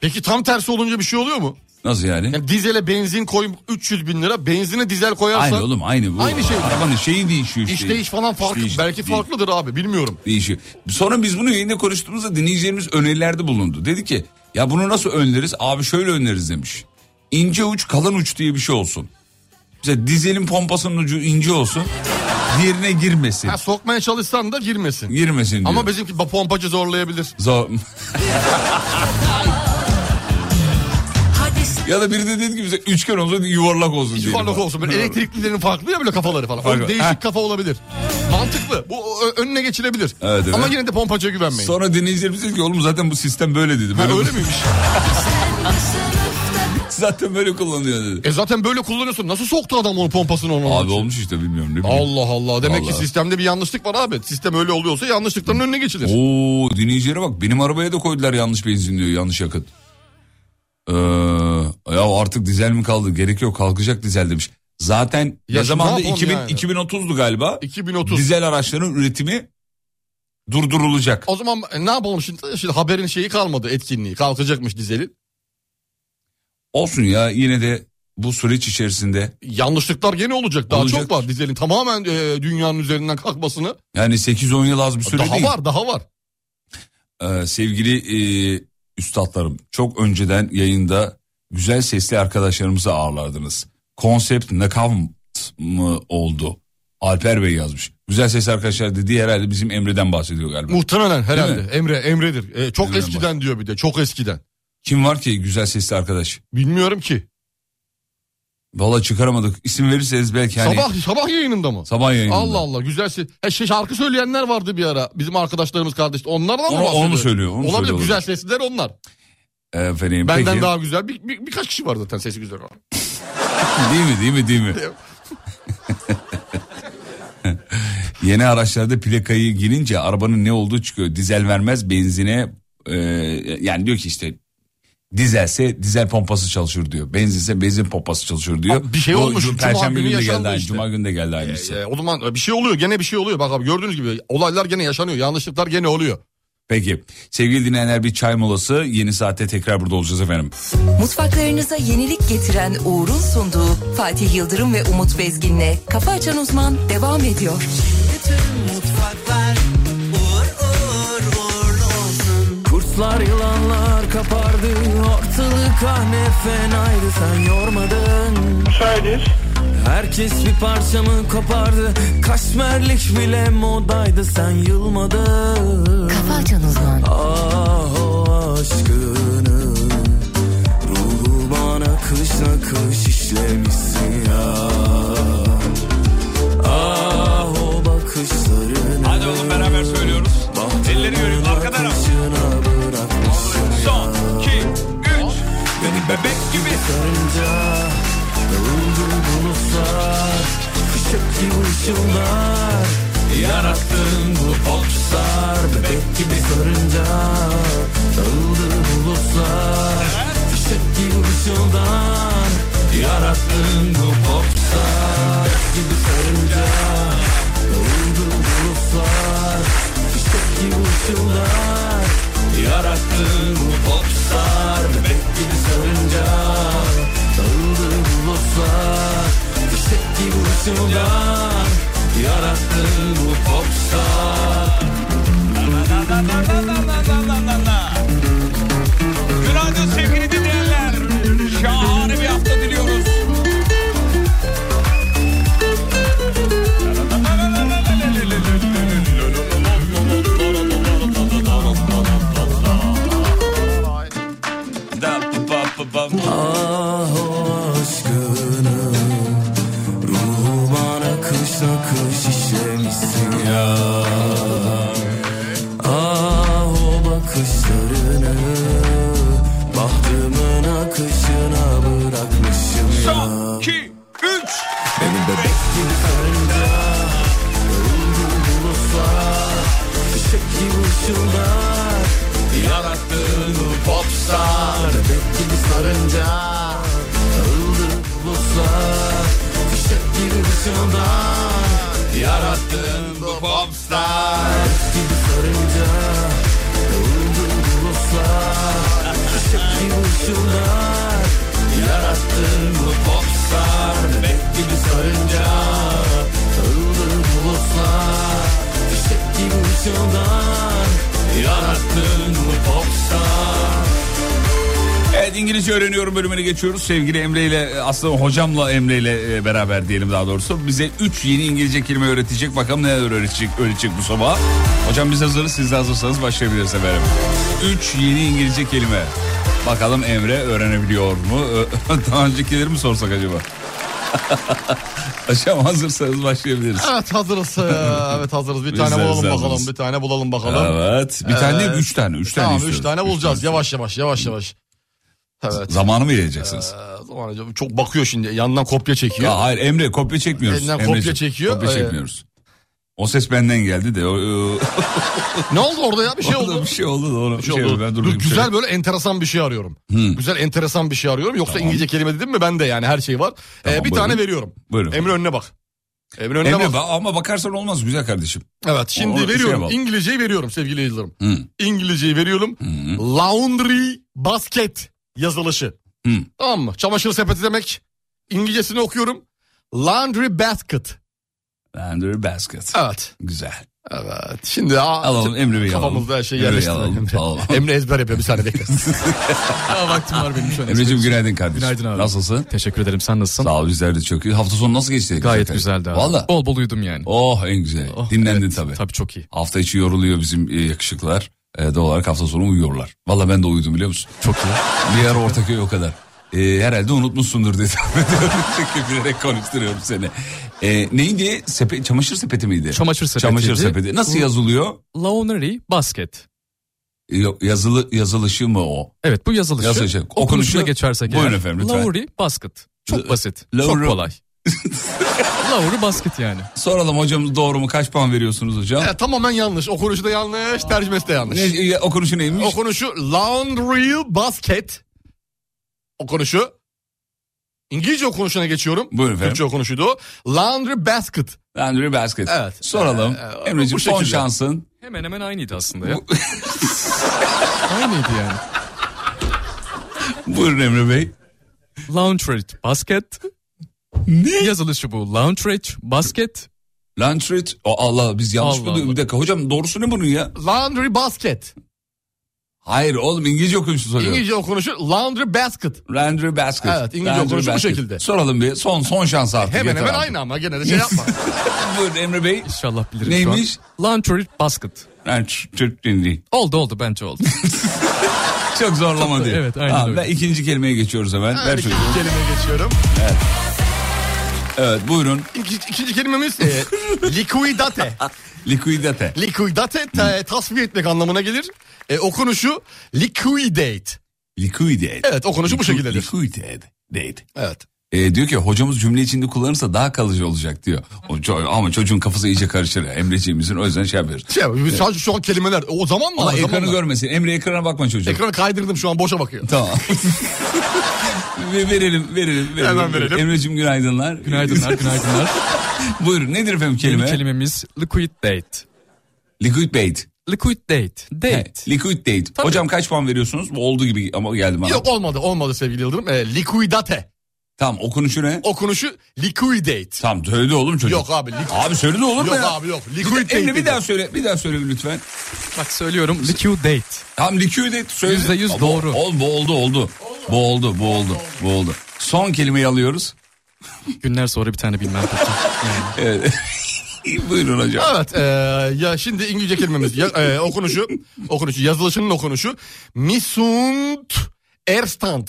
[SPEAKER 5] Peki tam tersi olunca bir şey oluyor mu?
[SPEAKER 4] Nasıl yani?
[SPEAKER 5] Yani dizele benzin koy 300 bin lira. Benzine dizel koyarsan
[SPEAKER 4] Aynı oğlum aynı bu.
[SPEAKER 5] Aynı şey.
[SPEAKER 4] Arabanın şeyi değişiyor işte.
[SPEAKER 5] iş değiş falan farklı.
[SPEAKER 4] İş değiş-
[SPEAKER 5] Belki
[SPEAKER 4] değiş-
[SPEAKER 5] farklıdır abi bilmiyorum.
[SPEAKER 4] Değişiyor. Sonra biz bunu yayında konuştuğumuzda dinleyicilerimiz önerilerde bulundu. Dedi ki ya bunu nasıl önleriz? Abi şöyle önleriz demiş. İnce uç kalın uç diye bir şey olsun. Mesela dizelin pompasının ucu ince olsun. Diğerine girmesin.
[SPEAKER 5] Ha, sokmaya çalışsan da girmesin.
[SPEAKER 4] Girmesin diyor.
[SPEAKER 5] Ama bizimki ba- pompacı zorlayabilir.
[SPEAKER 4] Zor- [laughs]
[SPEAKER 3] Hadi sen
[SPEAKER 4] ya da biri de dedi ki bize üçgen olsun yuvarlak olsun diyelim.
[SPEAKER 5] Yuvarlak olsun böyle elektriklilerin farklı ya böyle kafaları falan.
[SPEAKER 4] Farklı.
[SPEAKER 5] O değişik
[SPEAKER 4] Heh.
[SPEAKER 5] kafa olabilir. Mantıklı. Bu ö- önüne geçilebilir.
[SPEAKER 4] Evet, evet.
[SPEAKER 5] Ama yine de pompacıya güvenmeyin.
[SPEAKER 4] Sonra dinleyicilerimiz dedi ki oğlum zaten bu sistem böyle dedi.
[SPEAKER 5] Ha,
[SPEAKER 4] Böyle
[SPEAKER 5] öyle miymiş?
[SPEAKER 3] de sınıfta
[SPEAKER 4] [laughs] zaten böyle kullanıyor dedi.
[SPEAKER 5] E zaten böyle kullanıyorsun. Nasıl soktu adam onu pompasını onun?
[SPEAKER 4] Abi
[SPEAKER 5] için?
[SPEAKER 4] olmuş işte bilmiyorum ne bileyim.
[SPEAKER 5] Allah Allah. Demek
[SPEAKER 4] Vallahi.
[SPEAKER 5] ki sistemde bir yanlışlık var abi. Sistem öyle oluyorsa yanlışlıkların önüne geçilir.
[SPEAKER 4] Oo dinleyicilere bak benim arabaya da koydular yanlış benzin diyor yanlış yakıt. Ee, ya artık dizel mi kaldı gerek yok kalkacak dizel demiş. Zaten
[SPEAKER 5] Ya
[SPEAKER 4] ne
[SPEAKER 5] şimdi
[SPEAKER 4] zamanda
[SPEAKER 5] ne yapalım
[SPEAKER 4] 2000,
[SPEAKER 5] yani?
[SPEAKER 4] 2030'du galiba
[SPEAKER 5] 2030.
[SPEAKER 4] dizel araçların üretimi durdurulacak.
[SPEAKER 5] O zaman e, ne yapalım şimdi? Şimdi haberin şeyi kalmadı etkinliği. Kalkacakmış dizelin.
[SPEAKER 4] Olsun ya yine de bu süreç içerisinde
[SPEAKER 5] Yanlışlıklar gene olacak. Daha
[SPEAKER 4] Olacak.
[SPEAKER 5] çok var dizelin. Tamamen e, dünyanın üzerinden kalkmasını.
[SPEAKER 4] yani 8-10 yıl az bir süre
[SPEAKER 5] daha
[SPEAKER 4] değil.
[SPEAKER 5] var daha var.
[SPEAKER 4] Ee, sevgili e, üstadlarım çok önceden yayında güzel sesli arkadaşlarımızı ağırlardınız. Konsept nakavt mı oldu? Alper Bey yazmış. Güzel sesli arkadaşlar dediği herhalde bizim Emre'den bahsediyor galiba.
[SPEAKER 5] Muhtemelen herhalde.
[SPEAKER 4] mi?
[SPEAKER 5] Emre, Emre'dir. Ee, çok
[SPEAKER 4] Emre'den
[SPEAKER 5] eskiden diyor bir de. Çok eskiden.
[SPEAKER 4] Kim var ki güzel sesli arkadaş?
[SPEAKER 5] Bilmiyorum ki.
[SPEAKER 4] Valla çıkaramadık. İsim verirseniz belki hani...
[SPEAKER 5] sabah sabah yayınında mı?
[SPEAKER 4] Sabah yayınında.
[SPEAKER 5] Allah Allah güzel ses. He, şey, şarkı söyleyenler vardı bir ara. Bizim arkadaşlarımız kardeş. Onlardan mı
[SPEAKER 4] Onu- onu
[SPEAKER 5] bahsediyor?
[SPEAKER 4] söylüyor, onu
[SPEAKER 5] Olabilir.
[SPEAKER 4] söylüyor
[SPEAKER 5] Güzel
[SPEAKER 4] olabilir.
[SPEAKER 5] sesliler onlar.
[SPEAKER 4] Efendim
[SPEAKER 5] Benden
[SPEAKER 4] peki.
[SPEAKER 5] daha güzel. Bir, bir- birkaç kişi var zaten sesi güzel olan.
[SPEAKER 4] Değil mi değil mi değil mi? [laughs] Yeni araçlarda plakayı girince arabanın ne olduğu çıkıyor. Dizel vermez benzine e, yani diyor ki işte dizelse dizel pompası çalışır diyor. Benzinse benzin pompası çalışır diyor.
[SPEAKER 5] Abi bir şey
[SPEAKER 4] Bu
[SPEAKER 5] olmuş,
[SPEAKER 4] cum-
[SPEAKER 5] cuma
[SPEAKER 4] Perşembe günü
[SPEAKER 5] günü
[SPEAKER 4] de geldi.
[SPEAKER 5] yaşandı
[SPEAKER 4] aynı,
[SPEAKER 5] işte.
[SPEAKER 4] Cuma günü de geldi aynısı.
[SPEAKER 5] Ee, o zaman bir şey oluyor. Gene bir şey oluyor. Bak abi gördüğünüz gibi olaylar gene yaşanıyor. Yanlışlıklar gene oluyor.
[SPEAKER 4] Peki sevgili dinleyenler bir çay molası yeni saatte tekrar burada olacağız efendim.
[SPEAKER 1] Mutfaklarınıza yenilik getiren Uğur'un sunduğu Fatih Yıldırım ve Umut Bezgin'le Kafa Açan Uzman devam ediyor.
[SPEAKER 6] Kurtlar yılanlar kapardı Ortalık ah ne fenaydı Sen yormadın Herkes bir parçamı kopardı Kaşmerlik bile modaydı Sen yılmadın
[SPEAKER 1] Kafa Açan Uzman.
[SPEAKER 6] Ah o aşkını Ruhu bana kış nakış işlemişsin ya Ah o bakışlarını
[SPEAKER 4] Hadi oğlum beraber söylüyoruz. Elleri yürüyün arkadan al.
[SPEAKER 6] Başına bırakmışsın
[SPEAKER 4] Son, iki, üç. Beni bebek gibi
[SPEAKER 6] Karınca Dağıldı bulutlar Kışık gibi ışıllar Yarattığın bu okşar Bebek gibi sarınca Dağıldı bulutlar Kışık gibi ışıldar Yarattığın bu okşar Bebek gibi sarınca Dağıldı bulutlar Kışık gibi ışıldar Yarattığın bu popstar Bebek gibi sarınca Dağıldı bulutlar Fişek gibi ışıldan Yarattığın bu popstar
[SPEAKER 4] Günaydın sevgili dinleyenler. Şahane bir hafta diliyoruz.
[SPEAKER 6] Ah o aşkını Ruhuma nakış nakış işlemişsin ya Ah o bakışlarını Bahtımın akışına bırakmışım ya
[SPEAKER 4] Son, iki, üç.
[SPEAKER 6] Beni bebek gibi sarınca Yoruldu bulutlar Fişek gibi ışıldar Yarattığın bu popstar Bebek gibi sarınca Yoruldu bulutlar Fişek gibi ışıldar Yarattığın bu popstar Bebek gibi sarınca Yoruldu bulutlar Fişek gibi ışıldar Yarattığın bu popstar Bebek gibi sarınca Sarıldı bulutlar Fişek gibi ışıldan Yarattığın bu popstar
[SPEAKER 4] Evet İngilizce öğreniyorum bölümüne geçiyoruz. Sevgili Emre ile aslında hocamla Emre ile e, beraber diyelim daha doğrusu. Bize 3 yeni İngilizce kelime öğretecek. Bakalım neler öğretecek, öğretecek bu sabah. Hocam biz hazırız. Siz de hazırsanız başlayabiliriz efendim. 3 yeni İngilizce kelime. Bakalım Emre öğrenebiliyor mu? Ö- [laughs] Daha öncekileri mi sorsak acaba? [laughs] Hocam hazırsanız başlayabiliriz.
[SPEAKER 5] Evet hazırız. Ee, evet hazırız. Bir tane
[SPEAKER 4] Bizler
[SPEAKER 5] bulalım
[SPEAKER 4] hazırız.
[SPEAKER 5] bakalım. Bir tane bulalım bakalım. Ee,
[SPEAKER 4] Evet. Bir tane değil, üç tane. Üç tane
[SPEAKER 5] Tamam
[SPEAKER 4] istiyoruz.
[SPEAKER 5] üç tane
[SPEAKER 4] Üç
[SPEAKER 5] bulacağız.
[SPEAKER 4] tane.
[SPEAKER 5] Yavaş yavaş yavaş yavaş. Evet.
[SPEAKER 4] Zamanı mı yiyeceksiniz?
[SPEAKER 5] Ee, zaman hocam çok bakıyor şimdi. Yandan kopya çekiyor.
[SPEAKER 4] Ya hayır Emre kopya çekmiyoruz.
[SPEAKER 5] Elinden
[SPEAKER 4] Emreciğim,
[SPEAKER 5] kopya çekiyor.
[SPEAKER 4] Kopya
[SPEAKER 5] Ee,
[SPEAKER 4] çekmiyoruz. O ses benden geldi de. O, o-
[SPEAKER 5] Ne oldu orada ya? Bir
[SPEAKER 4] [laughs]
[SPEAKER 5] şey
[SPEAKER 4] orada
[SPEAKER 5] oldu.
[SPEAKER 4] Bir şey oldu da ona bir
[SPEAKER 5] Bir şey
[SPEAKER 4] şey oldu.
[SPEAKER 5] oldu.
[SPEAKER 4] Ben
[SPEAKER 5] Dur,
[SPEAKER 4] durdum.
[SPEAKER 5] güzel böyle enteresan bir şey arıyorum. Güzel enteresan bir şey arıyorum. Yoksa İngilizce kelime dedim mi ben de yani her şey var. Ee,
[SPEAKER 4] Tamam,
[SPEAKER 5] bir
[SPEAKER 4] buyurun.
[SPEAKER 5] tane veriyorum.
[SPEAKER 4] Buyurun.
[SPEAKER 5] Emre önüne bak. Emre önüne
[SPEAKER 4] Emre
[SPEAKER 5] bak.
[SPEAKER 4] ba- ama bakarsan olmaz güzel kardeşim.
[SPEAKER 5] Evet şimdi
[SPEAKER 4] Ona bir şey
[SPEAKER 5] veriyorum.
[SPEAKER 4] bak.
[SPEAKER 5] İngilizceyi veriyorum sevgili Yıldırım.
[SPEAKER 4] Hı.
[SPEAKER 5] İngilizceyi veriyorum. Laundry basket yazılışı.
[SPEAKER 4] Hı.
[SPEAKER 5] Tamam mı? Çamaşır sepeti demek. İngilizcesini okuyorum. Laundry basket.
[SPEAKER 4] Laundry basket.
[SPEAKER 5] Evet.
[SPEAKER 4] Güzel.
[SPEAKER 5] Evet. Şimdi aa,
[SPEAKER 4] Alalım, Emre Bey'i
[SPEAKER 5] kafamızda
[SPEAKER 4] alalım.
[SPEAKER 5] her şey
[SPEAKER 4] Emre Bey'i
[SPEAKER 5] yerleştirdik.
[SPEAKER 4] alalım,
[SPEAKER 5] Emre,
[SPEAKER 4] tamam.
[SPEAKER 5] Emre ezber yapıyor bir
[SPEAKER 4] [laughs]
[SPEAKER 5] saniye bekle.
[SPEAKER 10] Aa, vaktim var benim şu an.
[SPEAKER 4] Emre'cim günaydın kardeşim.
[SPEAKER 10] Günaydın abi.
[SPEAKER 4] Nasılsın?
[SPEAKER 10] Teşekkür ederim. Sen nasılsın?
[SPEAKER 4] Sağ ol bizler de çok iyi. Hafta sonu nasıl geçti?
[SPEAKER 10] Gayet güzeldi abi.
[SPEAKER 4] Valla.
[SPEAKER 10] Bol bol uyudum yani.
[SPEAKER 4] Oh en güzel.
[SPEAKER 10] Oh,
[SPEAKER 4] Dinlendin
[SPEAKER 10] evet.
[SPEAKER 4] tabii.
[SPEAKER 10] Tabii çok iyi.
[SPEAKER 4] Hafta içi yoruluyor bizim e, yakışıklar. E, doğal olarak hafta sonu uyuyorlar. Valla ben de uyudum biliyor musun?
[SPEAKER 10] Çok iyi.
[SPEAKER 4] Bir yer Ortaköy o kadar. E, herhalde unutmuşsundur diye tahmin ediyorum. [laughs] Çünkü bilerek konuşturuyorum seni. E, neydi? Sepe, çamaşır sepeti miydi?
[SPEAKER 10] Çamaşır sepetiydi.
[SPEAKER 4] Çamaşır sepeti. Nasıl yazılıyor?
[SPEAKER 10] Laundry basket.
[SPEAKER 4] E, yok, Yazılı yazılışı mı o?
[SPEAKER 10] Evet bu yazılışı.
[SPEAKER 4] Yazılışı,
[SPEAKER 10] Okunuşuna
[SPEAKER 4] okunuşu-
[SPEAKER 10] geçersek
[SPEAKER 4] Buyurun efendim, lütfen.
[SPEAKER 10] Laundry basket. Çok basit.
[SPEAKER 4] Laundry-
[SPEAKER 10] Çok
[SPEAKER 4] [laughs]
[SPEAKER 10] kolay. Laundry basket yani.
[SPEAKER 4] Soralım hocamız doğru mu? Kaç puan veriyorsunuz hocam?
[SPEAKER 5] Ya, tamamen yanlış. Okunuşu da yanlış, tercümesi de yanlış.
[SPEAKER 4] Ne, e, okunuşu neymiş?
[SPEAKER 5] Okunuşu laundry basket. Okunuşu. İngilizce okunuşuna geçiyorum.
[SPEAKER 4] Buyurun efendim.
[SPEAKER 5] Türkçe okunuşuydu o. Laundry basket.
[SPEAKER 4] Landry Basket.
[SPEAKER 5] Evet.
[SPEAKER 4] Soralım.
[SPEAKER 5] Ee,
[SPEAKER 4] Emre'ciğim
[SPEAKER 5] bu
[SPEAKER 4] son
[SPEAKER 5] şekilde.
[SPEAKER 4] şansın.
[SPEAKER 10] Hemen hemen aynıydı aslında ya. aynıydı yani.
[SPEAKER 4] [laughs] Buyurun Emre Bey.
[SPEAKER 10] Laundry basket. Ne? Yazılışı bu. Laundry basket.
[SPEAKER 4] Landry... O Allah biz yanlış
[SPEAKER 10] Allah
[SPEAKER 4] mı duyduk?
[SPEAKER 10] Allah.
[SPEAKER 4] Bir dakika hocam doğrusu ne bunun ya?
[SPEAKER 5] Laundry basket.
[SPEAKER 4] Hayır oğlum İngilizce okumuşsun soruyorum.
[SPEAKER 5] İngilizce okunuşu laundry basket.
[SPEAKER 4] Landry Basket.
[SPEAKER 5] Evet, İngilizce
[SPEAKER 4] Landry
[SPEAKER 5] okunuşu bu
[SPEAKER 4] Basket.
[SPEAKER 5] şekilde.
[SPEAKER 4] Soralım bir son son şans artık.
[SPEAKER 5] Hemen
[SPEAKER 4] yeter
[SPEAKER 5] hemen
[SPEAKER 4] artık.
[SPEAKER 5] aynı ama gene de
[SPEAKER 4] [laughs]
[SPEAKER 5] şey yapma.
[SPEAKER 4] Buyurun Emre Bey.
[SPEAKER 10] İnşallah bilirim
[SPEAKER 4] Neymiş?
[SPEAKER 10] şu an. Laundry basket.
[SPEAKER 4] Landry-
[SPEAKER 10] Oldu oldu bence oldu.
[SPEAKER 4] [laughs] Çok zorlama diye.
[SPEAKER 10] evet, aynen
[SPEAKER 4] Tamam,
[SPEAKER 10] öyle.
[SPEAKER 4] ben ikinci kelimeye geçiyoruz hemen. Ver çocuğu.
[SPEAKER 5] Kelimeye geçiyorum.
[SPEAKER 4] Evet buyurun.
[SPEAKER 5] İki, ikinci kelimemiz e, liquidate.
[SPEAKER 4] Liquidate. Hmm.
[SPEAKER 5] Liquidate ta- tasfiye etmek anlamına gelir. E, okunuşu liquidate.
[SPEAKER 4] Liquidate.
[SPEAKER 5] Evet okunuşu bu
[SPEAKER 4] Liqu-
[SPEAKER 5] şekildedir.
[SPEAKER 4] Liquidate. Date.
[SPEAKER 5] Evet.
[SPEAKER 4] E, diyor ki hocamız cümle içinde kullanırsa daha kalıcı olacak diyor. O, ço- ama çocuğun kafası iyice karışır. Emreciğimizin o yüzden şey yapıyoruz.
[SPEAKER 5] Şey, sadece şu an kelimeler. O zaman mı?
[SPEAKER 4] Ama
[SPEAKER 5] Zamanla.
[SPEAKER 4] ekranı görmesin. Emre ekrana bakma çocuğum.
[SPEAKER 5] Ekranı kaydırdım şu an boşa bakıyor. [laughs]
[SPEAKER 4] Tamam. Ve verelim, verelim, verelim.
[SPEAKER 5] Hemen verelim.
[SPEAKER 4] Emreciğim günaydınlar.
[SPEAKER 10] Günaydınlar günaydınlar.
[SPEAKER 4] [laughs] Buyurun nedir efendim kelime?
[SPEAKER 10] Yeni kelimemiz liquidate.
[SPEAKER 4] Liquidate.
[SPEAKER 10] Liquidate. Date.
[SPEAKER 4] He, Liquidate. Hocam kaç puan veriyorsunuz? Bu oldu gibi ama geldi bana.
[SPEAKER 5] Yok olmadı olmadı sevgili Yıldırım. E, liquidate.
[SPEAKER 4] Tamam okunuşu ne?
[SPEAKER 5] Okunuşu liquidate.
[SPEAKER 4] Tamam söyle oğlum çocuk.
[SPEAKER 5] Yok abi. Li-
[SPEAKER 4] Abi söyle de olur mu
[SPEAKER 5] Yok
[SPEAKER 4] ya?
[SPEAKER 5] abi, yok.
[SPEAKER 4] Bir de-
[SPEAKER 5] Liquidate
[SPEAKER 4] Emre bir
[SPEAKER 5] dedi.
[SPEAKER 4] daha söyle. Bir daha söyle lütfen.
[SPEAKER 10] Bak söylüyorum liquidate.
[SPEAKER 4] Tam liquidate söyle.
[SPEAKER 10] Yüzde yüz
[SPEAKER 4] Aa, bu-
[SPEAKER 10] doğru.
[SPEAKER 4] Ol, bu oldu oldu. Bu oldu bu oldu bu oldu. Son kelimeyi alıyoruz.
[SPEAKER 10] Günler sonra bir tane bilmem peki.
[SPEAKER 4] [laughs] Evet. [laughs] Buyurun hocam.
[SPEAKER 5] Evet e, ya şimdi İngilizce kelimemiz ya, e, okunuşu okunuşu yazılışının okunuşu Misunt Erstand.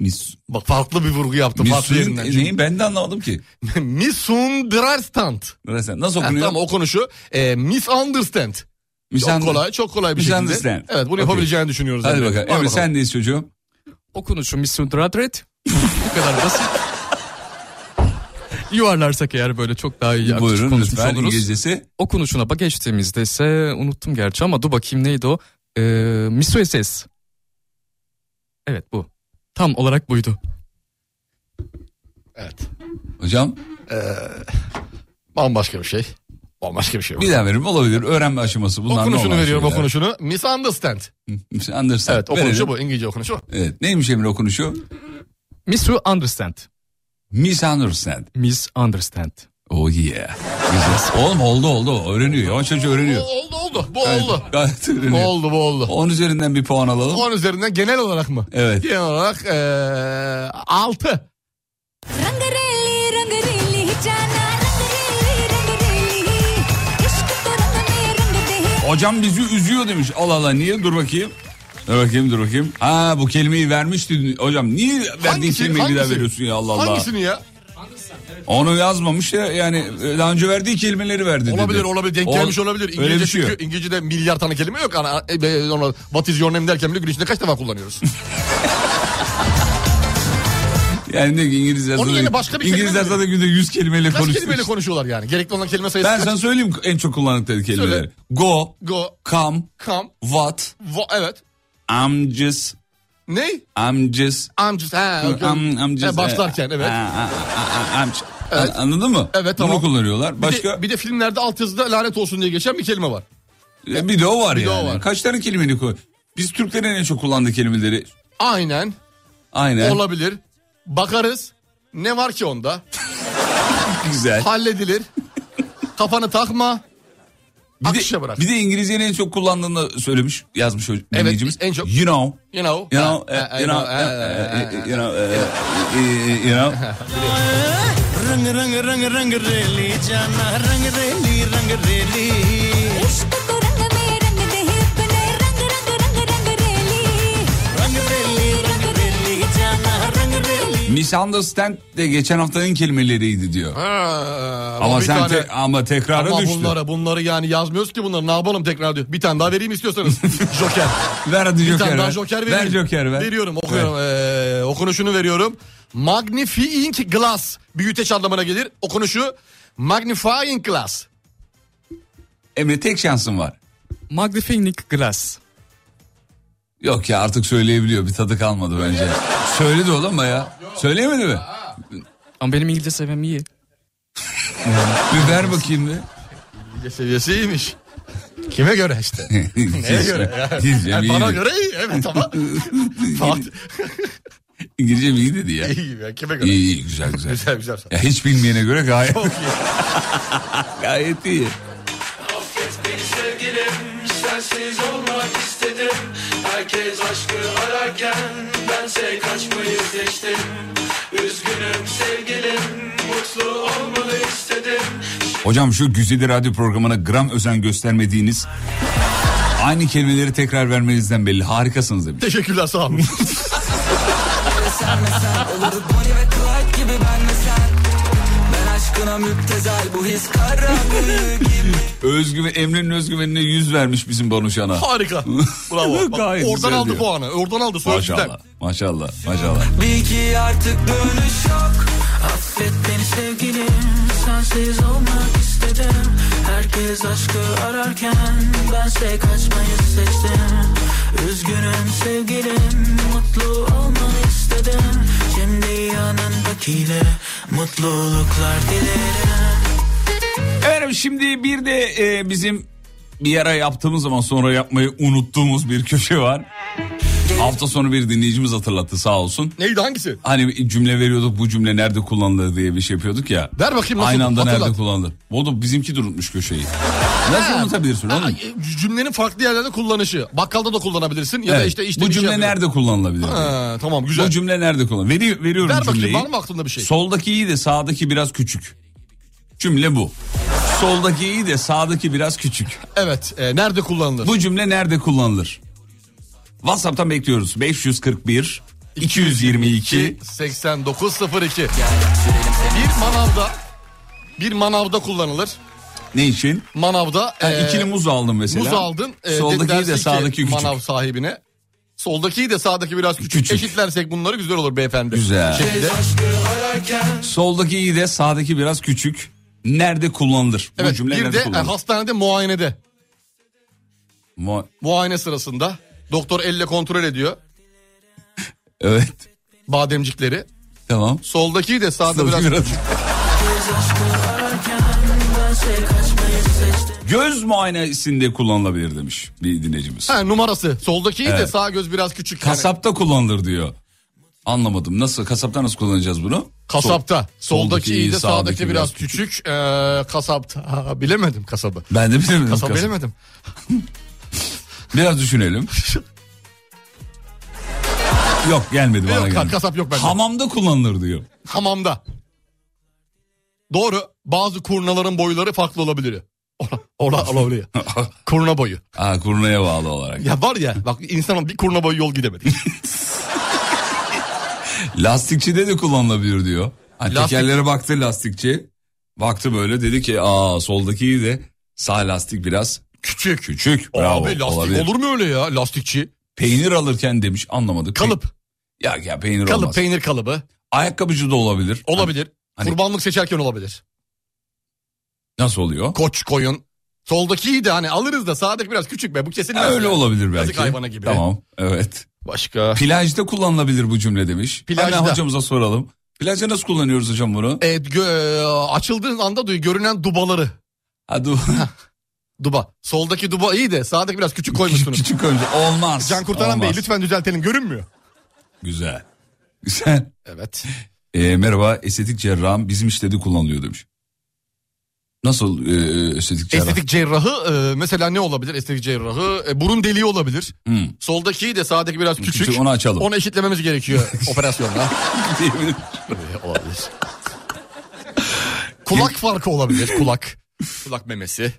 [SPEAKER 4] Mis.
[SPEAKER 5] Bak farklı bir vurgu yaptım farklı
[SPEAKER 4] Mis.
[SPEAKER 5] yerinden.
[SPEAKER 4] Neyi ben de anlamadım ki.
[SPEAKER 5] [laughs] Misunderstand.
[SPEAKER 4] Resmen. Nasıl
[SPEAKER 5] Ha,
[SPEAKER 4] okunuyor?
[SPEAKER 5] Tamam okunuşu e, misunderstand. Çok
[SPEAKER 4] Misunderstand.
[SPEAKER 5] kolay çok kolay bir şekilde.
[SPEAKER 4] Misunderstand.
[SPEAKER 5] Evet bunu
[SPEAKER 4] Okey.
[SPEAKER 5] yapabileceğini düşünüyoruz.
[SPEAKER 4] Hadi
[SPEAKER 5] Emre.
[SPEAKER 4] bakalım. Emre sen neyiz çocuğum?
[SPEAKER 10] Okunuşu Misundradret. Bu kadar basit. Yuvarlarsak eğer böyle çok daha iyi aktif
[SPEAKER 4] Buyurun
[SPEAKER 10] konuşmuş
[SPEAKER 4] lütfen
[SPEAKER 10] oluruz.
[SPEAKER 4] İngilizcesi.
[SPEAKER 10] Okunuşuna bak geçtiğimizde ise unuttum gerçi ama dur bakayım neydi o? Ee, Misueses. Evet bu. Tam olarak buydu.
[SPEAKER 5] Evet.
[SPEAKER 4] Hocam
[SPEAKER 5] E, Bambaşka bir şey. Bambaşka bir şey.
[SPEAKER 4] bir daha veririm olabilir. Öğrenme aşaması bunlar
[SPEAKER 5] Okunuşunu
[SPEAKER 4] normal
[SPEAKER 5] veriyorum
[SPEAKER 4] şeyler.
[SPEAKER 5] okunuşunu. Misunderstand.
[SPEAKER 4] Mis- Understand.
[SPEAKER 5] Evet okunuşu
[SPEAKER 4] Verelim.
[SPEAKER 5] bu İngilizce okunuşu. bu.
[SPEAKER 4] Evet. Neymiş Emre okunuşu?
[SPEAKER 10] Misu understand.
[SPEAKER 4] Misunderstand.
[SPEAKER 10] Misunderstand.
[SPEAKER 4] Oh yeah. Güzel. Oğlum oldu oldu. Öğreniyor. Yavaş yavaş öğreniyor.
[SPEAKER 5] O- Oldu oldu bu oldu.
[SPEAKER 4] Gayet
[SPEAKER 5] Bu
[SPEAKER 4] öğreniyor.
[SPEAKER 5] oldu bu oldu.
[SPEAKER 4] 10 üzerinden bir puan alalım.
[SPEAKER 5] 10 üzerinden genel olarak mı?
[SPEAKER 4] Evet.
[SPEAKER 5] Genel olarak eee 6.
[SPEAKER 3] రంగరేలి రంగరేలి జానా రంగరేలి రంగరేలి ఇష్క్ తో రంగనే Rang De
[SPEAKER 4] Hocam bizi üzüyor demiş. Allah Allah niye? Dur bakayım. Dur bakayım dur bakayım. Ha bu kelimeyi vermişti. Hocam niye verdiğin
[SPEAKER 5] Hangisi-
[SPEAKER 4] kelimeyi bir daha
[SPEAKER 5] Şey, hangisi?
[SPEAKER 4] veriyorsun ya Allah Allah.
[SPEAKER 5] Hangisini ya?
[SPEAKER 4] Onu yazmamış ya yani e, daha önce verdiği kelimeleri verdi dedi.
[SPEAKER 5] Olabilir olabilir denk gelmiş
[SPEAKER 4] Ol-
[SPEAKER 5] olabilir.
[SPEAKER 4] Öyle
[SPEAKER 5] İngilizce
[SPEAKER 4] bir şey yok.
[SPEAKER 5] çünkü İngilizce'de milyar tane kelime yok. Ana, e, be- ona, what is your name derken bile gün içinde kaç
[SPEAKER 4] [laughs]
[SPEAKER 5] defa kullanıyoruz.
[SPEAKER 4] Yani ne ki İngiliz yazıda.
[SPEAKER 5] yerine başka bir kelime
[SPEAKER 4] İngiliz yazıda
[SPEAKER 5] verin.
[SPEAKER 4] da günde 100 kelimeyle
[SPEAKER 5] kaç
[SPEAKER 4] konuşuyor.
[SPEAKER 5] kelimeyle konuşuyorlar yani? Gerekli olan kelime sayısı
[SPEAKER 4] Ben
[SPEAKER 5] kaç?
[SPEAKER 4] sana söyleyeyim en çok kullandıkları kelimeleri.
[SPEAKER 5] Söyle.
[SPEAKER 4] Go,
[SPEAKER 5] Go,
[SPEAKER 4] come,
[SPEAKER 5] come,
[SPEAKER 4] what,
[SPEAKER 5] wa, evet.
[SPEAKER 4] I'm just,
[SPEAKER 5] Ne?
[SPEAKER 4] I'm just.
[SPEAKER 5] I'm just, ha, okay.
[SPEAKER 4] I'm, I'm just
[SPEAKER 5] He, başlarken
[SPEAKER 4] e,
[SPEAKER 5] evet.
[SPEAKER 4] a- a- a- I'm just- An- Anladın mı?
[SPEAKER 5] Evet, tamam.
[SPEAKER 4] Bunu kullanıyorlar.
[SPEAKER 5] Bir de-
[SPEAKER 4] Başka
[SPEAKER 5] Bir de, filmlerde altyazıda lanet olsun diye geçen bir kelime var.
[SPEAKER 4] E, Bir de o var
[SPEAKER 5] Bir de o
[SPEAKER 4] yani.
[SPEAKER 5] var.
[SPEAKER 4] Kaç tane kelimeni koy? Biz Türklerin en çok kullandığı kelimeleri.
[SPEAKER 5] Aynen
[SPEAKER 4] Aynen.
[SPEAKER 5] olabilir. Bakarız. Ne var ki onda?
[SPEAKER 4] [laughs] Güzel. [laughs]
[SPEAKER 5] Halledilir. Kafanı takma. akışa bırak.
[SPEAKER 4] Bir de İngilizceyi en çok kullandığını söylemiş, yazmış o dinleyicimiz.
[SPEAKER 5] en çok-
[SPEAKER 4] You know.
[SPEAKER 5] You know. uh,
[SPEAKER 4] You know,
[SPEAKER 5] Ha,
[SPEAKER 4] eh,
[SPEAKER 5] ha,
[SPEAKER 4] you know,
[SPEAKER 5] ha, ha, ha, ha.
[SPEAKER 4] eh, eh, you know, eh, eh, you know.
[SPEAKER 5] uh.
[SPEAKER 6] रंग रंग रंग रंग रेली जाना रंग रेली रंग रेली
[SPEAKER 3] इश्क को रंग में रंग दे अपने रंग रंग रंग रंग रेली
[SPEAKER 6] रंग रेली रंग रेली जाना रंग रेली
[SPEAKER 4] Misunderstand de geçen haftanın kelimeleriydi diyor.
[SPEAKER 5] Ha,
[SPEAKER 4] Ama,
[SPEAKER 5] bir
[SPEAKER 4] sen
[SPEAKER 5] tane-
[SPEAKER 4] te- ama tekrara
[SPEAKER 5] Ama
[SPEAKER 4] düştü.
[SPEAKER 5] bunları, bunları yani yazmıyoruz ki bunları ne yapalım tekrar diyor. Bir tane daha
[SPEAKER 4] [laughs]
[SPEAKER 5] vereyim istiyorsanız. Joker.
[SPEAKER 4] Ver hadi
[SPEAKER 5] Bir
[SPEAKER 4] Joker
[SPEAKER 5] tane
[SPEAKER 4] ver.
[SPEAKER 5] daha Joker vereyim.
[SPEAKER 4] Ver Joker ver.
[SPEAKER 5] Veriyorum okuyorum. Ee, okunuşunu veriyorum. Magnifying glass. Büyüteç anlamına gelir. Okunuşu magnifying glass.
[SPEAKER 4] Emre tek şansın var.
[SPEAKER 10] Magnifying glass.
[SPEAKER 4] Yok ya artık söyleyebiliyor bir tadı kalmadı bence. Söyledi oğlum ama ya. Söyleyemedi mi?
[SPEAKER 10] Ama benim İngilizce sevmem iyi.
[SPEAKER 4] Bir ver bakayım bir.
[SPEAKER 5] İngilizce seviyesi iyiymiş. Kime göre işte.
[SPEAKER 4] [laughs] Neye
[SPEAKER 5] göre
[SPEAKER 4] İngilizcem
[SPEAKER 5] Yani
[SPEAKER 4] iyi
[SPEAKER 5] bana
[SPEAKER 4] dedi.
[SPEAKER 5] göre iyi. Evet [laughs] ama.
[SPEAKER 4] [laughs]
[SPEAKER 5] Fatih.
[SPEAKER 4] İngilizcem iyi dedi ya.
[SPEAKER 5] iyi gibi ya. Kime göre?
[SPEAKER 4] İyi iyi güzel güzel.
[SPEAKER 5] Güzel güzel.
[SPEAKER 4] Ya hiç bilmeyene göre gayet. [laughs] gayet iyi. Hocam şu güzide radyo programına gram özen göstermediğiniz aynı kelimeleri tekrar vermenizden belli. Harikasınız demiş.
[SPEAKER 5] Teşekkürler sağ olun.
[SPEAKER 2] Olurduk Bonnie ve Clyde gibi ben ve sen Ben aşkına müptezel bu his kara büyü gibi
[SPEAKER 4] [laughs] Özgüven, Emre'nin özgüvenine yüz vermiş bizim konuşana. [laughs]
[SPEAKER 5] Harika. Bravo. Bak,
[SPEAKER 4] Gayet
[SPEAKER 5] oradan
[SPEAKER 4] güzel
[SPEAKER 5] aldı
[SPEAKER 4] diyor.
[SPEAKER 5] puanı. Oradan aldı. Sözcükten.
[SPEAKER 4] Maşallah. Maşallah. Maşallah.
[SPEAKER 2] Bil ki artık dönüş yok Affet beni sevgilim Sensiz olmak istedim Herkes aşkı ararken Bense kaçmayı seçtim Üzgünüm sevgilim Mutlu olmanı istedim Şimdi yanındakiyle Mutluluklar dilerim
[SPEAKER 4] Efendim şimdi bir de e, bizim bir ara yaptığımız zaman sonra yapmayı unuttuğumuz bir köşe var. Hafta sonu bir dinleyicimiz hatırlattı sağ olsun.
[SPEAKER 5] Neydi hangisi?
[SPEAKER 4] Hani bir cümle veriyorduk bu cümle nerede kullanılır diye bir şey yapıyorduk ya.
[SPEAKER 5] Ver bakayım nasıl
[SPEAKER 4] Aynı anda nerede
[SPEAKER 5] hatırlat.
[SPEAKER 4] kullanılır. O da bizimki de unutmuş köşeyi. Nasıl unutabilirsin oğlum?
[SPEAKER 5] e, Cümlenin farklı yerlerde kullanışı. Bakkalda da kullanabilirsin ya da
[SPEAKER 4] Evet.
[SPEAKER 5] işte işte
[SPEAKER 4] bu
[SPEAKER 5] bir şey
[SPEAKER 4] cümle
[SPEAKER 5] yapıyorum.
[SPEAKER 4] nerede kullanılabilir?
[SPEAKER 5] Ha, tamam güzel.
[SPEAKER 4] Bu cümle nerede kullanılır? Veri, veriyorum
[SPEAKER 5] Ver bakayım
[SPEAKER 4] cümleyi.
[SPEAKER 5] var mı aklında bir şey?
[SPEAKER 4] Soldaki iyi de sağdaki biraz küçük. Cümle bu. Soldaki iyi de sağdaki biraz küçük.
[SPEAKER 5] evet. e, nerede kullanılır?
[SPEAKER 4] Bu cümle nerede kullanılır? WhatsApp'tan bekliyoruz. 541 222
[SPEAKER 5] 8902. Bir manavda bir manavda kullanılır.
[SPEAKER 4] ne için?
[SPEAKER 5] Manavda
[SPEAKER 4] Ha,
[SPEAKER 5] e,
[SPEAKER 4] ikili muz aldın mesela.
[SPEAKER 5] muz aldın. e,
[SPEAKER 4] Soldaki iyi
[SPEAKER 5] dersin
[SPEAKER 4] de
[SPEAKER 5] ki
[SPEAKER 4] sağdaki küçük.
[SPEAKER 5] Manav sahibine. Soldaki de sağdaki biraz küçük.
[SPEAKER 4] Küçük.
[SPEAKER 5] Eşitlersek bunları güzel olur beyefendi. Şey,
[SPEAKER 4] Güzel.
[SPEAKER 5] Bu şekilde.
[SPEAKER 4] Soldaki iyi de sağdaki biraz küçük. Nerede kullanılır? Bu
[SPEAKER 5] Evet,
[SPEAKER 4] cümle
[SPEAKER 5] bir
[SPEAKER 4] nerede
[SPEAKER 5] de e,
[SPEAKER 4] kullanılır?
[SPEAKER 5] hastanede muayenede.
[SPEAKER 4] Mu-
[SPEAKER 5] Muayene sırasında doktor elle kontrol ediyor
[SPEAKER 4] evet.
[SPEAKER 5] bademcikleri.
[SPEAKER 4] Tamam.
[SPEAKER 5] Soldaki de sağda biraz
[SPEAKER 4] Göz muayenesinde kullanılabilir demiş bir dinleyicimiz.
[SPEAKER 5] Ha, numarası. Soldaki de
[SPEAKER 4] Evet.
[SPEAKER 5] sağ göz biraz küçük. Yani
[SPEAKER 4] Kasapta kullanılır diyor. Anlamadım. Nasıl? Kasapta nasıl kullanacağız bunu?
[SPEAKER 5] kasapta. Soldaki iyi de sağdaki,
[SPEAKER 4] sağdaki
[SPEAKER 5] biraz
[SPEAKER 4] biraz
[SPEAKER 5] küçük. Ee, kasapta. Ha, bilemedim kasabı.
[SPEAKER 4] Ben de bilemedim.
[SPEAKER 5] Kasabı
[SPEAKER 4] kasap.
[SPEAKER 5] bilemedim.
[SPEAKER 4] Biraz düşünelim.
[SPEAKER 5] [laughs]
[SPEAKER 4] yok gelmedi bana
[SPEAKER 5] Yok,
[SPEAKER 4] gelmedi.
[SPEAKER 5] kasap yok bende.
[SPEAKER 4] Hamamda kullanılır
[SPEAKER 5] [laughs]
[SPEAKER 4] diyor.
[SPEAKER 5] Hamamda. Doğru. Bazı kurnaların boyları farklı olabilir. Ora, ora olabiliyor. kurna boyu.
[SPEAKER 4] Ha, kurnaya bağlı olarak.
[SPEAKER 5] Ya var ya bak insan bir kurna boyu [laughs] yol gidemedik.
[SPEAKER 4] [laughs] Lastikçide de kullanılabilir diyor. Hani
[SPEAKER 5] Lastik-
[SPEAKER 4] Tekerlere baktı lastikçi. Baktı böyle dedi ki aa soldaki iyi de sağ lastik biraz
[SPEAKER 5] küçük.
[SPEAKER 4] küçük. Bravo.
[SPEAKER 5] Abi lastik
[SPEAKER 4] olabilir.
[SPEAKER 5] olur mu öyle ya lastikçi?
[SPEAKER 4] Peynir alırken demiş anlamadık.
[SPEAKER 5] Kalıp.
[SPEAKER 4] Pe- Ya ya peynir
[SPEAKER 5] Kalıp
[SPEAKER 4] olmaz.
[SPEAKER 5] peynir kalıbı.
[SPEAKER 4] Ayakkabıcı da olabilir.
[SPEAKER 5] Olabilir.
[SPEAKER 4] Hani-
[SPEAKER 5] Kurbanlık seçerken olabilir.
[SPEAKER 4] Nasıl oluyor?
[SPEAKER 5] Koç koyun. Soldaki iyi de hani alırız da sağdaki biraz küçük be bu kesin.
[SPEAKER 4] Ha, öyle olabilir belki.
[SPEAKER 5] Yazık hayvana gibi.
[SPEAKER 4] Tamam evet.
[SPEAKER 5] Başka.
[SPEAKER 4] Plajda kullanılabilir bu cümle demiş.
[SPEAKER 5] Plajda.
[SPEAKER 4] Hemen hocamıza soralım. Plajda nasıl kullanıyoruz hocam bunu?
[SPEAKER 5] Evet, E, gö- açıldığın anda duy görünen dubaları.
[SPEAKER 4] Hadi
[SPEAKER 5] Duba. Soldaki duba iyi de sağdaki biraz küçük koymuşsunuz.
[SPEAKER 4] küçük önce olmaz.
[SPEAKER 5] Can Kurtaran
[SPEAKER 4] olmaz.
[SPEAKER 5] Bey lütfen düzeltelim görünmüyor.
[SPEAKER 4] Güzel. Güzel.
[SPEAKER 5] Evet.
[SPEAKER 4] Ee, merhaba estetik cerrahım bizim işte de kullanılıyor demiş. Nasıl e, estetik cerrah?
[SPEAKER 5] Estetik cerrahı e, mesela ne olabilir estetik cerrahı? E, burun deliği olabilir.
[SPEAKER 4] Hmm.
[SPEAKER 5] Soldaki de sağdaki biraz küçük.
[SPEAKER 4] Küçük, onu açalım.
[SPEAKER 5] Onu
[SPEAKER 4] [laughs]
[SPEAKER 5] eşitlememiz gerekiyor operasyonla. E, olabilir. kulak farkı olabilir kulak. Kulak memesi.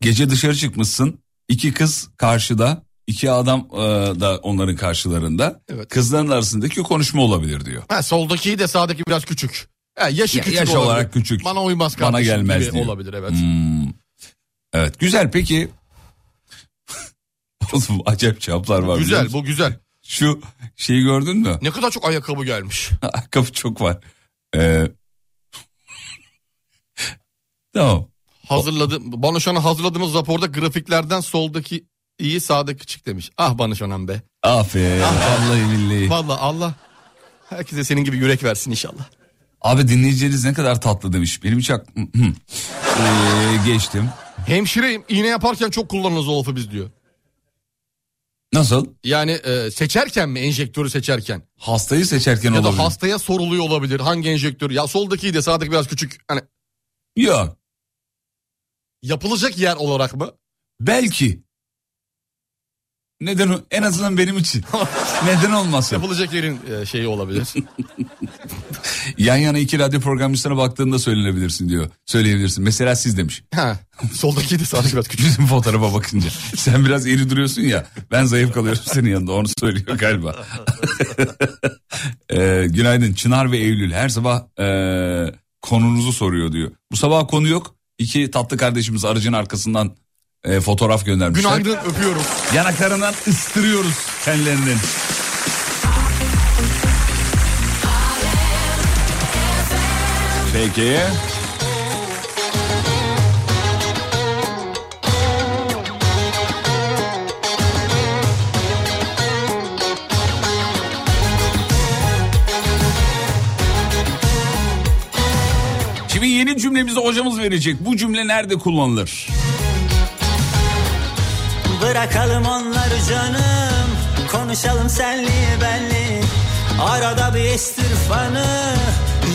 [SPEAKER 4] Gece dışarı çıkmışsın. iki kız karşıda. iki adam e, da onların karşılarında.
[SPEAKER 5] Evet.
[SPEAKER 4] Kızların arasındaki konuşma olabilir diyor.
[SPEAKER 5] Ha, soldaki de sağdaki biraz küçük. Ha, yaşı
[SPEAKER 4] Ya-
[SPEAKER 5] küçük
[SPEAKER 4] yaş
[SPEAKER 5] olabilir.
[SPEAKER 4] olarak küçük.
[SPEAKER 5] Bana uymaz
[SPEAKER 4] Bana
[SPEAKER 5] kardeşim
[SPEAKER 4] gelmez
[SPEAKER 5] gibi
[SPEAKER 4] diyor.
[SPEAKER 5] olabilir evet.
[SPEAKER 4] Hmm. Evet güzel peki. [laughs] Oğlum acayip cevaplar var. biliyor
[SPEAKER 5] Güzel
[SPEAKER 4] musun?
[SPEAKER 5] bu güzel.
[SPEAKER 4] Şu şeyi gördün mü? [laughs]
[SPEAKER 5] Ne kadar çok ayakkabı gelmiş.
[SPEAKER 4] Ayakkabı çok var. Ee, tamam.
[SPEAKER 5] Hazırladım. Bana şu an hazırladığımız raporda grafiklerden soldaki iyi sağdaki küçük demiş. Ah bana şu an be.
[SPEAKER 4] Aferin. Vallahi billahi.
[SPEAKER 5] Vallahi Allah herkese senin gibi yürek versin inşallah.
[SPEAKER 4] Abi dinleyicileriniz ne kadar tatlı demiş. Benim hiç aklım... Hı. Ee, geçtim.
[SPEAKER 5] Hemşireyim iğne yaparken çok kullanırız o lafı biz diyor.
[SPEAKER 4] Nasıl?
[SPEAKER 5] Yani e, seçerken mi enjektörü seçerken?
[SPEAKER 4] Hastayı seçerken
[SPEAKER 5] Ya
[SPEAKER 4] olabilir.
[SPEAKER 5] da hastaya soruluyor olabilir hangi enjektör? Ya soldaki de sağdaki biraz küçük. Hani
[SPEAKER 4] Yok.
[SPEAKER 5] yapılacak yer olarak mı?
[SPEAKER 4] Belki. Neden? o- En azından benim için. Neden olmasın?
[SPEAKER 5] [laughs] Yapılacak yerin e, şeyi
[SPEAKER 4] [laughs]
[SPEAKER 5] olabilir.
[SPEAKER 4] Yan yana iki radyo programcısına baktığında söylenebilirsin diyor. Söyleyebilirsin. Mesela siz demiş.
[SPEAKER 5] ha,
[SPEAKER 4] [laughs]
[SPEAKER 5] soldaki de sağdaki biraz küçük.
[SPEAKER 4] Bizim fotoğrafa bakınca. Sen biraz iri duruyorsun ya. Ben zayıf kalıyorum senin yanında. Onu söylüyor galiba. [laughs] Ee, günaydın. Çınar ve Eylül her sabah ee, konunuzu soruyor diyor. Bu sabah konu yok. İki tatlı kardeşimiz aracın arkasından ee, fotoğraf göndermişler.
[SPEAKER 5] Günaydın öpüyorum.
[SPEAKER 4] Yanaklarından ıstırıyoruz kendilerinin. Peki. Şimdi yeni cümlemizi hocamız verecek. Bu cümle nerede kullanılır?
[SPEAKER 11] Bırakalım onları canım Konuşalım senli benli Arada bir estir fanı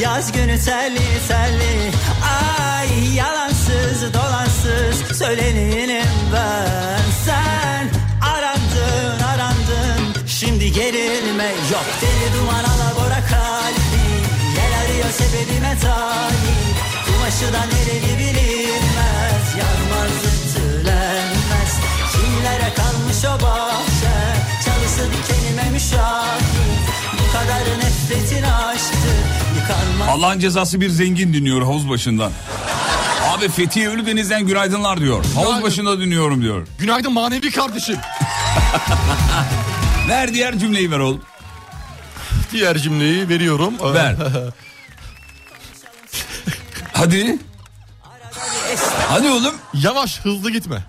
[SPEAKER 11] Yaz günü telli telli Ay yalansız dolansız Söyleneyim ben Sen arandın arandın Şimdi gerilme yok Deli duman alabora kalbi Yel arıyor sebebime talip Kumaşı da nereli bilinmez Yanmaz ütülenmez Kimlere kalmış o bahçe Çalısı dikenime müşahit Bu kadar nefretin aştı Yıkanmaz
[SPEAKER 4] Allah'ın cezası bir zengin dinliyor havuz başından. Abi Fethiye Ölüdeniz'den günaydınlar diyor. Havuz
[SPEAKER 5] Günaydın.
[SPEAKER 4] başında dinliyorum diyor.
[SPEAKER 5] Günaydın manevi kardeşim.
[SPEAKER 4] Ver diğer cümleyi ver oğlum.
[SPEAKER 5] Diğer cümleyi veriyorum.
[SPEAKER 4] Ver. Hadi. Hadi oğlum.
[SPEAKER 5] Yavaş hızlı gitme.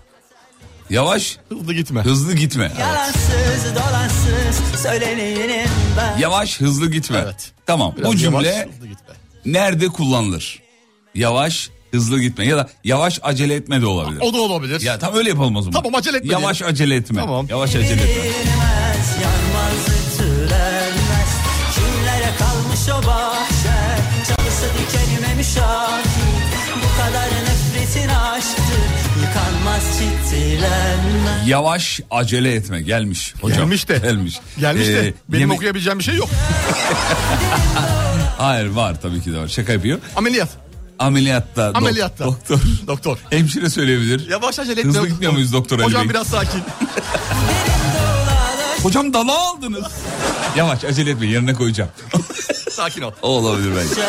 [SPEAKER 4] Yavaş.
[SPEAKER 5] Hızlı gitme.
[SPEAKER 4] Hızlı gitme.
[SPEAKER 11] Yalansız dolansız Söyleneyim ben
[SPEAKER 4] Yavaş hızlı gitme.
[SPEAKER 5] Evet.
[SPEAKER 4] Tamam
[SPEAKER 5] [laughs] Biraz
[SPEAKER 4] bu cümle
[SPEAKER 5] yavaş, hızlı gitme.
[SPEAKER 4] nerede kullanılır? Yavaş hızlı gitme ya da yavaş acele etme de olabilir.
[SPEAKER 5] O da olabilir.
[SPEAKER 4] Ya tam öyle yapalım o zaman.
[SPEAKER 5] Tamam, acele etme
[SPEAKER 4] Yavaş acele etme.
[SPEAKER 5] Tamam.
[SPEAKER 4] Yavaş acele etme.
[SPEAKER 11] Bilinmez, yanmaz ütülenmez Kimlere kalmış o bahçe Çalısı dikenime müşahit Bu kadar nefretin aşktı Yıkanmaz çitilenmez
[SPEAKER 4] Yavaş acele etme gelmiş hocam.
[SPEAKER 5] Gelmiş de.
[SPEAKER 4] Gelmiş.
[SPEAKER 5] Gelmiş de
[SPEAKER 4] Ee,
[SPEAKER 5] benim
[SPEAKER 4] yeme-
[SPEAKER 5] okuyabileceğim bir
[SPEAKER 4] [laughs]
[SPEAKER 5] şey yok.
[SPEAKER 4] Hayır var tabii ki de var. Şaka yapıyor.
[SPEAKER 5] Ameliyat.
[SPEAKER 4] Ameliyatta. dok-
[SPEAKER 5] Ameliyatta.
[SPEAKER 4] doktor.
[SPEAKER 5] Doktor.
[SPEAKER 4] Hemşire söyleyebilir.
[SPEAKER 5] Yavaş acele etme.
[SPEAKER 4] Hızlı gitmiyor muyuz doktor Ali
[SPEAKER 5] Hocam
[SPEAKER 4] Bey?
[SPEAKER 5] biraz sakin.
[SPEAKER 4] Hocam dala aldınız. Yavaş acele etme yerine koyacağım.
[SPEAKER 5] [laughs] sakin ol.
[SPEAKER 4] o olabilir bence.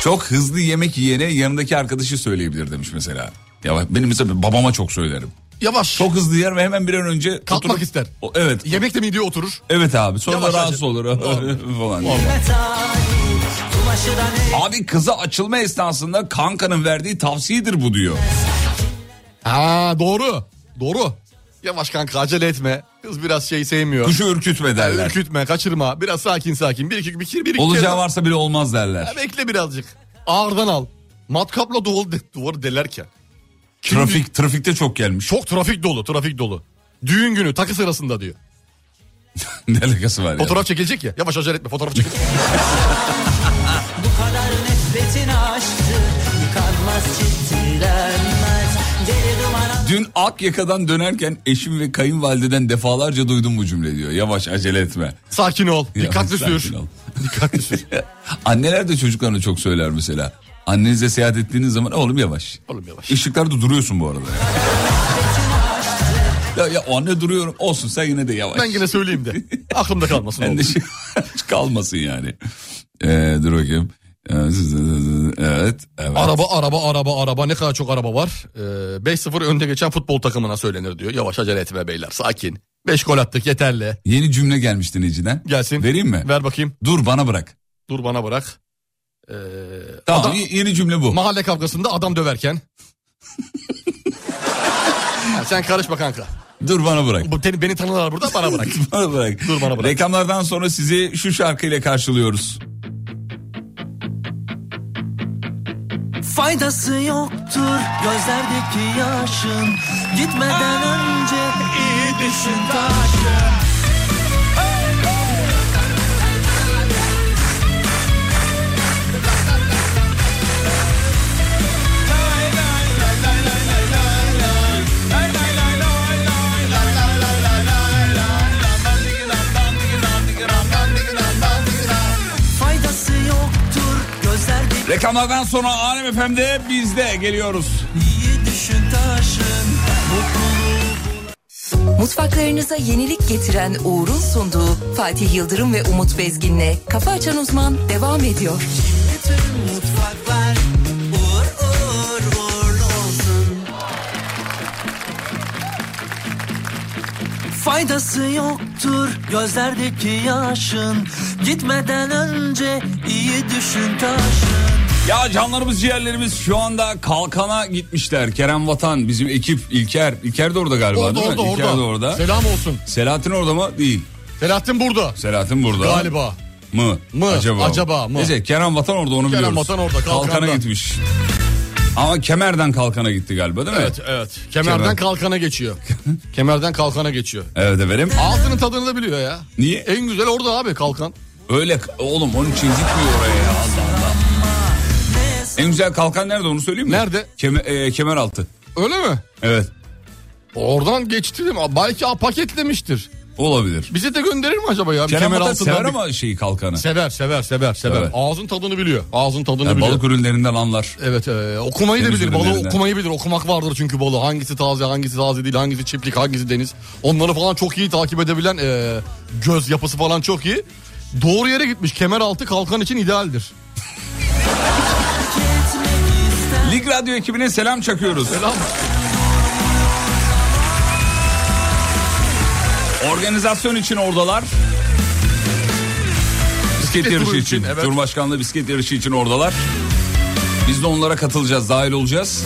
[SPEAKER 4] Çok hızlı yemek yiyene yanındaki arkadaşı söyleyebilir demiş mesela. Yavaş benim mesela babama çok söylerim.
[SPEAKER 5] Yavaş.
[SPEAKER 4] Çok hızlı yer ve hemen bir an önce
[SPEAKER 5] Kalkmak
[SPEAKER 4] oturup-
[SPEAKER 5] ister.
[SPEAKER 4] O- evet.
[SPEAKER 5] Yemek de mideye oturur.
[SPEAKER 4] Evet abi sonra
[SPEAKER 5] Yavaş
[SPEAKER 4] rahatsız
[SPEAKER 5] acele-
[SPEAKER 4] olur
[SPEAKER 5] Normal.
[SPEAKER 4] [laughs] falan.
[SPEAKER 11] Metalik Kumaşı da ne
[SPEAKER 4] Abi kıza açılma esnasında kankanın verdiği tavsiyedir bu diyor.
[SPEAKER 5] Ha doğru. Doğru. Yavaş kanka acele etme. Kız biraz şey sevmiyor.
[SPEAKER 4] Kuşu ürkütme derler.
[SPEAKER 5] Ürkütme, kaçırma. Biraz sakin sakin. Bir iki bir iki bir iki
[SPEAKER 4] Olacağı
[SPEAKER 5] kere-
[SPEAKER 4] varsa bile olmaz derler.
[SPEAKER 5] Ha, bekle birazcık. Ağırdan al. Matkapla duvarı, de- duvarı delerken. Kim bilir-
[SPEAKER 4] Trafik trafikte çok gelmiş.
[SPEAKER 5] Çok trafik dolu, trafik dolu. Düğün günü takı sırasında diyor.
[SPEAKER 4] [laughs] ne alakası var ya? [laughs]
[SPEAKER 5] Fotoğraf çekilecek ya. Yavaş acele etme fotoğraf çekilecek.
[SPEAKER 11] bu kadar nefret
[SPEAKER 2] aşktı Yıkanmaz çitilenmez Deli duman
[SPEAKER 4] Dün Akyaka'dan dönerken eşim ve kayınvalideden defalarca duydum bu cümle diyor. Yavaş acele etme.
[SPEAKER 5] Sakin ol. Dikkatli
[SPEAKER 4] Yavaş,
[SPEAKER 5] sür.
[SPEAKER 4] sakin ol. [laughs] Anneler de çocuklarına çok söyler mesela. Annenize seyahat ettiğiniz zaman oğlum yavaş.
[SPEAKER 5] Oğlum yavaş.
[SPEAKER 4] Işıklarda duruyorsun bu
[SPEAKER 5] [laughs]
[SPEAKER 4] arada. ya, ya o anne duruyorum olsun sen yine de yavaş.
[SPEAKER 5] Ben yine
[SPEAKER 4] [laughs]
[SPEAKER 5] söyleyeyim de. Aklımda kalmasın
[SPEAKER 4] Ben
[SPEAKER 5] oğlum.
[SPEAKER 4] de şey- hiç kalmasın yani. Ee, dur bakayım. Evet, evet.
[SPEAKER 5] Araba araba araba araba ne kadar çok araba var. Ee, 5-0 önde geçen futbol takımına söylenir diyor. Yavaş acele etme beyler sakin. 5 gol attık yeterli.
[SPEAKER 4] Yeni cümle gelmiş dinleyiciden.
[SPEAKER 5] Gelsin.
[SPEAKER 4] Vereyim mi?
[SPEAKER 5] Ver bakayım.
[SPEAKER 4] Dur bana bırak.
[SPEAKER 5] Dur bana bırak. Ee,
[SPEAKER 4] Tamam
[SPEAKER 5] adam-
[SPEAKER 4] y- yeni cümle bu.
[SPEAKER 5] mahalle kavgasında
[SPEAKER 4] [laughs]
[SPEAKER 5] adam döverken. Ya sen karışma kanka.
[SPEAKER 4] Dur bana bırak.
[SPEAKER 5] Bu, beni, beni tanırlar burada bana bırak.
[SPEAKER 4] [laughs] bana bırak.
[SPEAKER 5] Dur bana bırak.
[SPEAKER 4] Reklamlardan sonra sizi şu şarkıyla karşılıyoruz.
[SPEAKER 2] Faydası yoktur gözlerdeki yaşın Gitmeden önce iyi düşün taşın Faydası yoktur gözlerdeki
[SPEAKER 4] Reklamlardan sonra Alem FM'de biz de geliyoruz.
[SPEAKER 2] iyi düşün taşın Mutluluğu
[SPEAKER 1] Mutfaklarınıza yenilik getiren Uğur'un sunduğu Fatih Yıldırım ve Umut Bezgin'le Kafa Açan Uzman devam ediyor.
[SPEAKER 2] Bütün mutfaklar uğur uğur uğurlu olsun. Faydası yoktur gözlerdeki yaşın Gitmeden önce iyi düşün taşın
[SPEAKER 4] Ya canlarımız ciğerlerimiz şu anda kalkana gitmişler. Kerem Vatan bizim ekip İlker. İlker de orada galiba
[SPEAKER 5] Orada
[SPEAKER 4] değil mi?
[SPEAKER 5] orada
[SPEAKER 4] İlker
[SPEAKER 5] orada.
[SPEAKER 4] de orada.
[SPEAKER 5] Selam olsun.
[SPEAKER 4] Selahattin orada mı? Değil.
[SPEAKER 5] Selahattin burada.
[SPEAKER 4] Selahattin burada.
[SPEAKER 5] Galiba.
[SPEAKER 4] Mı?
[SPEAKER 5] Mı?
[SPEAKER 4] Acaba,
[SPEAKER 5] Acaba mı?
[SPEAKER 4] Neyse Kerem Vatan orada onu
[SPEAKER 5] Kerem
[SPEAKER 4] biliyoruz.
[SPEAKER 5] Vatan orada,
[SPEAKER 4] Kalkana
[SPEAKER 5] kalkandan.
[SPEAKER 4] gitmiş. Ama kemerden kalkana gitti galiba değil mi?
[SPEAKER 5] Evet evet. Kemerden
[SPEAKER 4] Kemer.
[SPEAKER 5] kalkana
[SPEAKER 4] [laughs]
[SPEAKER 5] geçiyor. Kemerden kalkana geçiyor.
[SPEAKER 4] Evet efendim.
[SPEAKER 5] Ağzının tadını da biliyor ya.
[SPEAKER 4] Niye?
[SPEAKER 5] En güzel orada abi kalkan.
[SPEAKER 4] Öyle oğlum onun için gitmiyor oraya ya. Allah Allah. En güzel kalkan nerede onu söyleyeyim mi?
[SPEAKER 5] Nerede?
[SPEAKER 4] Keme, e, kemer altı.
[SPEAKER 5] Öyle mi?
[SPEAKER 4] Evet.
[SPEAKER 5] Oradan geçti değil mi? Belki aa, paketlemiştir.
[SPEAKER 4] Olabilir.
[SPEAKER 5] Bize de gönderir mi acaba ya? Bir
[SPEAKER 4] Kerem Vatan
[SPEAKER 5] altından
[SPEAKER 4] sever
[SPEAKER 5] bir-
[SPEAKER 4] ama şeyi kalkanı.
[SPEAKER 5] Sever sever sever sever.
[SPEAKER 4] Sever.
[SPEAKER 5] Ağzın tadını biliyor. Ağzın tadını
[SPEAKER 4] Yani
[SPEAKER 5] biliyor.
[SPEAKER 4] balık ürünlerinden anlar.
[SPEAKER 5] Evet e, okumayı da
[SPEAKER 4] Deniz
[SPEAKER 5] bilir. Balığı
[SPEAKER 4] ürünlerinden.
[SPEAKER 5] okumayı bilir. Okumak vardır çünkü balığı. Hangisi taze hangisi taze değil. Hangisi çiftlik hangisi deniz. Onları falan çok iyi takip edebilen e, göz yapısı falan çok iyi. Doğru yere gitmiş. Kemer altı kalkan için idealdir.
[SPEAKER 4] Lig Radyo ekibine selam çakıyoruz.
[SPEAKER 5] Selam.
[SPEAKER 4] Organizasyon için oradalar. Bisiklet
[SPEAKER 5] Bisiklet
[SPEAKER 4] yarışı
[SPEAKER 5] turu
[SPEAKER 4] için,
[SPEAKER 5] için, evet.
[SPEAKER 4] Cumhurbaşkanlığı bisiklet yarışı için oradalar. Biz de onlara katılacağız, dahil olacağız.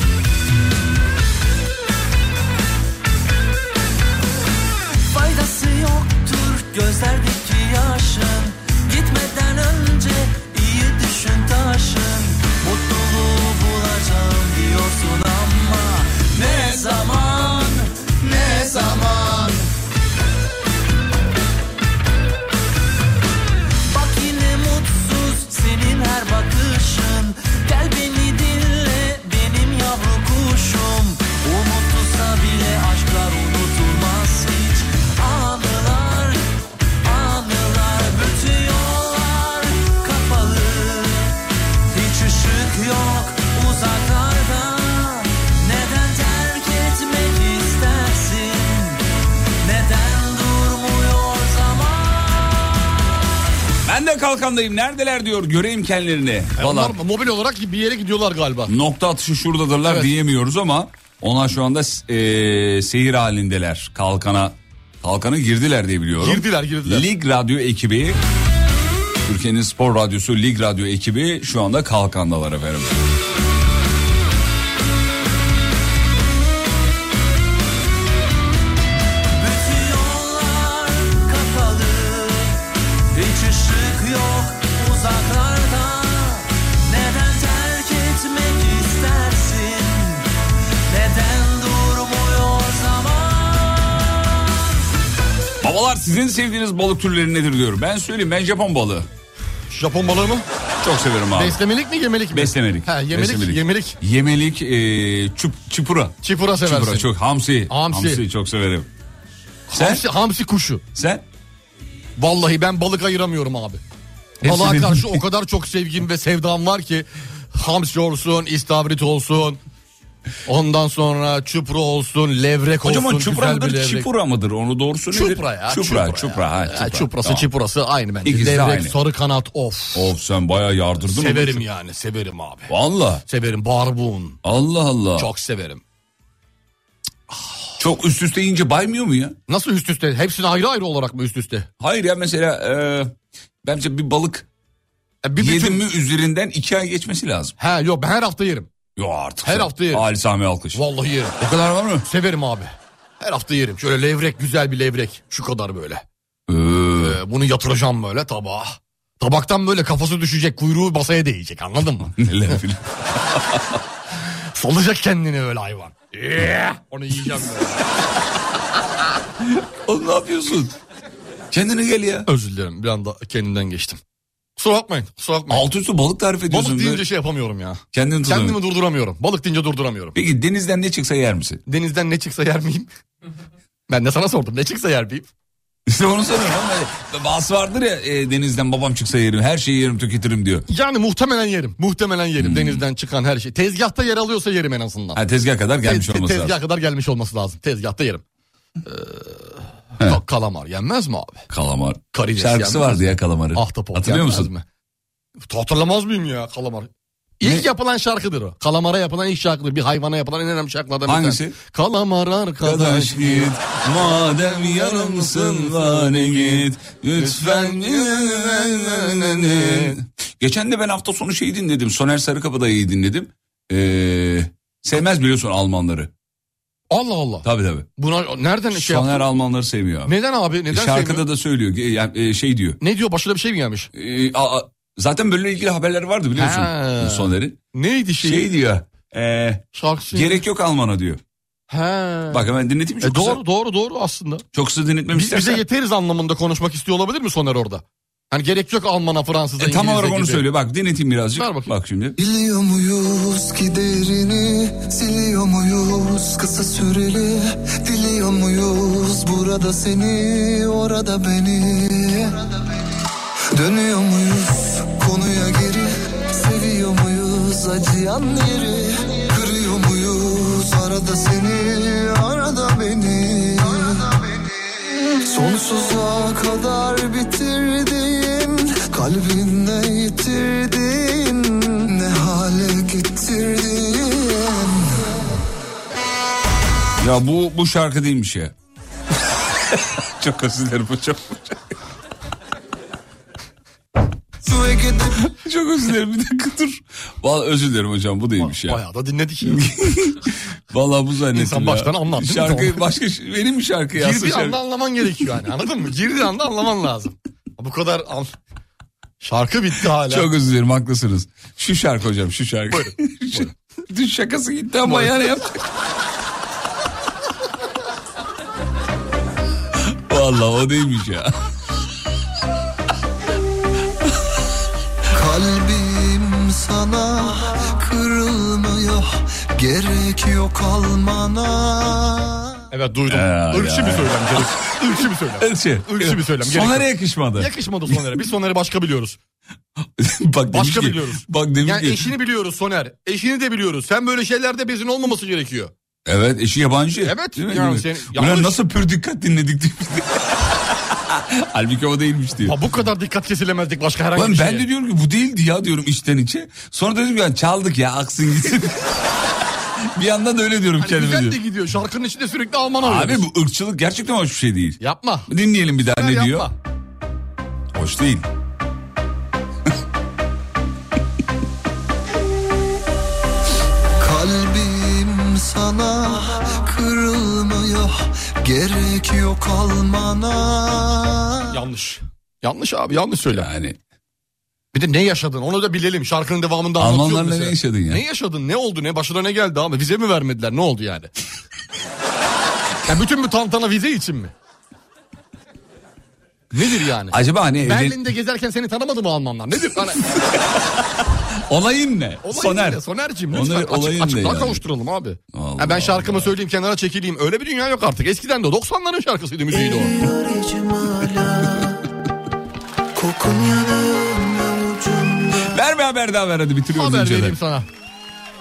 [SPEAKER 2] Faydası yoktur gözlerdeki yaşın Gitmeden önce iyi düşün taşın Mutluluğu bulacağım diyorsun ama Ne zaman, ne zaman Bak yine mutsuz senin her bakışın Gel beni dinle benim yavru kuşum Unutulsa bile aşklar unutulmaz hiç Anılar, anılar Bütün yollar kapalı Hiç ışık yok uzaklarda Neden terk etmek istersin Neden durmuyor zaman
[SPEAKER 4] Ben de kalkandayım, neredeler diyor, göreyim kendilerini. Valla
[SPEAKER 5] E, Onlar mobil olarak bir yere gidiyorlar galiba.
[SPEAKER 4] nokta atışı şuradadırlar
[SPEAKER 5] Evet.
[SPEAKER 4] diyemiyoruz ama... Onlar şu anda e, seyir halindeler. Kalkana kalkana girdiler diye biliyorum.
[SPEAKER 5] Girdiler, girdiler.
[SPEAKER 4] Lig Radyo ekibi, Türkiye'nin spor radyosu Lig Radyo ekibi şu anda kalkandalar efendim.
[SPEAKER 2] Bütün yollar kapalı Hiç ışık yok uzaklarda Neden terk etmek istersin Neden durmuyor zaman
[SPEAKER 4] Babalar sizin sevdiğiniz balık türleri nedir diyor. Ben söyleyeyim ben Japon balığı.
[SPEAKER 5] Japon balığı mı?
[SPEAKER 4] Çok severim abi.
[SPEAKER 5] Beslemelik mi yemelik mi?
[SPEAKER 4] Beslemelik.
[SPEAKER 5] Ha, yemelik,
[SPEAKER 4] Beslemelik.
[SPEAKER 5] yemelik.
[SPEAKER 4] Yemelik e, çup, çipura.
[SPEAKER 5] Çipura seversin.
[SPEAKER 4] Çipura çok. Hamsi.
[SPEAKER 5] Hamsi.
[SPEAKER 4] çok severim. Sen?
[SPEAKER 5] Hamsi, hamsi kuşu.
[SPEAKER 4] Sen?
[SPEAKER 5] Vallahi ben balık ayıramıyorum abi.
[SPEAKER 4] Hepsi
[SPEAKER 5] Balığa
[SPEAKER 4] benim.
[SPEAKER 5] karşı o kadar çok sevgim ve sevdam var ki hamsi olsun, istavrit olsun. Ondan sonra çupra olsun, levrek
[SPEAKER 4] Kocaman
[SPEAKER 5] olsun.
[SPEAKER 4] çupra
[SPEAKER 5] güzel bir
[SPEAKER 4] mıdır,
[SPEAKER 5] levrek.
[SPEAKER 4] çipura mıdır? Onu doğrusu nedir?
[SPEAKER 5] Çupra ya.
[SPEAKER 4] Çupra,
[SPEAKER 5] ya.
[SPEAKER 4] çupra. Ha,
[SPEAKER 5] Ya,
[SPEAKER 4] çupra.
[SPEAKER 5] çuprası
[SPEAKER 4] Tamam.
[SPEAKER 5] çuprası aynı bence.
[SPEAKER 4] İkisi de
[SPEAKER 5] levrek,
[SPEAKER 4] aynı.
[SPEAKER 5] sarı kanat of.
[SPEAKER 4] Of sen bayağı yardırdın. onu.
[SPEAKER 5] severim yani, severim abi.
[SPEAKER 4] Valla.
[SPEAKER 5] Severim barbun.
[SPEAKER 4] Allah Allah. Çok.
[SPEAKER 5] Çok severim.
[SPEAKER 4] üst üste yiyince baymıyor mu ya?
[SPEAKER 5] Nasıl üst üste? Hepsini ayrı ayrı olarak mı üst üste?
[SPEAKER 4] Hayır ya mesela e, bence bir balık
[SPEAKER 5] Ya E, bir
[SPEAKER 4] yedim
[SPEAKER 5] bütün-
[SPEAKER 4] mi üzerinden iki ay geçmesi lazım.
[SPEAKER 5] He yok ben her hafta yerim.
[SPEAKER 4] Yo artık.
[SPEAKER 5] Her
[SPEAKER 4] sen.
[SPEAKER 5] hafta yerim.
[SPEAKER 4] Ali Sami Alkış.
[SPEAKER 5] Vallahi yerim.
[SPEAKER 4] O kadar var mı?
[SPEAKER 5] Severim abi. Her hafta yerim. Şöyle levrek güzel bir levrek. Şu kadar böyle.
[SPEAKER 4] Ee,
[SPEAKER 5] Ee, bunu yatıracağım böyle tabağa. Tabaktan böyle kafası düşecek kuyruğu masaya değecek anladın mı?
[SPEAKER 4] [laughs] neler filan.
[SPEAKER 5] [laughs] Salacak kendini öyle hayvan. Yeah! Onu yiyeceğim böyle.
[SPEAKER 4] Oğlum ne yapıyorsun? [laughs] Kendine gel ya.
[SPEAKER 5] Özür dilerim bir anda kendimden geçtim. Kusura bakmayın kusura bakmayın.
[SPEAKER 4] Altı üstü balık tarif ediyorsun.
[SPEAKER 5] Balık
[SPEAKER 4] Böyle
[SPEAKER 5] deyince şey yapamıyorum ya.
[SPEAKER 4] Kendini tutamıyorsun.
[SPEAKER 5] Kendimi durduramıyorum. Balık deyince durduramıyorum.
[SPEAKER 4] Peki denizden ne çıksa yer misin?
[SPEAKER 5] Denizden ne çıksa yer miyim? Ben de sana sordum ne çıksa yer miyim?
[SPEAKER 4] İşte onu soruyorum ama bazı vardır ya e, denizden babam çıksa yerim her şeyi yerim tüketirim diyor.
[SPEAKER 5] Yani muhtemelen yerim. Muhtemelen yerim
[SPEAKER 4] Hmm.
[SPEAKER 5] denizden çıkan her şey. Tezgahta yer alıyorsa yerim en azından.
[SPEAKER 4] Ha, tezgah kadar gelmiş
[SPEAKER 5] Tez- te-
[SPEAKER 4] olması
[SPEAKER 5] tezgaha
[SPEAKER 4] lazım.
[SPEAKER 5] kadar gelmiş olması lazım. Tezgahta yerim. Ee, ka- kalamar yenmez mi abi?
[SPEAKER 4] Kalamar.
[SPEAKER 5] Karides
[SPEAKER 4] Şarkısı
[SPEAKER 5] yenmez.
[SPEAKER 4] vardı ya kalamarı.
[SPEAKER 5] Ahtapot
[SPEAKER 4] Hatırlıyor
[SPEAKER 5] yenmez
[SPEAKER 4] musun?
[SPEAKER 5] mi? Hatırlamaz mıyım ya kalamar? İlk yapılan şarkıdır o. Kalamara yapılan ilk şarkıdır. Bir hayvana yapılan en önemli şarkılardan bir
[SPEAKER 4] Hangisi?
[SPEAKER 5] tanesi. Kalamar arkadaş.
[SPEAKER 4] Arkadaş git madem yanımsın bari git lütfen Geçen de ben hafta sonu şeyi dinledim Soner Sarıkabadayı'yı dinledim. Ee, sevmez biliyorsun Almanları.
[SPEAKER 5] Allah Allah.
[SPEAKER 4] Tabii tabii.
[SPEAKER 5] Buna nereden şey
[SPEAKER 4] Soner
[SPEAKER 5] yaptın?
[SPEAKER 4] Almanları sevmiyor abi.
[SPEAKER 5] Neden abi? Neden
[SPEAKER 4] Şarkıda
[SPEAKER 5] sevmiyor?
[SPEAKER 4] da söylüyor ge- yani, e, şey diyor.
[SPEAKER 5] Ne diyor? Başına bir şey mi gelmiş?
[SPEAKER 4] E, a- a- zaten böyle ilgili haberler vardı biliyorsun
[SPEAKER 5] Ha.
[SPEAKER 4] Soner'in.
[SPEAKER 5] Neydi şey?
[SPEAKER 4] Şey, diyor. e,
[SPEAKER 5] Şarkısı.
[SPEAKER 4] gerek yok Alman'a diyor.
[SPEAKER 5] He.
[SPEAKER 4] Bak hemen dinleteyim çok
[SPEAKER 5] E,
[SPEAKER 4] kısa.
[SPEAKER 5] doğru doğru doğru aslında.
[SPEAKER 4] Çok kısa dinletmem
[SPEAKER 5] Biz, bize
[SPEAKER 4] istersen.
[SPEAKER 5] yeteriz anlamında konuşmak istiyor olabilir mi Soner orada? Hani gerek yok Alman'a, Fransız'a,
[SPEAKER 4] E, tam
[SPEAKER 5] İngiliz'e
[SPEAKER 4] olarak onu
[SPEAKER 5] gibi.
[SPEAKER 4] söylüyor. Bak dinleteyim birazcık.
[SPEAKER 5] Ver bakayım.
[SPEAKER 4] Bak şimdi.
[SPEAKER 12] Biliyor muyuz giderini siliyor muyuz kısa süreli Diliyor muyuz burada seni orada beni Dönüyor muyuz konuya geri seviyor muyuz acıyan yeri Kırıyor muyuz arada seni arada beni Sonsuza kadar bitirdin Kalbinde yitirdin Ne hale getirdin
[SPEAKER 4] Ya bu bu şarkı değilmiş
[SPEAKER 5] [laughs]
[SPEAKER 4] ya. çok özür dilerim bu çok.
[SPEAKER 12] Ve
[SPEAKER 4] [laughs]
[SPEAKER 12] gidip
[SPEAKER 4] Çok özür dilerim bir dakika dur. Vallahi özür dilerim hocam bu değilmiş ya.
[SPEAKER 5] Bayağı da dinledik.
[SPEAKER 4] [laughs] Vallahi bu zannettim
[SPEAKER 5] İnsan
[SPEAKER 4] ya.
[SPEAKER 5] baştan anlar değil mi?
[SPEAKER 4] Şarkı başka ş- benim şarkı ya.
[SPEAKER 5] Girdiği anda anlaman gerekiyor yani anladın mı? Girdiği anda
[SPEAKER 4] [laughs]
[SPEAKER 5] anlaman lazım. Bu kadar an... Şarkı bitti hala.
[SPEAKER 4] Çok özür dilerim haklısınız. Şu şarkı hocam şu şarkı.
[SPEAKER 5] Buyurun, buyurun.
[SPEAKER 4] [laughs] Dün şakası gitti ama
[SPEAKER 5] Buyurun.
[SPEAKER 4] yani yap. Vallahi o değilmiş ya.
[SPEAKER 12] kalbim sana kırılmıyor Gerek yok almana
[SPEAKER 5] Evet duydum.
[SPEAKER 4] Ya,
[SPEAKER 5] Irkçı
[SPEAKER 4] ya.
[SPEAKER 5] bir söylem. gerek. Irkçı bir söylem.
[SPEAKER 4] Irkçı.
[SPEAKER 5] Irkçı bir söylem, gerek
[SPEAKER 4] Soner'e
[SPEAKER 5] yok.
[SPEAKER 4] yakışmadı.
[SPEAKER 5] Yakışmadı Soner'e. Biz Soner'i başka biliyoruz.
[SPEAKER 4] [laughs] bak demiş
[SPEAKER 5] Başka
[SPEAKER 4] ki,
[SPEAKER 5] biliyoruz.
[SPEAKER 4] Bak demiş
[SPEAKER 5] Yani
[SPEAKER 4] ki.
[SPEAKER 5] eşini biliyoruz Soner. Eşini de biliyoruz. Sen böyle şeylerde bezin olmaması gerekiyor.
[SPEAKER 4] Evet eşi [laughs] yabancı.
[SPEAKER 5] Evet,
[SPEAKER 4] Değil mi?
[SPEAKER 5] yani
[SPEAKER 4] Değil mi?
[SPEAKER 5] senin-
[SPEAKER 4] Ulan
[SPEAKER 5] yanlış.
[SPEAKER 4] nasıl pür dikkat dinledik diye. Halbuki o değilmiş diyor.
[SPEAKER 5] Ha bu kadar dikkat kesilemezdik başka herhangi
[SPEAKER 4] Ulan
[SPEAKER 5] bir
[SPEAKER 4] ben
[SPEAKER 5] şeye.
[SPEAKER 4] de diyorum ki bu değildi ya diyorum içten içe. Sonra dedim ki ya çaldık ya aksın gitsin. [laughs] bir yandan da öyle diyorum
[SPEAKER 5] Hani
[SPEAKER 4] kendime.
[SPEAKER 5] güzel de
[SPEAKER 4] diyorum.
[SPEAKER 5] gidiyor. Şarkının içinde sürekli Alman alıyoruz.
[SPEAKER 4] Abi bu ırkçılık gerçekten hoş bir şey değil.
[SPEAKER 5] Yapma.
[SPEAKER 4] Dinleyelim bir daha ne
[SPEAKER 5] Yapma.
[SPEAKER 4] diyor. Hoş değil.
[SPEAKER 12] Kalbim sana kırılmıyor Gerek yok almana
[SPEAKER 5] Yanlış. Yanlış abi yanlış söyle.
[SPEAKER 4] Yani
[SPEAKER 5] Bir de ne yaşadın onu da bilelim. Şarkının devamında anlatıyor
[SPEAKER 4] Almanlarla
[SPEAKER 5] mesela.
[SPEAKER 4] ne yaşadın ya?
[SPEAKER 5] Ne yaşadın? Ne oldu? Ne başına ne geldi abi? Vize mi vermediler? Ne oldu
[SPEAKER 4] [laughs]
[SPEAKER 5] yani? ya bütün bu tantana vize için mi? Nedir yani?
[SPEAKER 4] Acaba hani evlen-
[SPEAKER 5] Berlin'de gezerken seni tanımadı mı Almanlar? Nedir? Hani,
[SPEAKER 4] [laughs] olayın ne?
[SPEAKER 5] olayın
[SPEAKER 4] Soner.
[SPEAKER 5] ne? Soner'cim lütfen
[SPEAKER 4] Onları-
[SPEAKER 5] açık,
[SPEAKER 4] olayın
[SPEAKER 5] açıklığa
[SPEAKER 4] ne yani?
[SPEAKER 5] kavuşturalım abi.
[SPEAKER 4] Allah
[SPEAKER 5] Ha ben şarkımı söyleyeyim kenara çekileyim. Öyle bir dünya yok artık. Eskiden de 90'ların şarkısıydı müziğiydi o.
[SPEAKER 8] Kokun yanımda ucumda
[SPEAKER 4] Ver bir haber daha ver hadi bitiriyoruz
[SPEAKER 5] haber
[SPEAKER 4] inceden.
[SPEAKER 5] vereyim sana.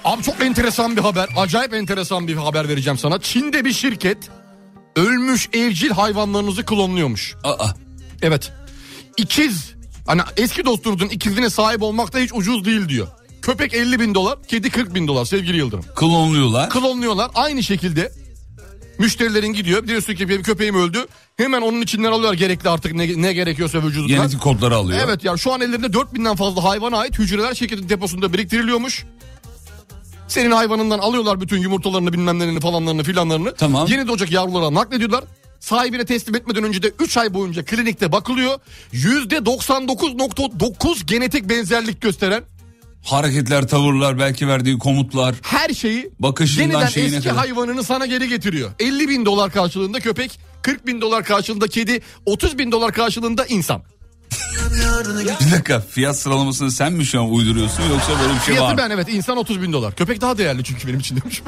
[SPEAKER 5] Abi çok enteresan bir haber. Acayip enteresan bir haber vereceğim sana. Çin'de bir şirket ölmüş evcil hayvanlarınızı klonluyormuş.
[SPEAKER 4] Aa,
[SPEAKER 5] Evet. İkiz. Hani eski dostunuzun ikizine sahip olmak da hiç ucuz değil diyor. Köpek 50 bin dolar, kedi 40 bin dolar sevgili Yıldırım.
[SPEAKER 4] klonluyorlar.
[SPEAKER 5] Klonluyorlar aynı şekilde. Müşterilerin gidiyor. Diyorsun ki benim köpeğim öldü. Hemen onun içinden alıyor gerekli artık ne, ne gerekiyorsa vücudundan.
[SPEAKER 4] Genetik kodları alıyor.
[SPEAKER 5] Evet ya şu an ellerinde 4000'den fazla hayvana ait hücreler şirketin deposunda biriktiriliyormuş. Senin hayvanından alıyorlar bütün yumurtalarını bilmemlerini falanlarını filanlarını.
[SPEAKER 4] Tamam.
[SPEAKER 5] Yeni doğacak yavrulara naklediyorlar. Sahibine teslim etmeden önce de 3 ay boyunca klinikte bakılıyor. %99.9 genetik benzerlik gösteren
[SPEAKER 4] Hareketler, tavırlar, belki verdiği komutlar.
[SPEAKER 5] her şeyi
[SPEAKER 4] Bakışından
[SPEAKER 5] yeniden
[SPEAKER 4] şeyine
[SPEAKER 5] eski
[SPEAKER 4] kadar.
[SPEAKER 5] hayvanını sana geri getiriyor. 50 bin dolar karşılığında köpek, 40 bin dolar karşılığında kedi, 30 bin dolar karşılığında insan.
[SPEAKER 4] Bir dakika fiyat sıralamasını sen mi şu an uyduruyorsun yoksa böyle bir şey var?
[SPEAKER 5] Fiyatı
[SPEAKER 4] mı?
[SPEAKER 5] ben evet insan 30 bin dolar. Köpek daha değerli çünkü benim için demiş.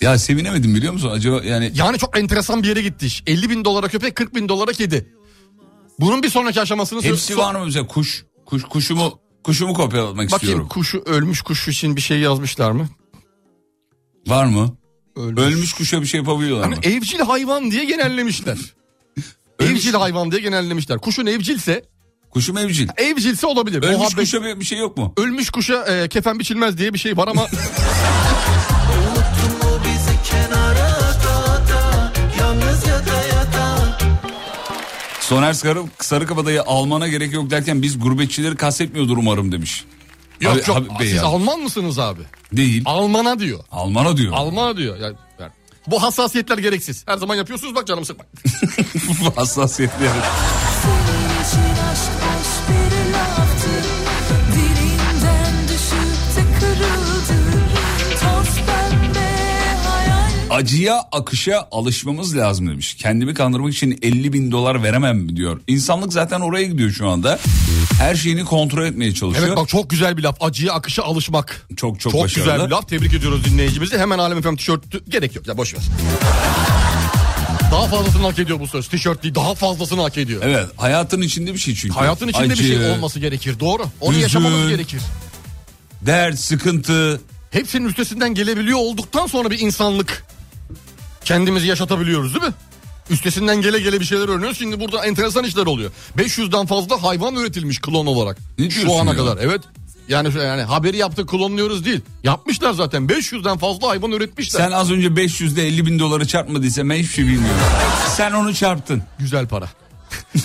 [SPEAKER 4] Ya sevinemedim biliyor musun? Acaba yani
[SPEAKER 5] Yani çok enteresan bir yere gitti iş. 50 bin dolara köpek 40 bin dolara kedi. Bunun bir sonraki aşamasını... sö-
[SPEAKER 4] hepsi
[SPEAKER 5] so-
[SPEAKER 4] var mı mesela kuş? Kuş kuşumu kuşumu kopyalamak
[SPEAKER 5] Bakayım
[SPEAKER 4] istiyorum.
[SPEAKER 5] kuşu ölmüş kuş için bir şey yazmışlar mı?
[SPEAKER 4] Var mı?
[SPEAKER 5] Ölmüş.
[SPEAKER 4] Ölmüş kuşa bir şey yapabiliyorlar
[SPEAKER 5] Hani
[SPEAKER 4] mı?
[SPEAKER 5] evcil hayvan
[SPEAKER 4] [laughs]
[SPEAKER 5] diye genellemişler. evcil hayvan diye genellemişler. Kuşun evcilse,
[SPEAKER 4] Kuşum evcil.
[SPEAKER 5] evcilse olabilir.
[SPEAKER 4] Ölmüş
[SPEAKER 5] Muhabbet-
[SPEAKER 4] kuşa bir, bir şey yok mu?
[SPEAKER 5] Ölmüş kuşa e, kefen biçilmez diye bir şey var ama
[SPEAKER 8] O bizi kenara dağda Yalnız ya da ya da
[SPEAKER 4] Soner Sarı, Sarıkabadayı Alman'a gerek yok derken biz gurbetçileri kastetmiyordur umarım demiş. Abi-
[SPEAKER 5] yok yok.
[SPEAKER 4] abi- bey
[SPEAKER 5] Siz
[SPEAKER 4] ya.
[SPEAKER 5] Alman mısınız abi?
[SPEAKER 4] [laughs] Değil.
[SPEAKER 5] Almana diyor.
[SPEAKER 4] Alman'a diyor. [laughs]
[SPEAKER 5] Almana diyor. Yani, yani bu hassasiyetler gereksiz. Her zaman yapıyorsunuz bak canım sıkma.
[SPEAKER 4] Hassasiyetleri.
[SPEAKER 3] Senin için aşk boş bir laftı Dilinden düşüp de kırıldı Toz pembe hayal
[SPEAKER 4] Acıya akışa alışmamız lazım demiş. Kendimi kandırmak için 50 bin dolar veremem diyor. İnsanlık zaten oraya gidiyor şu anda. Her şeyini kontrol etmeye çalışıyor.
[SPEAKER 5] Evet bak çok güzel bir laf. Acıya akışa alışmak.
[SPEAKER 4] Çok çok
[SPEAKER 5] Çok
[SPEAKER 4] başarılı.
[SPEAKER 5] güzel bir laf. Tebrik ediyoruz dinleyicimizi. Hemen Alem FM tişörtü gerek yok ya boş ver. Daha fazlasını hak ediyor bu söz. Tişört değil daha fazlasını hak ediyor.
[SPEAKER 4] Evet hayatın içinde bir şey çünkü.
[SPEAKER 5] Hayatın içinde
[SPEAKER 4] Acı,
[SPEAKER 5] bir şey olması gerekir. Doğru. Onu
[SPEAKER 4] Hüzün.
[SPEAKER 5] yaşamamız gerekir.
[SPEAKER 4] Dert, sıkıntı.
[SPEAKER 5] Hepsinin üstesinden gelebiliyor olduktan sonra bir insanlık kendimizi yaşatabiliyoruz değil mi? Üstesinden gele gele bir şeyler öğreniyoruz. Şimdi burada enteresan işler oluyor. 500'den fazla hayvan üretilmiş klon olarak.
[SPEAKER 4] Ne diyorsun
[SPEAKER 5] Şu ana
[SPEAKER 4] ya?
[SPEAKER 5] kadar evet. Yani, yani haberi yaptık klonluyoruz değil. Yapmışlar zaten 500'den fazla hayvan üretmişler.
[SPEAKER 4] Sen az önce 500'de 50 bin doları çarpmadıysa ben hiçbir şey bilmiyorum. Sen onu çarptın.
[SPEAKER 5] Güzel para.
[SPEAKER 3] Bir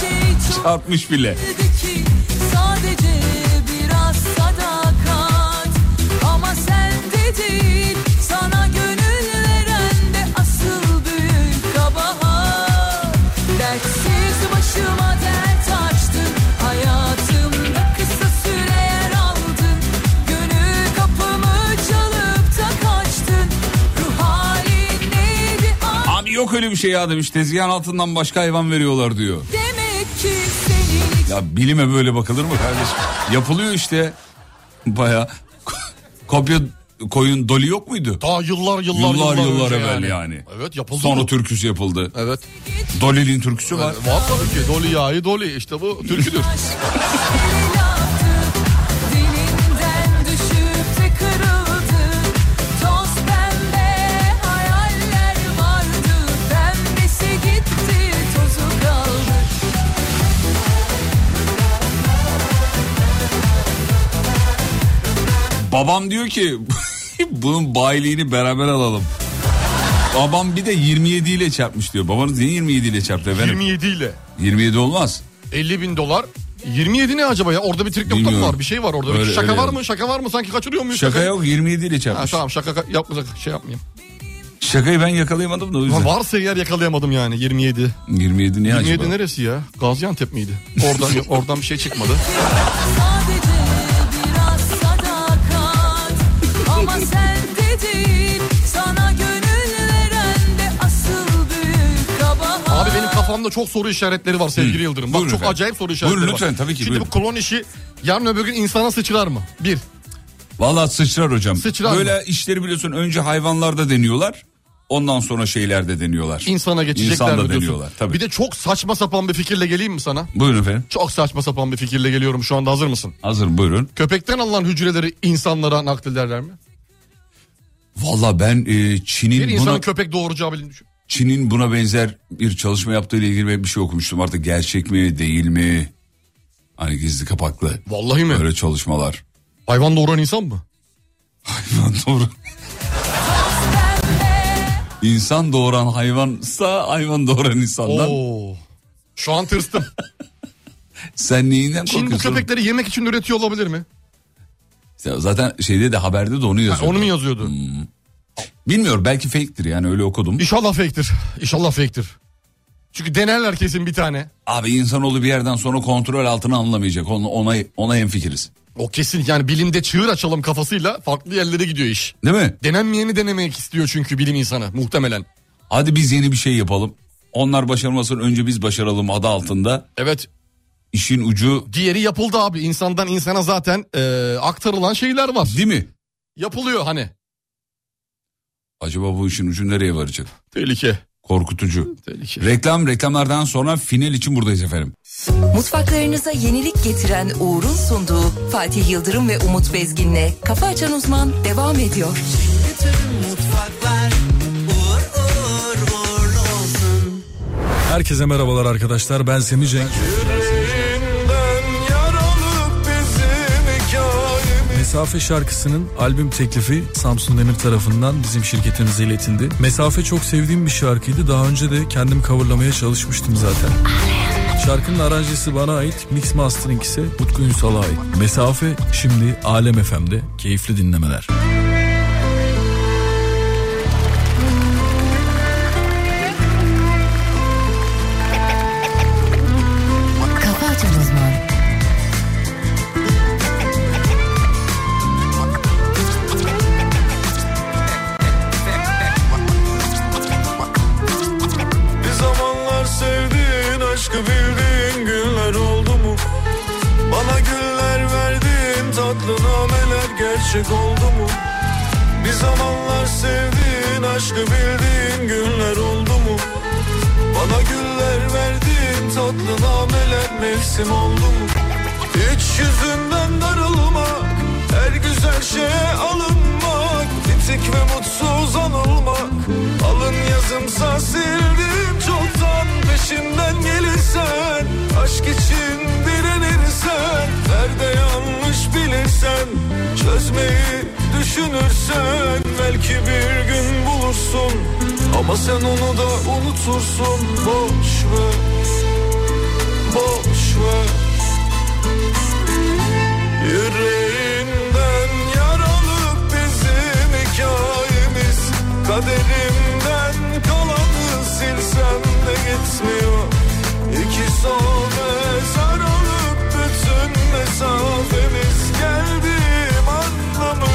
[SPEAKER 3] şey çok
[SPEAKER 4] Çarpmış bile.
[SPEAKER 3] dedi ki Sadece biraz sadakat Ama sen de değil Sana gönül veren de asıl büyük kabahat Dertsiz başıma dert açtın Hayatımda kısa süre yer aldın Gönül kapımı çalıp da kaçtın Ruh halin neydi Ah,
[SPEAKER 4] Abi yok öyle bir şey ya demiş. Tezgahın altından başka hayvan veriyorlar diyor.
[SPEAKER 3] demek ki senin için
[SPEAKER 4] Ya bilime böyle bakılır mı kardeşim? Yapılıyor işte. Baya [laughs] kopya koyun doli yok muydu?
[SPEAKER 5] Daha yıllar yıllar
[SPEAKER 4] Yıllar,
[SPEAKER 5] yıllar,
[SPEAKER 4] yıllar
[SPEAKER 5] önce
[SPEAKER 4] evvel yani.
[SPEAKER 5] Evet yapıldı.
[SPEAKER 4] Sonra
[SPEAKER 5] bu.
[SPEAKER 4] türküsü yapıldı.
[SPEAKER 5] Evet.
[SPEAKER 4] Dolly'nin türküsü şey var.
[SPEAKER 5] Var tabii ki. Doli yağı doli. İşte bu türküdür.
[SPEAKER 3] Dilinden düşüp de kırıldı Toz pembe hayaller vardı Pembesi gitti tozu kaldı
[SPEAKER 4] Babam diyor ki [laughs] bunun bayiliğini beraber alalım. Babam bir de 27 ile çarpmış diyor. Babanız niye 27 ile çarptı efendim?
[SPEAKER 5] 27 ile.
[SPEAKER 4] 27 olmaz.
[SPEAKER 5] 50 bin dolar. 27 ne acaba ya? Orada bir trik nokta mı
[SPEAKER 4] Bilmiyorum.
[SPEAKER 5] var? Bir şey var orada.
[SPEAKER 4] Öyle-
[SPEAKER 5] şaka
[SPEAKER 4] öyle
[SPEAKER 5] var
[SPEAKER 4] yani.
[SPEAKER 5] mı? Şaka var mı? Sanki kaçırıyor muyuz?
[SPEAKER 4] Şaka
[SPEAKER 5] Şakayı-
[SPEAKER 4] yok 27 ile
[SPEAKER 5] Ha,
[SPEAKER 4] çarpmış.
[SPEAKER 5] tamam şaka yapmasak şey yapmayayım.
[SPEAKER 4] Şakayı ben yakalayamadım da o
[SPEAKER 5] Ulan
[SPEAKER 4] yüzden.
[SPEAKER 5] varsa yer yakalayamadım yani 27.
[SPEAKER 4] 27 ne
[SPEAKER 5] 27
[SPEAKER 4] acaba?
[SPEAKER 5] neresi ya? Gaziantep miydi? Oradan [laughs] yok, oradan bir şey çıkmadı.
[SPEAKER 3] Sadece biraz sadakat Ama sen de değil Sana gönül veren de asıl büyük kabahat
[SPEAKER 5] kafamda çok soru işaretleri var sevgili Yıldırım. Bak
[SPEAKER 4] Buyurun
[SPEAKER 5] çok
[SPEAKER 4] efendim.
[SPEAKER 5] acayip soru işaretleri
[SPEAKER 4] Buyurun
[SPEAKER 5] var.
[SPEAKER 4] lütfen, tabii ki,
[SPEAKER 5] Şimdi
[SPEAKER 4] buyurun.
[SPEAKER 5] bu klon işi yarın öbür gün insana sıçrar mı? Bir.
[SPEAKER 4] Valla sıçrar hocam.
[SPEAKER 5] Sıçrar
[SPEAKER 4] Böyle işleri biliyorsun önce hayvanlarda deniyorlar. Ondan sonra şeylerde deniyorlar.
[SPEAKER 5] insana geçecekler
[SPEAKER 4] İnsanda
[SPEAKER 5] mi diyorsun?
[SPEAKER 4] deniyorlar, tabii.
[SPEAKER 5] Bir de çok saçma sapan bir fikirle geleyim mi sana?
[SPEAKER 4] Buyurun efendim.
[SPEAKER 5] Çok saçma sapan bir fikirle geliyorum şu anda hazır mısın?
[SPEAKER 4] Hazır buyurun.
[SPEAKER 5] Köpekten alınan hücreleri insanlara naklederler mi?
[SPEAKER 4] Valla ben e,
[SPEAKER 5] Bir
[SPEAKER 4] Çin'in
[SPEAKER 5] insanın
[SPEAKER 4] buna,
[SPEAKER 5] köpek doğuracağı bilin düşün.
[SPEAKER 4] Çin'in buna benzer bir çalışma yaptığı ile ilgili ben bir şey okumuştum. Artık gerçek mi değil mi? Hani gizli kapaklı.
[SPEAKER 5] Vallahi mi?
[SPEAKER 4] Böyle çalışmalar.
[SPEAKER 5] Hayvan doğuran insan mı?
[SPEAKER 4] Hayvan doğuran. İnsan doğuran hayvansa hayvan doğuran insandan.
[SPEAKER 5] Oo. Şu an tırstım.
[SPEAKER 4] [laughs] Sen neyinden
[SPEAKER 5] Çin bu
[SPEAKER 4] korkuyorsun?
[SPEAKER 5] köpekleri yemek için üretiyor olabilir mi?
[SPEAKER 4] Ya Zaten şeyde de haberde de onu yazıyor.
[SPEAKER 5] Onu mu yazıyordu?
[SPEAKER 4] Bilmiyorum belki fake'tir yani öyle okudum.
[SPEAKER 5] İnşallah fake'tir. İnşallah fake'tir. Çünkü denerler kesin bir tane.
[SPEAKER 4] Abi insanoğlu bir yerden sonra kontrol altına alınamayacak. Ona, ona, ona hemfikiriz.
[SPEAKER 5] O kesin yani bilimde çığır açalım kafasıyla farklı yerlere gidiyor iş.
[SPEAKER 4] Değil mi?
[SPEAKER 5] Denenmeyeni denemek istiyor çünkü bilim insanı muhtemelen.
[SPEAKER 4] Hadi biz yeni bir şey yapalım. Onlar başarmasın önce biz başaralım adı altında.
[SPEAKER 5] Evet
[SPEAKER 4] İşin ucu
[SPEAKER 5] diğeri yapıldı abi insandan insana zaten eee, aktarılan şeyler var.
[SPEAKER 4] değil mi?
[SPEAKER 5] Yapılıyor hani.
[SPEAKER 4] Acaba bu işin ucu nereye varacak?
[SPEAKER 5] Tehlike.
[SPEAKER 4] Korkutucu.
[SPEAKER 5] Tehlike.
[SPEAKER 4] Reklam reklamlardan sonra final için buradayız efendim.
[SPEAKER 1] Mutfaklarınıza yenilik getiren Uğur'un sunduğu Fatih Yıldırım ve Umut Bezgin'le Kafa Açan Uzman devam ediyor.
[SPEAKER 9] Herkese merhabalar arkadaşlar ben Semih Cenk. Mesafe şarkısının albüm teklifi Samsun Demir tarafından bizim şirketimize iletildi. Mesafe çok sevdiğim bir şarkıydı. Daha önce de kendim coverlamaya çalışmıştım zaten. Şarkının aranjesi bana ait, mix mastering ise Utku Ünsal'a ait. Mesafe şimdi Alem FM'de. Keyifli dinlemeler.
[SPEAKER 1] Kafa Açan Uzman
[SPEAKER 9] Bir zamanlar sevdiğin aşkı bildiğin günler oldu mu? Bana güller verdiğin tatlı nameler gerçek oldu mu? Bir zamanlar sevdiğin aşkı bildiğin günler oldu mu? Bana güller verdiğin tatlı nameler mevsim oldu mu? Hiç yüzünden darılmak Her güzel şeye alınmak Titik ve mutsuz anılmak Alın yazımsa sildim çoktan Peşimden gelirsen Aşk için direnirsen Nerede yanlış bilirsen Çözmeyi düşünürsen Belki bir gün bulursun Ama sen onu da unutursun Boş ver Boş ver Yüreğinden yaralı bizim hikayemiz Kaderimden kalanı silsem de gitmiyor İki sona sarılıp bütün mesafemiz geldiğim anlamıyor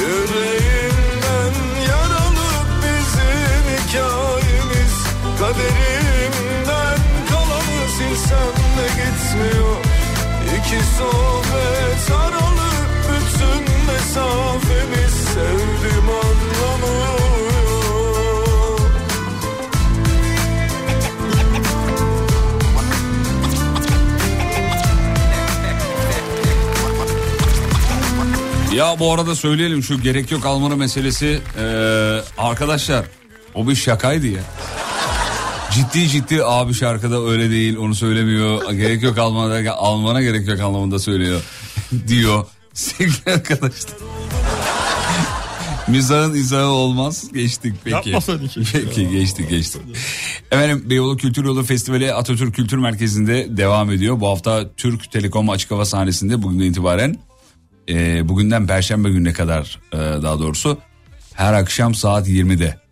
[SPEAKER 9] Yüreğimden yaralı bizim hikayemiz Kaderimden kalanı silsem de gitmiyor İki sohbet sarılıp bütün mesafemiz Sevdim anlamıyor
[SPEAKER 4] Ya bu arada söyleyelim şu gerek yok Almanı meselesi. Ee, arkadaşlar o bir şakaydı ya. Ciddi ciddi abi şarkıda öyle değil onu söylemiyor. Gerek yok Alman'a, Alman'a gerek yok anlamında söylüyor. [laughs] diyor sevgili arkadaşlar. [laughs] Mizahın izahı olmaz. Geçtik peki.
[SPEAKER 5] Yapmasaydın keşke.
[SPEAKER 4] Peki geçtik geçtik. Efendim Beyoğlu Kültür Yolu Festivali Atatürk Kültür Merkezi'nde devam ediyor. Bu hafta Türk Telekom açık hava sahnesinde bugünden itibaren e, bugünden perşembe gününe kadar e, daha doğrusu her akşam saat 20'de.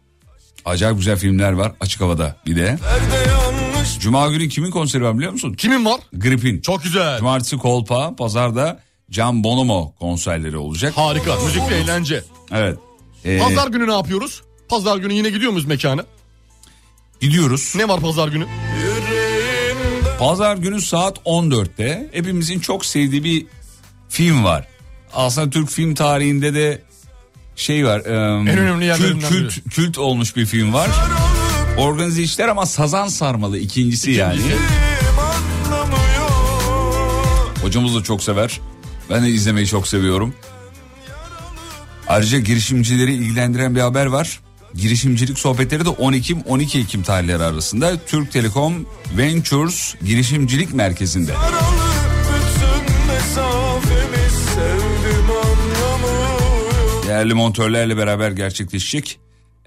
[SPEAKER 4] Acayip güzel filmler var açık havada bir de.
[SPEAKER 9] Nerede yanlış
[SPEAKER 4] Cuma günü kimin konseri var biliyor musun?
[SPEAKER 5] Kimin var?
[SPEAKER 4] Grip'in.
[SPEAKER 5] Çok güzel.
[SPEAKER 4] Cumartesi Kolpa, pazarda Can Bonomo konserleri olacak.
[SPEAKER 5] Harika. Müzik ve eğlence.
[SPEAKER 4] Evet. E,
[SPEAKER 5] Pazar günü ne yapıyoruz? Pazar günü yine gidiyor muyuz mekana?
[SPEAKER 4] Gidiyoruz.
[SPEAKER 5] Ne var pazar günü?
[SPEAKER 4] Pazar günü saat 14'te hepimizin çok sevdiği bir film var. Aslında Türk film tarihinde de şey var. em,
[SPEAKER 5] En önemli
[SPEAKER 4] kült,
[SPEAKER 5] yerlerinden
[SPEAKER 4] kült, kült olmuş bir film var. Organize işler ama Sazan Sarmalı ikincisi, yani. Hocamız da çok sever. Ben de izlemeyi çok seviyorum. Ayrıca girişimcileri ilgilendiren bir haber var. Girişimcilik sohbetleri de 10 Ekim 12 Ekim tarihleri arasında Türk Telekom Ventures Girişimcilik Merkezi'nde. Değerli montörlerle beraber gerçekleşecek.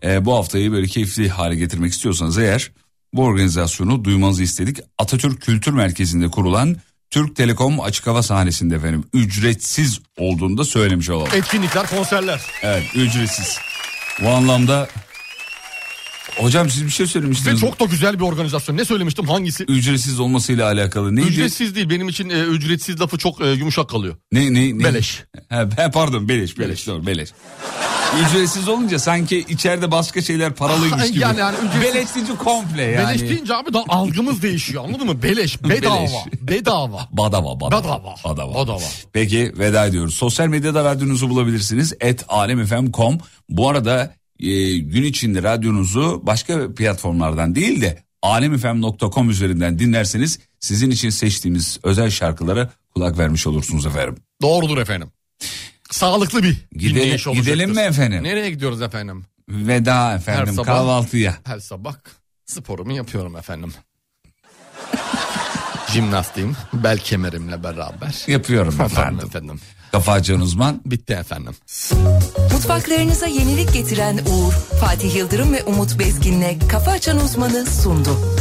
[SPEAKER 4] Ee, bu haftayı böyle keyifli hale getirmek istiyorsanız eğer bu organizasyonu duymanızı istedik. Atatürk Kültür Merkezi'nde kurulan Türk Telekom açık hava sahnesinde efendim ücretsiz olduğunu da söylemiş olalım.
[SPEAKER 5] Etkinlikler, konserler.
[SPEAKER 4] Evet ücretsiz. Bu anlamda hocam siz bir şey
[SPEAKER 5] Ve
[SPEAKER 4] söylemiştiniz.
[SPEAKER 5] çok da güzel bir organizasyon. Ne söylemiştim hangisi?
[SPEAKER 4] ücretsiz olmasıyla alakalı. Neydi?
[SPEAKER 5] Ücretsiz değil benim için e, ücretsiz lafı çok e, yumuşak kalıyor.
[SPEAKER 4] Ne, ne, ne?
[SPEAKER 5] Beleş.
[SPEAKER 4] Ha, be- pardon beleş, beleş, doğru beleş. Ücretsiz olunca sanki içeride başka şeyler paralıymış gibi.
[SPEAKER 5] [laughs] Yani, yani ücretsiz-
[SPEAKER 4] Beleş deyince komple E yani.
[SPEAKER 5] Beleş deyince abi da algımız değişiyor anladın
[SPEAKER 4] [laughs]
[SPEAKER 5] mı? Beleş, bedava,
[SPEAKER 4] Beleş.
[SPEAKER 5] bedava.
[SPEAKER 4] Badava, badava.
[SPEAKER 5] Badava.
[SPEAKER 4] Badava.
[SPEAKER 5] Badava.
[SPEAKER 4] Peki veda ediyoruz. Sosyal medyada radyonuzu bulabilirsiniz. Et alemfm.com. Bu arada e, gün içinde radyonuzu başka platformlardan değil de alemfm.com üzerinden dinlerseniz sizin için seçtiğimiz özel şarkılara kulak vermiş olursunuz efendim.
[SPEAKER 5] Doğrudur efendim. Sağlıklı bir
[SPEAKER 4] Gidelim-
[SPEAKER 5] dinleyiş olacaktır.
[SPEAKER 4] gidelim mi efendim?
[SPEAKER 5] Nereye gidiyoruz efendim?
[SPEAKER 4] Veda efendim
[SPEAKER 5] sabah-
[SPEAKER 4] kahvaltıya.
[SPEAKER 5] Her sabah sporumu yapıyorum efendim. [laughs] Jimnastiğim bel kemerimle beraber.
[SPEAKER 4] Yapıyorum
[SPEAKER 5] Efendim
[SPEAKER 4] efendim.
[SPEAKER 5] efendim.
[SPEAKER 4] Kafa açan uzman.
[SPEAKER 5] Bitti efendim.
[SPEAKER 1] Mutfaklarınıza yenilik getiren Uğur, Fatih Yıldırım ve Umut Bezgin'le Kafa Açan Uzman'ı sundu.